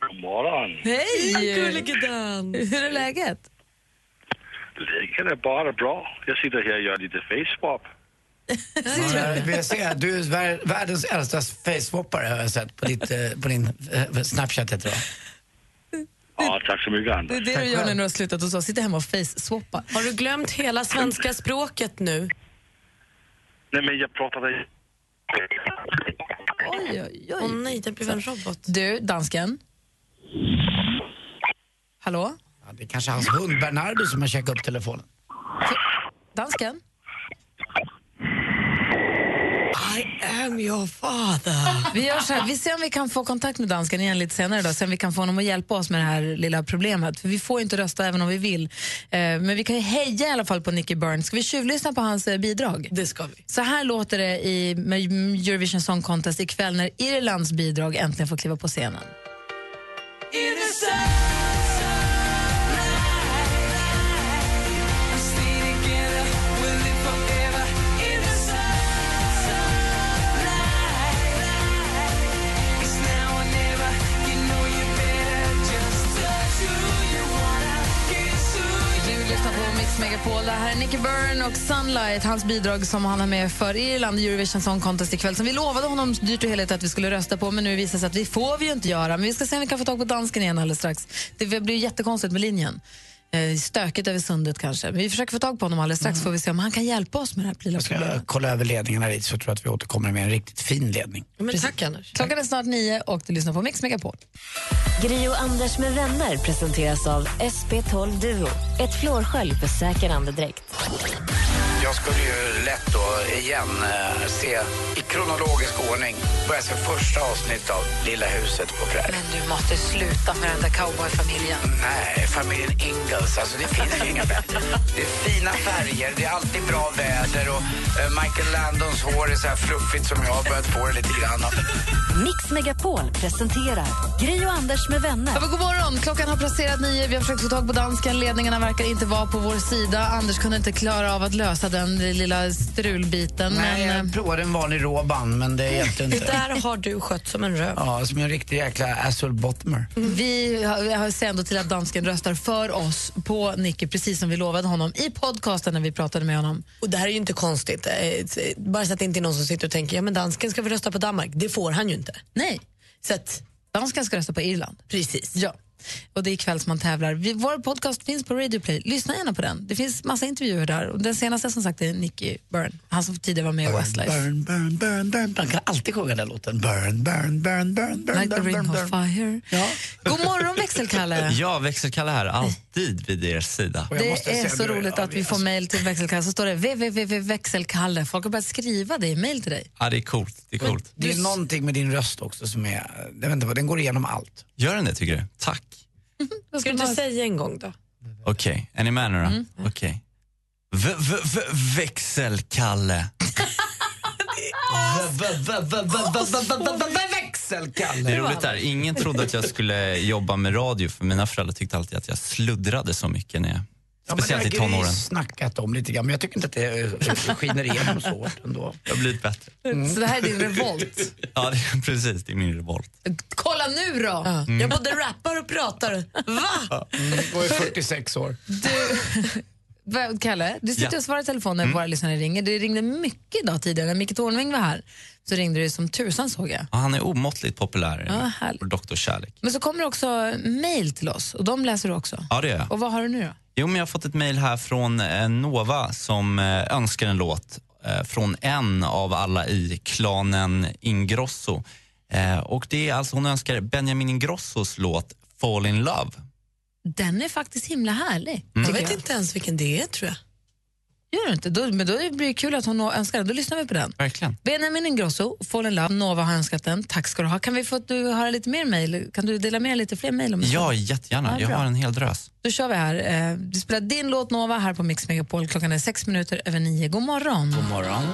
Speaker 3: God morgon.
Speaker 5: Hej!
Speaker 7: Gullige dans!
Speaker 5: Hur är läget?
Speaker 3: Läget är bara bra. Jag sitter här och gör lite facewap.
Speaker 6: Ja, vi ser, du är vär- världens äldsta facewappare har jag sett på, ditt, eh, på din eh, Snapchat heter det va?
Speaker 3: Ja, tack så mycket
Speaker 5: Det är
Speaker 3: Anders.
Speaker 5: det du gör nu när du har slutat hos oss. Sitter hemma och face-swappar.
Speaker 7: Har du glömt hela svenska språket nu?
Speaker 3: Nej men jag pratade...
Speaker 5: Oj, oj, oj.
Speaker 7: Åh nej, det blev en robot.
Speaker 5: Du, dansken. Hallå?
Speaker 6: Ja, det är kanske hans hund Bernardo som har checkat upp telefonen.
Speaker 5: Dansken?
Speaker 7: I am your father.
Speaker 5: Vi gör så här, vi ser om vi kan få kontakt med dansken igen lite senare då, sen vi kan få honom att hjälpa oss med det här lilla problemet. För vi får ju inte rösta även om vi vill. Eh, Men vi kan ju heja i alla fall på Nicky Burns. Ska vi tjuvlyssna på hans eh, bidrag?
Speaker 7: Det ska vi.
Speaker 5: Så här låter det i med Eurovision Song Contest ikväll när Irlands bidrag äntligen får kliva på scenen. Du lyssnar på Mix Megapol. Det här är Nicky Byrne och Sunlight, hans bidrag som han har med för Irland i Eurovision Song Contest ikväll som vi lovade honom dyrt och heligt att vi skulle rösta på men nu visar det sig att vi får vi ju inte göra. Men vi ska se om vi kan få tag på dansken igen alldeles strax. Det blir ju jättekonstigt med linjen. eh, stökigt över sundet kanske. Vi försöker få tag på honom alldeles strax, får vi se om han kan hjälpa oss med Mm. det här lilla
Speaker 6: Jag ska
Speaker 5: problemet.
Speaker 6: kolla över ledningarna dit så tror jag att vi återkommer med en riktigt fin ledning.
Speaker 5: Men tack, Anders. Klockan är snart nio och du lyssnar på Mix Megapol.
Speaker 11: Gri och Anders med vänner presenteras av SP12 Duo. Ett flårskölj för säker andedräkt.
Speaker 6: Jag skulle ju lätt då igen eh, se i kronologisk ordning börja se första avsnitt av Lilla huset på prärien.
Speaker 12: Du måste sluta med den där cowboyfamiljen.
Speaker 6: Nej, familjen Ingalls. Alltså det finns ju inga bättre. Det är fina färger, det är alltid bra väder och eh, Michael Landons hår är så här fluffigt som jag har börjat få det lite grann av.
Speaker 4: Mix Megapol presenterar Gri och Anders med vänner.
Speaker 5: Ja, men god morgon! Klockan har passerat nio. Vi har försökt få tag på dansken. Ledningarna verkar inte vara på vår sida. Anders kunde inte klara av att lösa den lilla strulbiten.
Speaker 6: Nej,
Speaker 5: men, eh,
Speaker 6: jag provade en vanlig rå band men det hjälpte inte.
Speaker 5: Det där har du skött som en röv.
Speaker 6: Ja, som en riktig jäkla asshole bottomer.
Speaker 5: Vi har- vi har ser ändå till att dansken röstar för oss på Nicky, precis som vi lovade honom i podcasten när vi pratade med honom.
Speaker 7: Och det här är ju inte konstigt. Eh, t- Bara så att det inte är någon som sitter och tänker ja men dansken ska väl rösta på Danmark. Det får han ju inte.
Speaker 5: Nej. Så att dansken ska rösta på Irland. Precis. Ja. Och det är ikväll som man tävlar. Vi, vår podcast finns på Radio Play. Lyssna gärna på den. Det finns massa intervjuer där. Och den senaste som sagt är Nicky Byrne. Han som tidigare var med i Westlife.
Speaker 6: Burn, burn, burn, burn. Man kan alltid sjunga den låten. Burn, burn, burn, burn, burn,
Speaker 5: Like the
Speaker 6: burn, burn,
Speaker 5: ring
Speaker 6: burn.
Speaker 5: of fire. God morgon växelkalle.
Speaker 22: Ja, växelkalle här, alltid vid er sida.
Speaker 5: Det är så roligt att vi får mejl till växelkalle. Så står det www.växelkalle. Folk har börjat skriva det i mejl till dig.
Speaker 22: Ja, det är coolt. Det är coolt.
Speaker 6: Det är någonting med din röst också som är, jag vet inte vad, den går igenom allt.
Speaker 22: Gör den det, tycker du? Tack.
Speaker 7: Ska du inte säga en gång då?
Speaker 22: Okej, är ni med nu då?
Speaker 5: Mm.
Speaker 22: Okej. V- v- v- Växelkalle.
Speaker 6: V- v- v- v- v- v- v- v- Växelkalle!
Speaker 22: Det är roligt där. Ingen trodde att jag skulle jobba med radio för mina föräldrar tyckte alltid att jag sluddrade så mycket när jag...
Speaker 6: Ja, men det
Speaker 22: Speciellt i
Speaker 6: där har vi
Speaker 22: tonåren.
Speaker 6: snackat om lite grann men jag tycker inte att det eh, skiner igenom så hårt ändå.
Speaker 22: Jag har blivit bättre.
Speaker 5: Så det här är din revolt.
Speaker 22: Ja, det är, precis. Det är min revolt.
Speaker 5: Kolla nu då!
Speaker 22: Mm.
Speaker 7: Jag både rappar och pratar. Va?
Speaker 6: Jag är 46 år.
Speaker 5: Vad- Kalle, du sitter
Speaker 6: Ja.
Speaker 5: och svarar i telefonen när
Speaker 22: Mm.
Speaker 5: våra lyssnare ringer. Du ringde mycket idag tidigare. När Micke Tornving var här så ringde du som tusan såg jag.
Speaker 22: Ja, han är omåttligt populär.
Speaker 5: Ja, härligt.
Speaker 22: Vår Doktor Kärlek.
Speaker 5: Men så kommer det också mejl till oss och de läser du också.
Speaker 22: Ja, det är jag.
Speaker 5: Och vad har du nu då?
Speaker 22: Jo, men jag har fått ett mejl här från eh, Nova som eh, önskar en låt eh, från en av alla i klanen Ingrosso. Eh, och det är alltså, hon önskar Benjamin Ingrossos låt Fall in love.
Speaker 5: Den är faktiskt himla härlig.
Speaker 22: Mm.
Speaker 5: tycker
Speaker 22: Jag vet
Speaker 7: inte ens vilken det är tror jag.
Speaker 5: Gör du inte? Då, men då blir det kul att hon önskar den. Då lyssnar vi på den.
Speaker 22: Verkligen.
Speaker 5: Benjamin Ingrosso, Fall in Love, Nova har önskat den. Tack ska du ha. Kan vi få du höra lite mer mejl? Kan du dela med dig lite fler mejl? om en
Speaker 22: Ja,
Speaker 5: stund?
Speaker 22: jättegärna.
Speaker 5: Ja,
Speaker 22: Jag
Speaker 5: bra.
Speaker 22: har en hel drös.
Speaker 5: Då kör vi här. Eh, Du spelar din låt Nova här på Mix Megapol. Klockan är sex minuter över nio. God morgon.
Speaker 6: God morgon.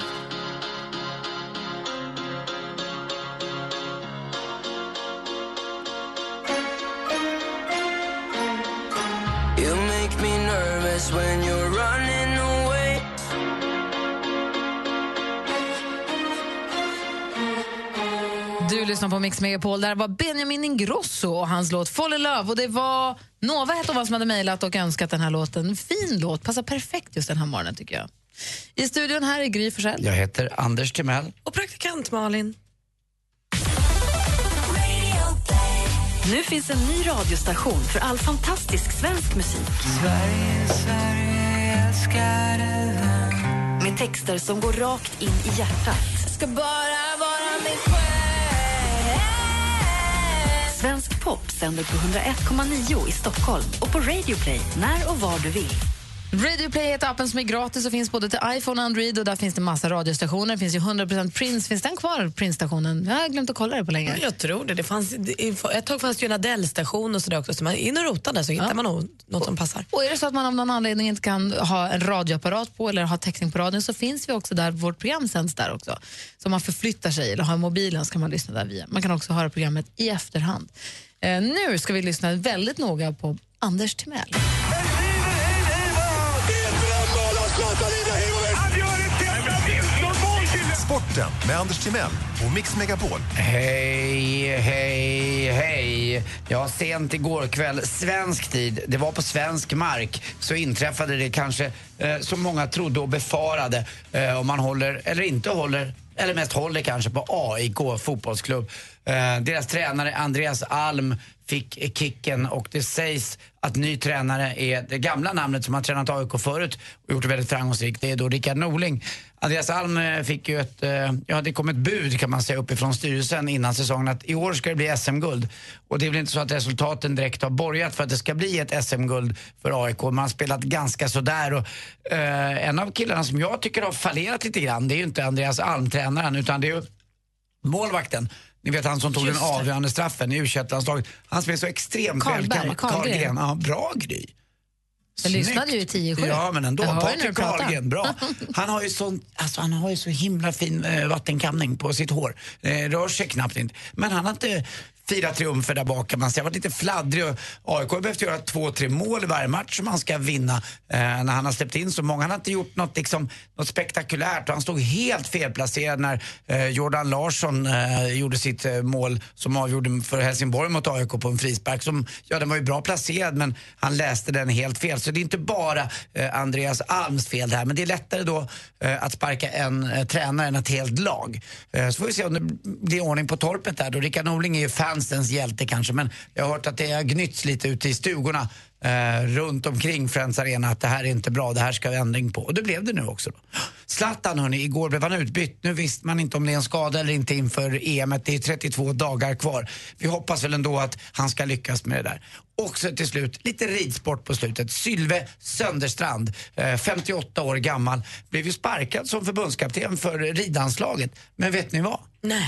Speaker 13: You make me nervous when you're running away.
Speaker 5: Du lyssnar på Mix Megapol. Där var Benjamin Ingrosso och hans låt Fall in Love. Och det var Nova hette hon som hade mejlat och önskat den här låten. Fin låt, passar perfekt just den här morgonen tycker jag. I studion här är Gry Forssell.
Speaker 6: Jag heter Anders Timell.
Speaker 7: Och praktikant Malin.
Speaker 4: Nu finns en ny radiostation för all fantastisk svensk musik. Med texter som går rakt in i hjärtat. Ska bara vara mig själv. Svensk pop sänder på 101,9 i Stockholm och på Radio Play när och var du vill.
Speaker 5: Radio Play heter appen som är gratis och finns både till iPhone och Android och där finns det massa radiostationer. Det finns ju 100% Prince. Finns den kvar, Prince-stationen? Jag har glömt att kolla det på länge.
Speaker 7: Jag tror det. det fanns, det- ett tag fanns det ju en Adele-station och sådär också. Så man in och rotar där så hittar man nog något som passar.
Speaker 5: Och är det så att man av någon anledning inte kan ha en radioapparat på eller ha täckning på radion så finns vi också där, vårt program sänds där också. Så om man förflyttar sig eller har mobilen så kan man lyssna där via. Man kan också höra programmet i efterhand. Eh, nu ska vi lyssna väldigt noga på Anders Timell.
Speaker 19: Sporten med Anders Timell och Mix Megapol.
Speaker 6: Hej, hej, hej. Ja, sent igår kväll, svensk tid, det var på svensk mark, så inträffade det kanske eh, som många trodde och befarade eh, om man håller eller inte håller, eller mest håller kanske på AIK fotbollsklubb. Eh, deras tränare Andreas Alm fick eh, kicken och det sägs att ny tränare är det gamla namnet som har tränat AIK förut och gjort det väldigt framgångsrikt. Det är då Rickard Norling. Andreas Alm eh, fick ju ett, eh, ja det kom ett bud kan man säga uppifrån styrelsen innan säsongen att i år ska det bli SM-guld. Och det är väl inte så att resultaten direkt har borgat för att det ska bli ett SM-guld för AIK. Man har spelat ganska sådär och eh, en av killarna som jag tycker har fallerat lite grann det är ju inte Andreas Alm, tränaren, utan det är ju målvakten. Ni vet han som tog
Speaker 5: Just
Speaker 6: den
Speaker 5: det.
Speaker 6: avgörande straffen i u landslaget Han som är så extremt
Speaker 5: Karlberg,
Speaker 6: välkammat.
Speaker 5: Karlgren.
Speaker 6: Karlgren. Ja, bra Gry.
Speaker 5: Jag lyssnade ju i
Speaker 6: Snyggt.
Speaker 5: 10-7.
Speaker 6: Ja, men ändå.
Speaker 5: Jag hör ju när du
Speaker 6: Patrik
Speaker 5: pratar.
Speaker 6: Karlgren, bra. Han har ju så, alltså, han har ju så himla fin eh, vattenkamning på sitt hår. Eh, rör sig knappt inte. Men han har inte firat triumfer där bak kan man säga. Han har varit lite fladdrig och AIK har behövt göra två, tre mål i varje match som han ska vinna. Eh, när han har släppt in så många. Han har inte gjort något, liksom, något spektakulärt och han stod helt felplacerad när eh, Jordan Larsson eh, gjorde sitt eh, mål som avgjorde för Helsingborg mot AIK på en frispark. Som, ja, den var ju bra placerad men han läste den helt fel. Så det är inte bara eh, Andreas Alms fel det här. Men det är lättare då eh, att sparka en eh, tränare än ett helt lag. Eh, så får vi se om det blir ordning på torpet där. Då Rickard Norling är ju fansens hjälte kanske men jag har hört att det har gnytts lite ute i stugorna eh, runt omkring Friends Arena att det här är inte bra, det här ska vi ändring på. Och det blev det nu också. Då. Zlatan hörni, igår blev han utbytt. Nu visste man inte om det är en skada eller inte inför EM. Det är 32 dagar kvar. Vi hoppas väl ändå att han ska lyckas med det där. Och så till slut, lite ridsport på slutet. Sylve Sönderstrand, eh, 58 år gammal, blev ju sparkad som förbundskapten för ridanslaget. Men vet ni vad?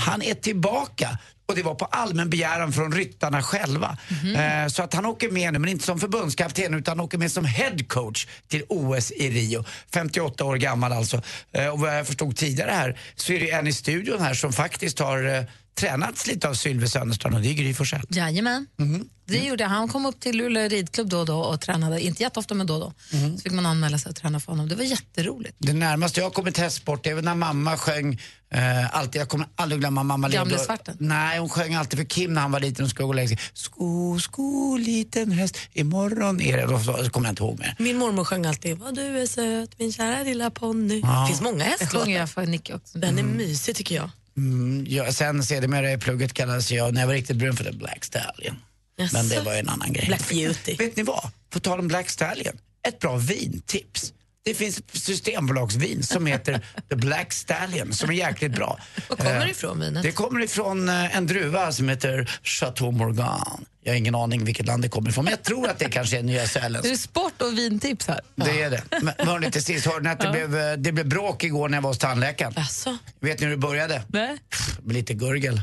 Speaker 6: Han är tillbaka och det var på allmän begäran från ryttarna själva. Eh, Så att han åker med nu, men inte som förbundskapten utan han åker med som headcoach till OS i Rio. 58 år gammal alltså. Eh, Och vad jag förstod tidigare här så är det ju en i studion här som faktiskt har eh, tränats lite av Sylve Sönderstrand och det är Gry Forssell.
Speaker 5: Jajamän.
Speaker 6: Mhm.
Speaker 5: Det gjorde jag. Han kom upp till Luleå ridklubb då och då och tränade, inte jätteofta men då och då.
Speaker 6: Mhm.
Speaker 5: Så fick man anmäla sig och träna för honom. Det var jätteroligt.
Speaker 6: Det närmaste jag kommer till hästsport det är väl när mamma sjöng eh, alltid, jag kommer aldrig glömma mamma
Speaker 5: Gamle
Speaker 6: Lindor.
Speaker 5: Svarten?
Speaker 6: Nej, hon sjöng alltid för Kim när han var liten och skulle gå och lägga sig. Sko, sko, liten häst, imorgon är det... Då så- så kommer jag inte ihåg mer.
Speaker 7: Min mormor sjöng alltid Vad du är söt, min kära lilla ponny.
Speaker 6: Ja.
Speaker 7: Det finns många hästlåtar.
Speaker 6: Det sjunger jag
Speaker 5: för Nicky också.
Speaker 7: Den är mysig tycker jag.
Speaker 6: Mm, ja, sen sedermera i plugget kallades jag, när jag var riktigt brun, för The Black Stallion.
Speaker 7: Jaså?
Speaker 6: Men det var ju en annan grej.
Speaker 7: Black Beauty.
Speaker 6: Vet ni vad? På tal om Black Stallion, ett bra vintips. Det finns ett systembolagsvin som heter The Black Stallion som är jäkligt bra. Var
Speaker 7: kommer det ifrån, vinet?
Speaker 6: Det kommer ifrån eh, en druva som heter Chateau Morgan. Jag har ingen aning vilket land det kommer ifrån, men jag tror att det kanske är Nya Zeeland.
Speaker 5: Är det sport och vintips här?
Speaker 6: Det är det. Men hörni, till sist, hörde ni att det,
Speaker 5: Ja.
Speaker 6: blev, eh, det blev bråk igår när jag var hos tandläkaren?
Speaker 7: Alltså.
Speaker 6: Vet ni hur det började?
Speaker 5: Nej.
Speaker 6: Med lite gurgel.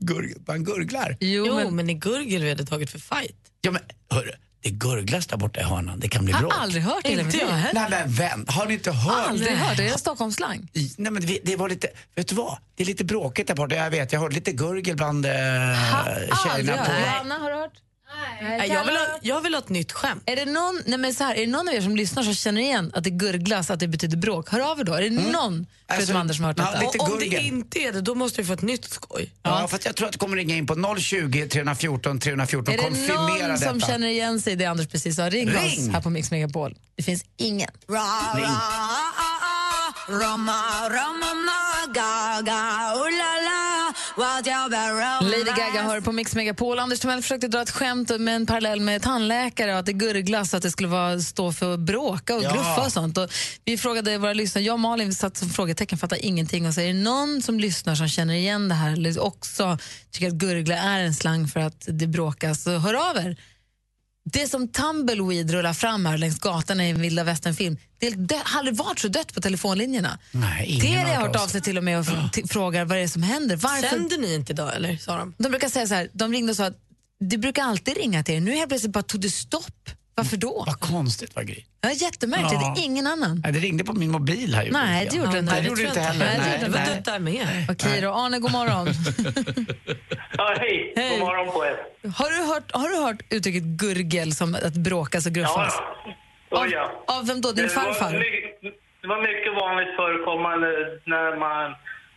Speaker 6: Gurg, man gurglar.
Speaker 7: Jo, men... i gurgel vi hade tagit för fight.
Speaker 6: Ja, men hörru, det gurglas där borta i hörnan. Det kan bli
Speaker 5: Har
Speaker 6: bråk.
Speaker 5: aldrig hört det,
Speaker 6: Inte
Speaker 5: eller?
Speaker 6: jag heller. Nej, men vän, har ni inte hört?
Speaker 5: Aldrig hört. Är det en Stockholmsslang?
Speaker 6: I- Nej, men vi- det var lite, vet du vad? Det är lite bråkigt där borta. Jag vet, jag hörde lite gurgel bland eh, tjejerna på...
Speaker 5: Johanna, har du hört? Nej,
Speaker 7: jag, vill ha, jag vill ha ett nytt skämt.
Speaker 5: Är det, någon, nej men så här, är det någon av er som lyssnar som känner igen att det gurglas, att det betyder bråk? Hör av er då. Är det
Speaker 6: Mm.
Speaker 5: någon, förutom
Speaker 6: Alltså,
Speaker 5: Anders, som har hört detta?
Speaker 7: Och om det inte är det, då måste vi få ett nytt skoj.
Speaker 6: Ja, fast jag tror att det kommer ringa in på 020 314 314.
Speaker 5: Är det någon
Speaker 6: Konfirmera detta.
Speaker 5: som känner igen sig i det Anders precis sa? Ring,
Speaker 6: Ring!
Speaker 5: oss här på Mix Megapol. Det finns ingen.
Speaker 6: Ring.
Speaker 5: Lady Gaga hör på Mix Megapol. Anders Timell försökte dra ett skämt med en parallell med tandläkare och att det gurglas, att det skulle vara, stå för att bråka och
Speaker 12: Ja.
Speaker 5: gluffa och sånt. Och vi frågade våra lyssnare, jag och Malin satt som frågetecken, fattar ingenting och säger någon som lyssnar som känner igen det här eller också tycker att gurgla är en slang för att det bråkas, så hör av er. Det som Tumbleweed rullar fram här längs gatan i en vilda västern-film, det är- det har aldrig varit så dött på telefonlinjerna.
Speaker 6: Nej, ingen
Speaker 5: Telia har
Speaker 6: har
Speaker 5: hört av sig till och med och f- t- frågar vad det är som händer. Varför?
Speaker 7: Sänder ni inte idag eller? Sa de.
Speaker 5: De brukar säga så här, de ringde och sa att det brukar alltid ringa till er, nu helt plötsligt bara tog det stopp. Varför då?
Speaker 6: Vad konstigt, vad grej.
Speaker 5: Ja, jättemärkligt,
Speaker 6: Ja.
Speaker 5: det är ingen annan.
Speaker 6: Nej, det ringde på min mobil här. gjorde
Speaker 5: Nej, det gjorde det inte.
Speaker 6: Nej, det gjorde det inte heller.
Speaker 5: Nej, det gjorde det inte.
Speaker 7: där med.
Speaker 5: Okej då, Arne, god morgon.
Speaker 9: Ja, hej. God morgon på er.
Speaker 5: har, du hört, har du hört uttrycket gurgel som att bråkas och gruffas?
Speaker 9: Oh, ja.
Speaker 5: Av vem då? Din
Speaker 9: Eh, Det var
Speaker 5: farfar?
Speaker 9: my- Det var mycket vanligt förekommande när man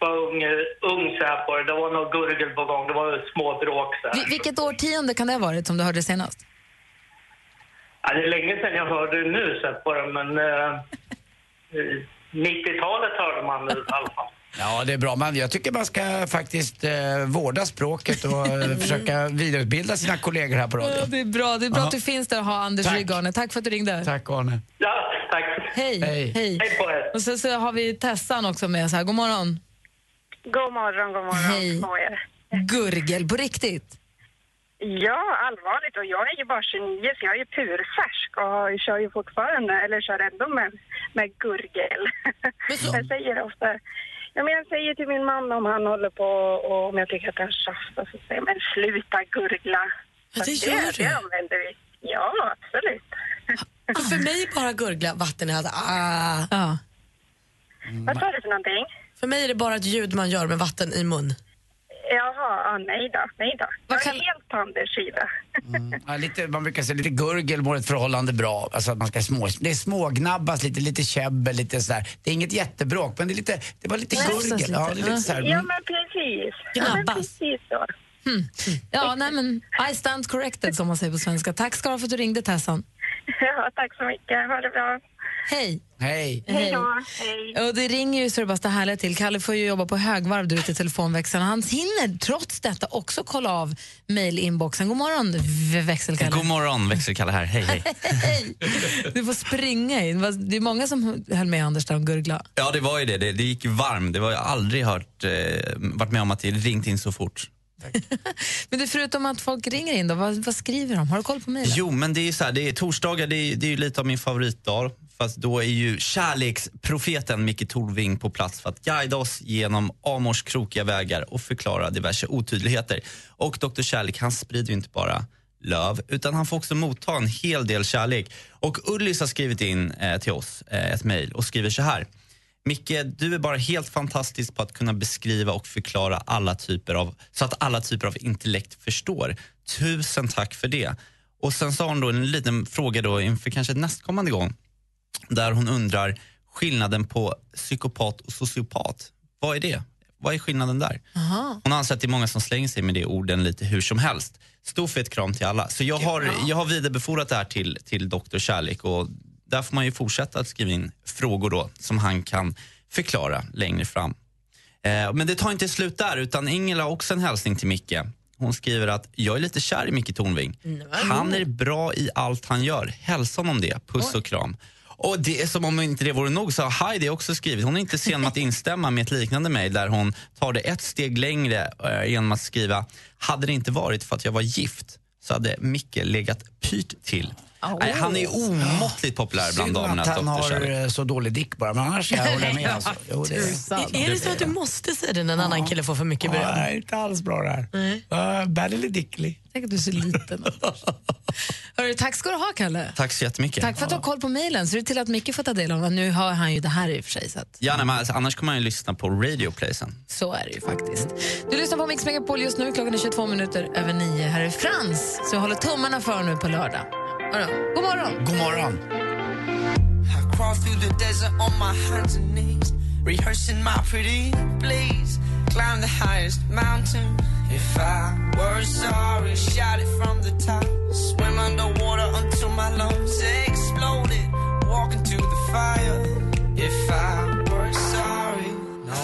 Speaker 9: var ung, eh, ung så här på det. Det var något gurgel på gång. Det var små bråk så här.
Speaker 5: Vi- vilket årtionde kan det ha varit som du hörde senast?
Speaker 9: Ja, det är länge sedan jag hörde det nu så här på det, men eh, eh, 90-talet hörde man det i alla fall.
Speaker 6: Ja, det är bra. Man, jag tycker man ska faktiskt eh, vårda språket och
Speaker 5: Mm.
Speaker 6: eh, försöka vidareutbilda sina kollegor här på
Speaker 5: Ja,
Speaker 6: radion.
Speaker 5: det är bra. Det är bra
Speaker 6: Ja.
Speaker 5: att du finns där och har Anders
Speaker 6: Tack.
Speaker 5: Rygg, Arne. Tack för att du ringde.
Speaker 6: Tack, Arne.
Speaker 23: Ja, tack.
Speaker 5: Hej.
Speaker 6: Hej.
Speaker 5: Hej. Och sen så har vi Tessan också med oss här. God morgon.
Speaker 23: God morgon, god morgon
Speaker 5: Hej.
Speaker 23: på er.
Speaker 5: Gurgel, på riktigt.
Speaker 23: Ja, allvarligt. Och jag är ju bara 29 så jag är ju purfärsk och kör ju fortfarande, eller kör ändå med, med gurgel. Jag säger ofta, ja, men jag säger till min man om han håller på och om jag tycker att han tjafsar så säger jag, men sluta gurgla.
Speaker 7: Ja, det
Speaker 23: Så
Speaker 7: gör du.
Speaker 23: Det använder vi. Ja, absolut.
Speaker 7: För,
Speaker 23: Ah.
Speaker 7: för mig är bara gurgla vatten i halsen. Ah.
Speaker 23: Mm. Vad sa du för någonting?
Speaker 7: För mig är det bara ett ljud man gör med vatten i mun.
Speaker 23: Jaha, ja, nej då, nej då. Jag är helt på Anders sida.
Speaker 6: Mm. Ja, lite, man brukar säga lite gurgel mår ett förhållande bra. Alltså att man ska små, det är smågnabbas, lite, lite käbbel, lite sådär. Det är inget jättebråk, men det är lite, det var lite
Speaker 23: Nej.
Speaker 6: gurgel. Ja, det är lite såhär,
Speaker 23: Ja,
Speaker 6: mm.
Speaker 23: men precis. Ja, men
Speaker 5: Gnabbas.
Speaker 23: precis så.
Speaker 5: Hmm. Ja, nej men I stand corrected som man säger på svenska. Tack ska du ha för att du ringde Tessan.
Speaker 23: Ja, tack så mycket. Ha det bra.
Speaker 5: Hej.
Speaker 6: Hej.
Speaker 23: Hej då. Hej.
Speaker 5: Och det ringer ju så det bara står härliga till. Kalle får ju jobba på högvarv där ute i telefonväxeln. Han hinner trots detta också kolla av mejlinboxen. God morgon v- växelkalle.
Speaker 22: God morgon, växelkalle här. Hej, hej.
Speaker 5: Du får springa in. Vad- Det är många som höll med Anders där om gurgla.
Speaker 22: Ja, det var ju det. Det, det gick ju varm. Det var jag aldrig hört, eh, varit med om att det ringt in så fort.
Speaker 5: Men det, förutom att folk ringer in, då, vad, vad skriver de? Har du koll på mejlen?
Speaker 22: Jo, men det är ju så här, det är, torsdagar det är, det är ju lite av min favoritdag. Fast då är ju kärleksprofeten Micke Torving på plats för att guida oss genom Amors krokiga vägar och förklara diverse otydligheter. Och Dr Kärlek, han sprider ju inte bara löv, utan han får också motta en hel del kärlek. Och Ullis har skrivit in eh, till oss eh, ett mejl och skriver så här. Micke, du är bara helt fantastisk på att kunna beskriva och förklara alla typer av, så att alla typer av intellekt förstår. Tusen tack för det. Och sen sa hon då en liten fråga då inför kanske nästkommande gång där hon undrar skillnaden på psykopat och sociopat. Vad är det? Vad är skillnaden där?
Speaker 5: Aha.
Speaker 22: Hon anser att det är många som slänger sig med det orden lite hur som helst. Stor fet kram till alla. Så jag har, jag har vidarebefordrat det här till, till Dr. Kärlek och där får man ju fortsätta att skriva in frågor då som han kan förklara längre fram. Eh, men det tar inte slut där utan Ingela har också en hälsning till Micke. Hon skriver att jag är lite kär i Micke Tornving. Han är bra i allt han gör. Hälsa honom det. Puss och kram. Och det är som om inte det vore nog så har Heidi också skrivit, hon är inte sen med att instämma med ett liknande mejl där hon tar det ett steg längre eh, genom att skriva, hade det inte varit för att jag var gift så hade Micke legat pyrt till. Nej, han är omåttligt populär bland
Speaker 6: Synd
Speaker 22: damerna,
Speaker 6: att han
Speaker 22: Dr.
Speaker 6: har
Speaker 22: Kärlek.
Speaker 6: eh, så dålig dick bara, men annars kan jag hålla med. Alltså. Jo, det
Speaker 7: Är, är det så att du måste säga det när en annan kille får för mycket beröm?
Speaker 6: Nej, inte alls bra det här. Uh, bad eller dicklig?
Speaker 5: Tänk att du är så liten. Hörru, tack ska du ha, Kalle.
Speaker 22: Tack så jättemycket.
Speaker 5: Tack för att du har koll på mejlen. Så det är till att Micke får ta del av dem. Nu har han ju det här i och för sig. Så, att,
Speaker 22: Ja, nej, men alltså, annars kommer man ju lyssna på Radio Play sen.
Speaker 5: så är det ju faktiskt. Du lyssnar på Mix Megapol just nu. Klockan är 22 minuter över nio. Här är Frans. Så jag håller tummarna för nu på lördag. Hörru, God morgon!
Speaker 6: God morgon!
Speaker 14: I crawl through the desert on my hands and knees, rehearsing my pretty please. Climb the highest mountain. If I were sorry, shout it from the top. Swim underwater until my lungs exploded. Walk into the fire. If I were sorry.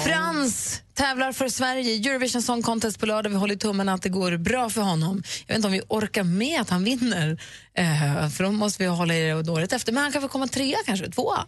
Speaker 5: Frans tävlar för Sverige i Eurovision Song Contest på lördag. Vi håller tummarna att det går bra för honom. Jag vet inte om vi orkar med att han vinner, eh, för då måste vi hålla i det året efter. Men han kan väl komma trea kanske, tvåa?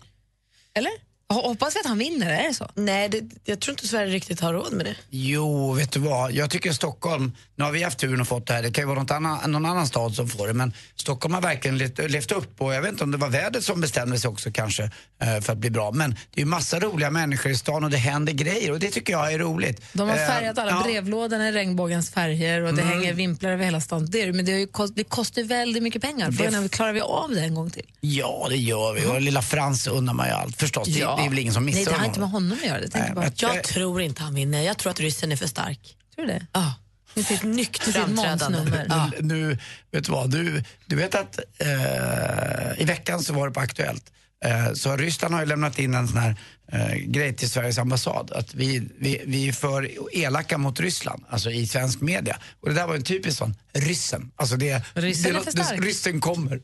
Speaker 5: Eller? Jag Hoppas vi att han vinner, är det så?
Speaker 7: Nej, det, jag tror inte Sverige riktigt har råd med det.
Speaker 6: Jo, vet du vad? Jag tycker Stockholm, nu har vi haft turen och fått det här, det kan ju vara något annan, någon annan stad som får det, men Stockholm har verkligen levt, levt upp och jag vet inte om det var vädret som bestämde sig också kanske eh, för att bli bra, men det är ju massa roliga människor i stan och det händer grejer och det tycker jag är roligt.
Speaker 5: De har
Speaker 6: Eh,
Speaker 5: färgat alla
Speaker 6: ja.
Speaker 5: brevlådorna i regnbågens färger och det
Speaker 6: Mm.
Speaker 5: hänger vimplar över hela stan. Det, är det, men det, har ju kost, det kostar ju väldigt mycket pengar. Frågan är, klarar vi av det en gång till?
Speaker 6: Ja, det gör vi. Och lilla Frans undrar man ju allt förstås. Det, det är väl ingen som missar
Speaker 5: Nej, det har
Speaker 6: honom.
Speaker 5: inte med honom att göra. Det tänker bara.
Speaker 7: Jag tror inte han vinner. Jag tror att ryssen är för stark.
Speaker 5: Tror du det?
Speaker 7: Ja. Med sitt
Speaker 5: Med
Speaker 7: nyktra
Speaker 5: sitt
Speaker 7: framträdande.
Speaker 5: Måns-nummer.
Speaker 7: Ja.
Speaker 6: Nu, nu, vet du vad? Du, du vet att eh, i veckan så var det på Aktuellt. Eh, så Ryssland har ju lämnat in en sån här eh, grej till Sveriges ambassad. Att vi, vi, vi är för elaka mot Ryssland, alltså i svensk media. Och det där var ju en typisk sån, ryssen. Alltså det,
Speaker 5: Ryssen
Speaker 6: det,
Speaker 5: är för
Speaker 6: det,
Speaker 5: stark.
Speaker 6: ryssen kommer.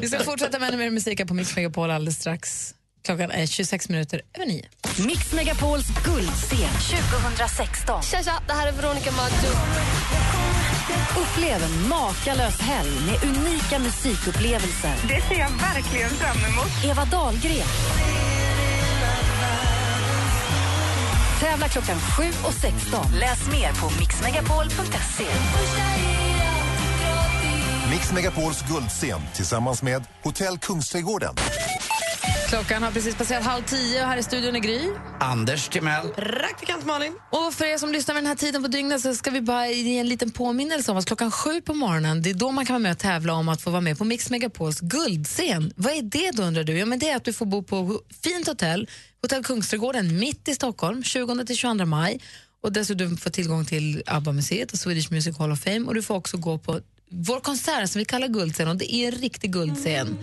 Speaker 5: Vi ska fortsätta med ännu mer musik här på Mix Megapol alldeles strax. Klockan är 26 minuter över nio.
Speaker 4: Mix Megapols guldscen 2016. Tja, tja, det här är Veronica Maggio. Upplev en makalös helg med unika musikupplevelser.
Speaker 23: Det ser jag verkligen fram emot.
Speaker 4: Eva Dahlgren. Tävla klockan 7 och 16. Läs mer på mixmegapol.se.
Speaker 19: Mix Megapols guldscen tillsammans med Hotell Kungsträdgården.
Speaker 5: Klockan har precis passerat halv tio och här i studion är Gry.
Speaker 6: Anders Timell.
Speaker 5: Praktikant Malin. Och för er som lyssnar vid den här tiden på dygnet så ska vi bara ge en liten påminnelse om att klockan sju på morgonen, det är då man kan vara med och tävla om att få vara med på Mix Megapols guldscen. Vad är det då undrar du? Ja, men det är att du får bo på fint hotell, Hotell Kungsträdgården mitt i Stockholm, 20-22 maj. Och dessutom får tillgång till ABBA-museet och Swedish Music Hall of Fame och du får också gå på vår konsert som vi kallar Guldscen och det är en riktig guldscen.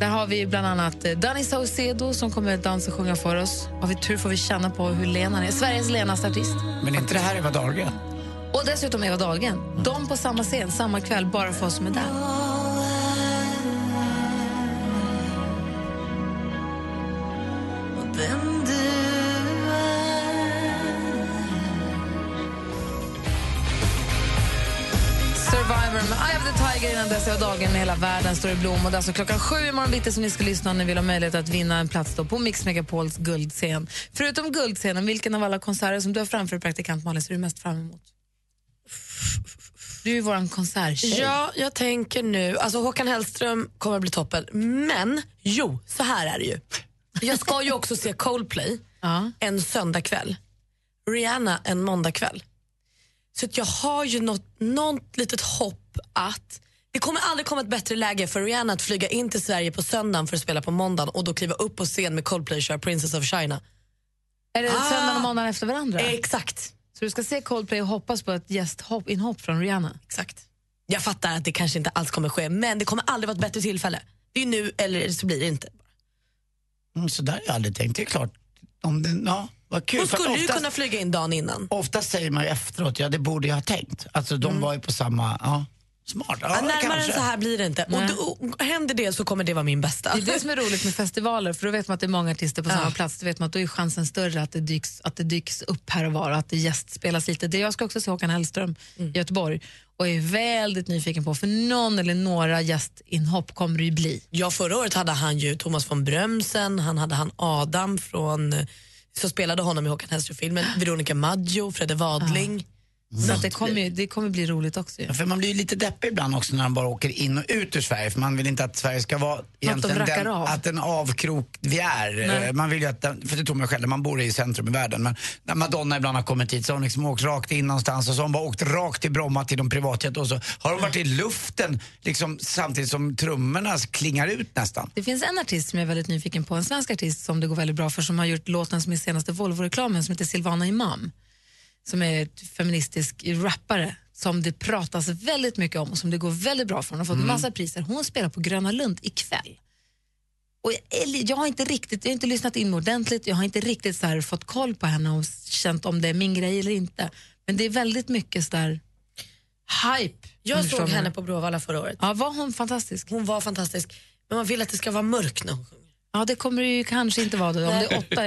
Speaker 5: Där har vi bland annat eh, Danny Saucedo som kommer att dansa och sjunga för oss. Har vi tur får vi känna på hur len han är. Sveriges lenaste artist.
Speaker 6: Men är inte det här Eva Dahlgren?
Speaker 5: Och dessutom Eva Dahlgren. De på samma scen, samma kväll, bara för oss som är där. Survivor med Eye of the Tiger innan dess är dagen när hela världen står i blom. Och det är alltså klockan sju imorgon bitti som ni ska lyssna om ni vill ha möjlighet att vinna en plats då på Mix Megapols guldscen. Förutom guldscenen, vilken av alla konserter som du har framför praktikant Malin ser du mest fram emot? Du är ju vår konserttjej.
Speaker 7: Ja, jag tänker nu. Alltså Håkan Hellström kommer att bli toppen. Men jo, så här är det ju. Jag ska ju också se Coldplay en söndagkväll. Rihanna en måndagkväll. Så att jag har ju något, något litet hopp att det kommer aldrig komma ett bättre läge för Rihanna att flyga in till Sverige på söndagen för att spela på måndagen och då kliva upp på scen med Coldplay och köra Princess of China.
Speaker 5: Är det
Speaker 7: Ah.
Speaker 5: söndagen och måndagen efter varandra?
Speaker 7: Exakt.
Speaker 5: Så du ska se Coldplay och hoppas på ett gästinhopp från Rihanna?
Speaker 7: Exakt. Jag fattar att det kanske inte alls kommer ske, men det kommer aldrig vara ett bättre tillfälle. Det är ju nu eller så blir det inte.
Speaker 6: Mm, så där har jag aldrig tänkt. Det är klart. Om det, ja, vad kul.
Speaker 7: Hon
Speaker 6: För att
Speaker 7: skulle ju
Speaker 6: oftast-
Speaker 7: kunna flyga in dagen innan.
Speaker 6: Ofta säger man ju efteråt, ja det borde jag ha tänkt. Alltså de var ju på samma, ja. Smart, ja,
Speaker 7: Mm. Ja, Närmare
Speaker 6: kanske.
Speaker 7: än så här blir det inte. Och,
Speaker 5: Nej.
Speaker 7: då, och händer det så kommer det vara min bästa.
Speaker 5: Det är det som är roligt med festivaler, för då vet man att det är många artister på samma plats. Då vet man att då är chansen större att det dyks, att det dyks upp här och var och att det gästspelas lite. Det, jag ska också se Håkan Hellström i Göteborg och är väldigt nyfiken på, för någon eller några gästinhopp kommer det ju bli.
Speaker 7: Ja, förra året hade han ju Thomas von Brömsen, han hade han Adam från som spelade honom i Håkan Hellström-filmen, Veronica Maggio, Fredde Wadling.
Speaker 5: Ah. Så att det kommer ju- det kommer bli roligt också. ju.
Speaker 6: Ja, För man blir ju lite deppig ibland också när man bara åker in och ut ur Sverige. För man vill inte att Sverige ska vara egentligen
Speaker 5: rackar
Speaker 6: den,
Speaker 5: av.
Speaker 6: att den avkrok vi är.
Speaker 5: Nej.
Speaker 6: Eh, Man vill ju att den, för det tror jag själv, man bor i centrum i världen. Men när Madonna ibland har kommit hit så har hon liksom åkt rakt in någonstans och så har hon bara åkt rakt till Bromma till de privatjet och så har hon varit i luften liksom samtidigt som trummorna klingar ut nästan.
Speaker 5: Det finns en artist som jag är väldigt nyfiken på, en svensk artist som det går väldigt bra för, som har gjort låten som är senaste Volvo-reklamen som heter Silvana Imam, som är ett feministisk rappare som det pratas väldigt mycket om och som det går väldigt bra för. Hon har fått massa priser. Hon spelar på Gröna Lund ikväll. Och jag, är li- jag, har inte riktigt, jag har inte lyssnat in mig ordentligt, jag har inte riktigt så här fått koll på henne och känt om det är min grej eller inte. Men det är väldigt mycket så där hype. om
Speaker 7: Jag
Speaker 5: du
Speaker 7: såg
Speaker 5: förstår
Speaker 7: henne
Speaker 5: mig.
Speaker 7: på Bråvalla förra året.
Speaker 5: Ja, var hon fantastisk?
Speaker 7: Hon var fantastisk. Men man vill att det ska vara mörkt när hon sjunger.
Speaker 5: Ja, det kommer det ju kanske inte vara då. Om det är åtta,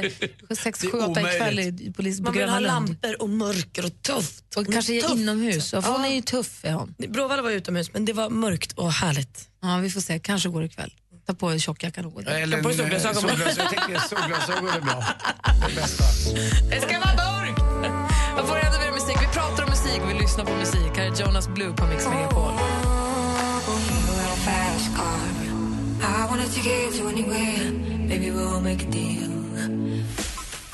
Speaker 5: sex,
Speaker 7: Det är
Speaker 5: sju, åtta ikväll
Speaker 7: omöjligt.
Speaker 5: i- på, Lis- på
Speaker 7: Man vill ha
Speaker 5: Gröna Lund.
Speaker 7: lampor och mörker och tufft.
Speaker 5: Och kanske
Speaker 7: tufft.
Speaker 5: inomhus. Ja, för hon är ju tuff. Är hon.
Speaker 7: Bråvalla var utomhus men det var mörkt och härligt.
Speaker 5: Ja, vi får se. Kanske går det ikväll. Ta på dig tjockjackan och gå dit.
Speaker 6: Eller en, eh, solglasögon. Jag tänker solglasögon är bra. Det bästa.
Speaker 5: Det ska vara mörkt! Jag får ändå mer musik. Vi pratar om musik vi lyssnar på musik. Här är Jonas Blue på Mix Megapol.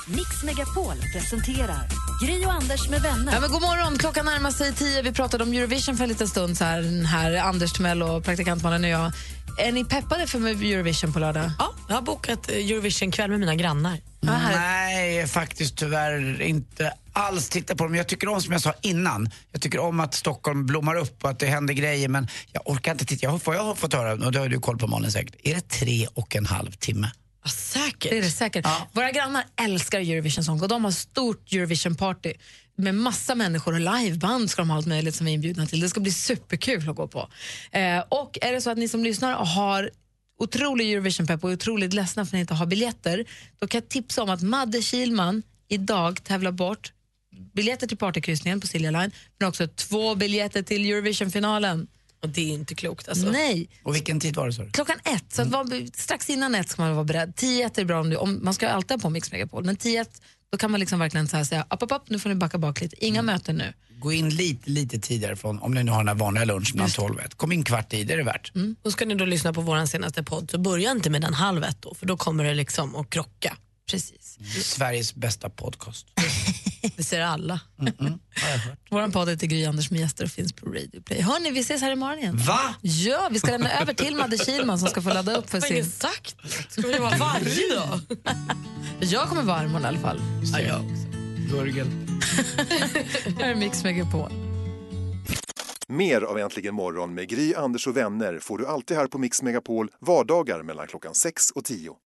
Speaker 4: Mix Megapol presenterar Gry och Anders med vänner.
Speaker 5: Ja, men god morgon, klockan närmar sig tio. Vi pratade om Eurovision för en liten stund så här, den här Anders Timell och praktikantmannen och jag. Är ni peppade för Eurovision på lördag?
Speaker 7: Ja, jag har bokat eh, Eurovision-kväll med mina grannar.
Speaker 6: Mm. Nej, faktiskt tyvärr inte alls titta på dem. Jag tycker om, som jag sa innan, jag tycker om att Stockholm blommar upp och att det händer grejer men jag orkar inte titta. Jag har, vad jag har fått höra, och det har du koll på Malin säkert, är det tre och en halv timme?
Speaker 7: Säkert.
Speaker 5: Det är det säkert. Våra grannar älskar Eurovision Song och de har stort Eurovision-party med massa människor och liveband ska de ha allt möjligt som vi är inbjudna till. Det ska bli superkul att gå på. Eh, och är det så att ni som lyssnar har otrolig Eurovision-pepp och är otroligt ledsna för att ni inte har biljetter, då kan jag tipsa om att Madde Kilman idag tävlar bort biljetter till partykryssningen på Silja Line, men också två biljetter till Eurovision-finalen.
Speaker 7: Och det är inte klokt alltså.
Speaker 5: Nej.
Speaker 6: Och vilken tid var det sa du?
Speaker 5: Klockan ett, så
Speaker 7: Mm.
Speaker 5: att vara, strax innan ett ska man vara beredd. Tio ett är bra om du, om, man ska alltid ha på Mix Megapol, men tio ett, då kan man liksom verkligen så här säga, app, app, app, nu får ni backa bak lite, inga
Speaker 7: Mm.
Speaker 5: möten nu.
Speaker 6: Gå in lite, lite tidigare från, om ni nu har den här vanliga lunchen mellan 12 och 1. Kom in kvart i, det är det värt.
Speaker 7: Mm. Då ska ni då lyssna på vår senaste podd, så börja inte med den halv ett då, för då kommer det liksom att krocka. Precis.
Speaker 6: Sveriges bästa podcast. Mm,
Speaker 7: Det ser alla.
Speaker 5: Vår podd heter Gry Anders med gäster och finns på Radio Play. Hörni, vi ses här imorgon igen.
Speaker 6: Va?
Speaker 5: Ja, vi ska lämna över till Madde Kihlman som ska få ladda upp för
Speaker 7: Vad
Speaker 5: sin...
Speaker 7: Exakt. Ska vi vara varje dag?
Speaker 5: Jag kommer vara här imorgon i alla fall.
Speaker 6: Ja, jag Gurgel.
Speaker 5: Här är Mix Megapol.
Speaker 10: Mer av Äntligen morgon med Gry, Anders och vänner får du alltid här på Mix Megapol vardagar mellan klockan 6 och 10.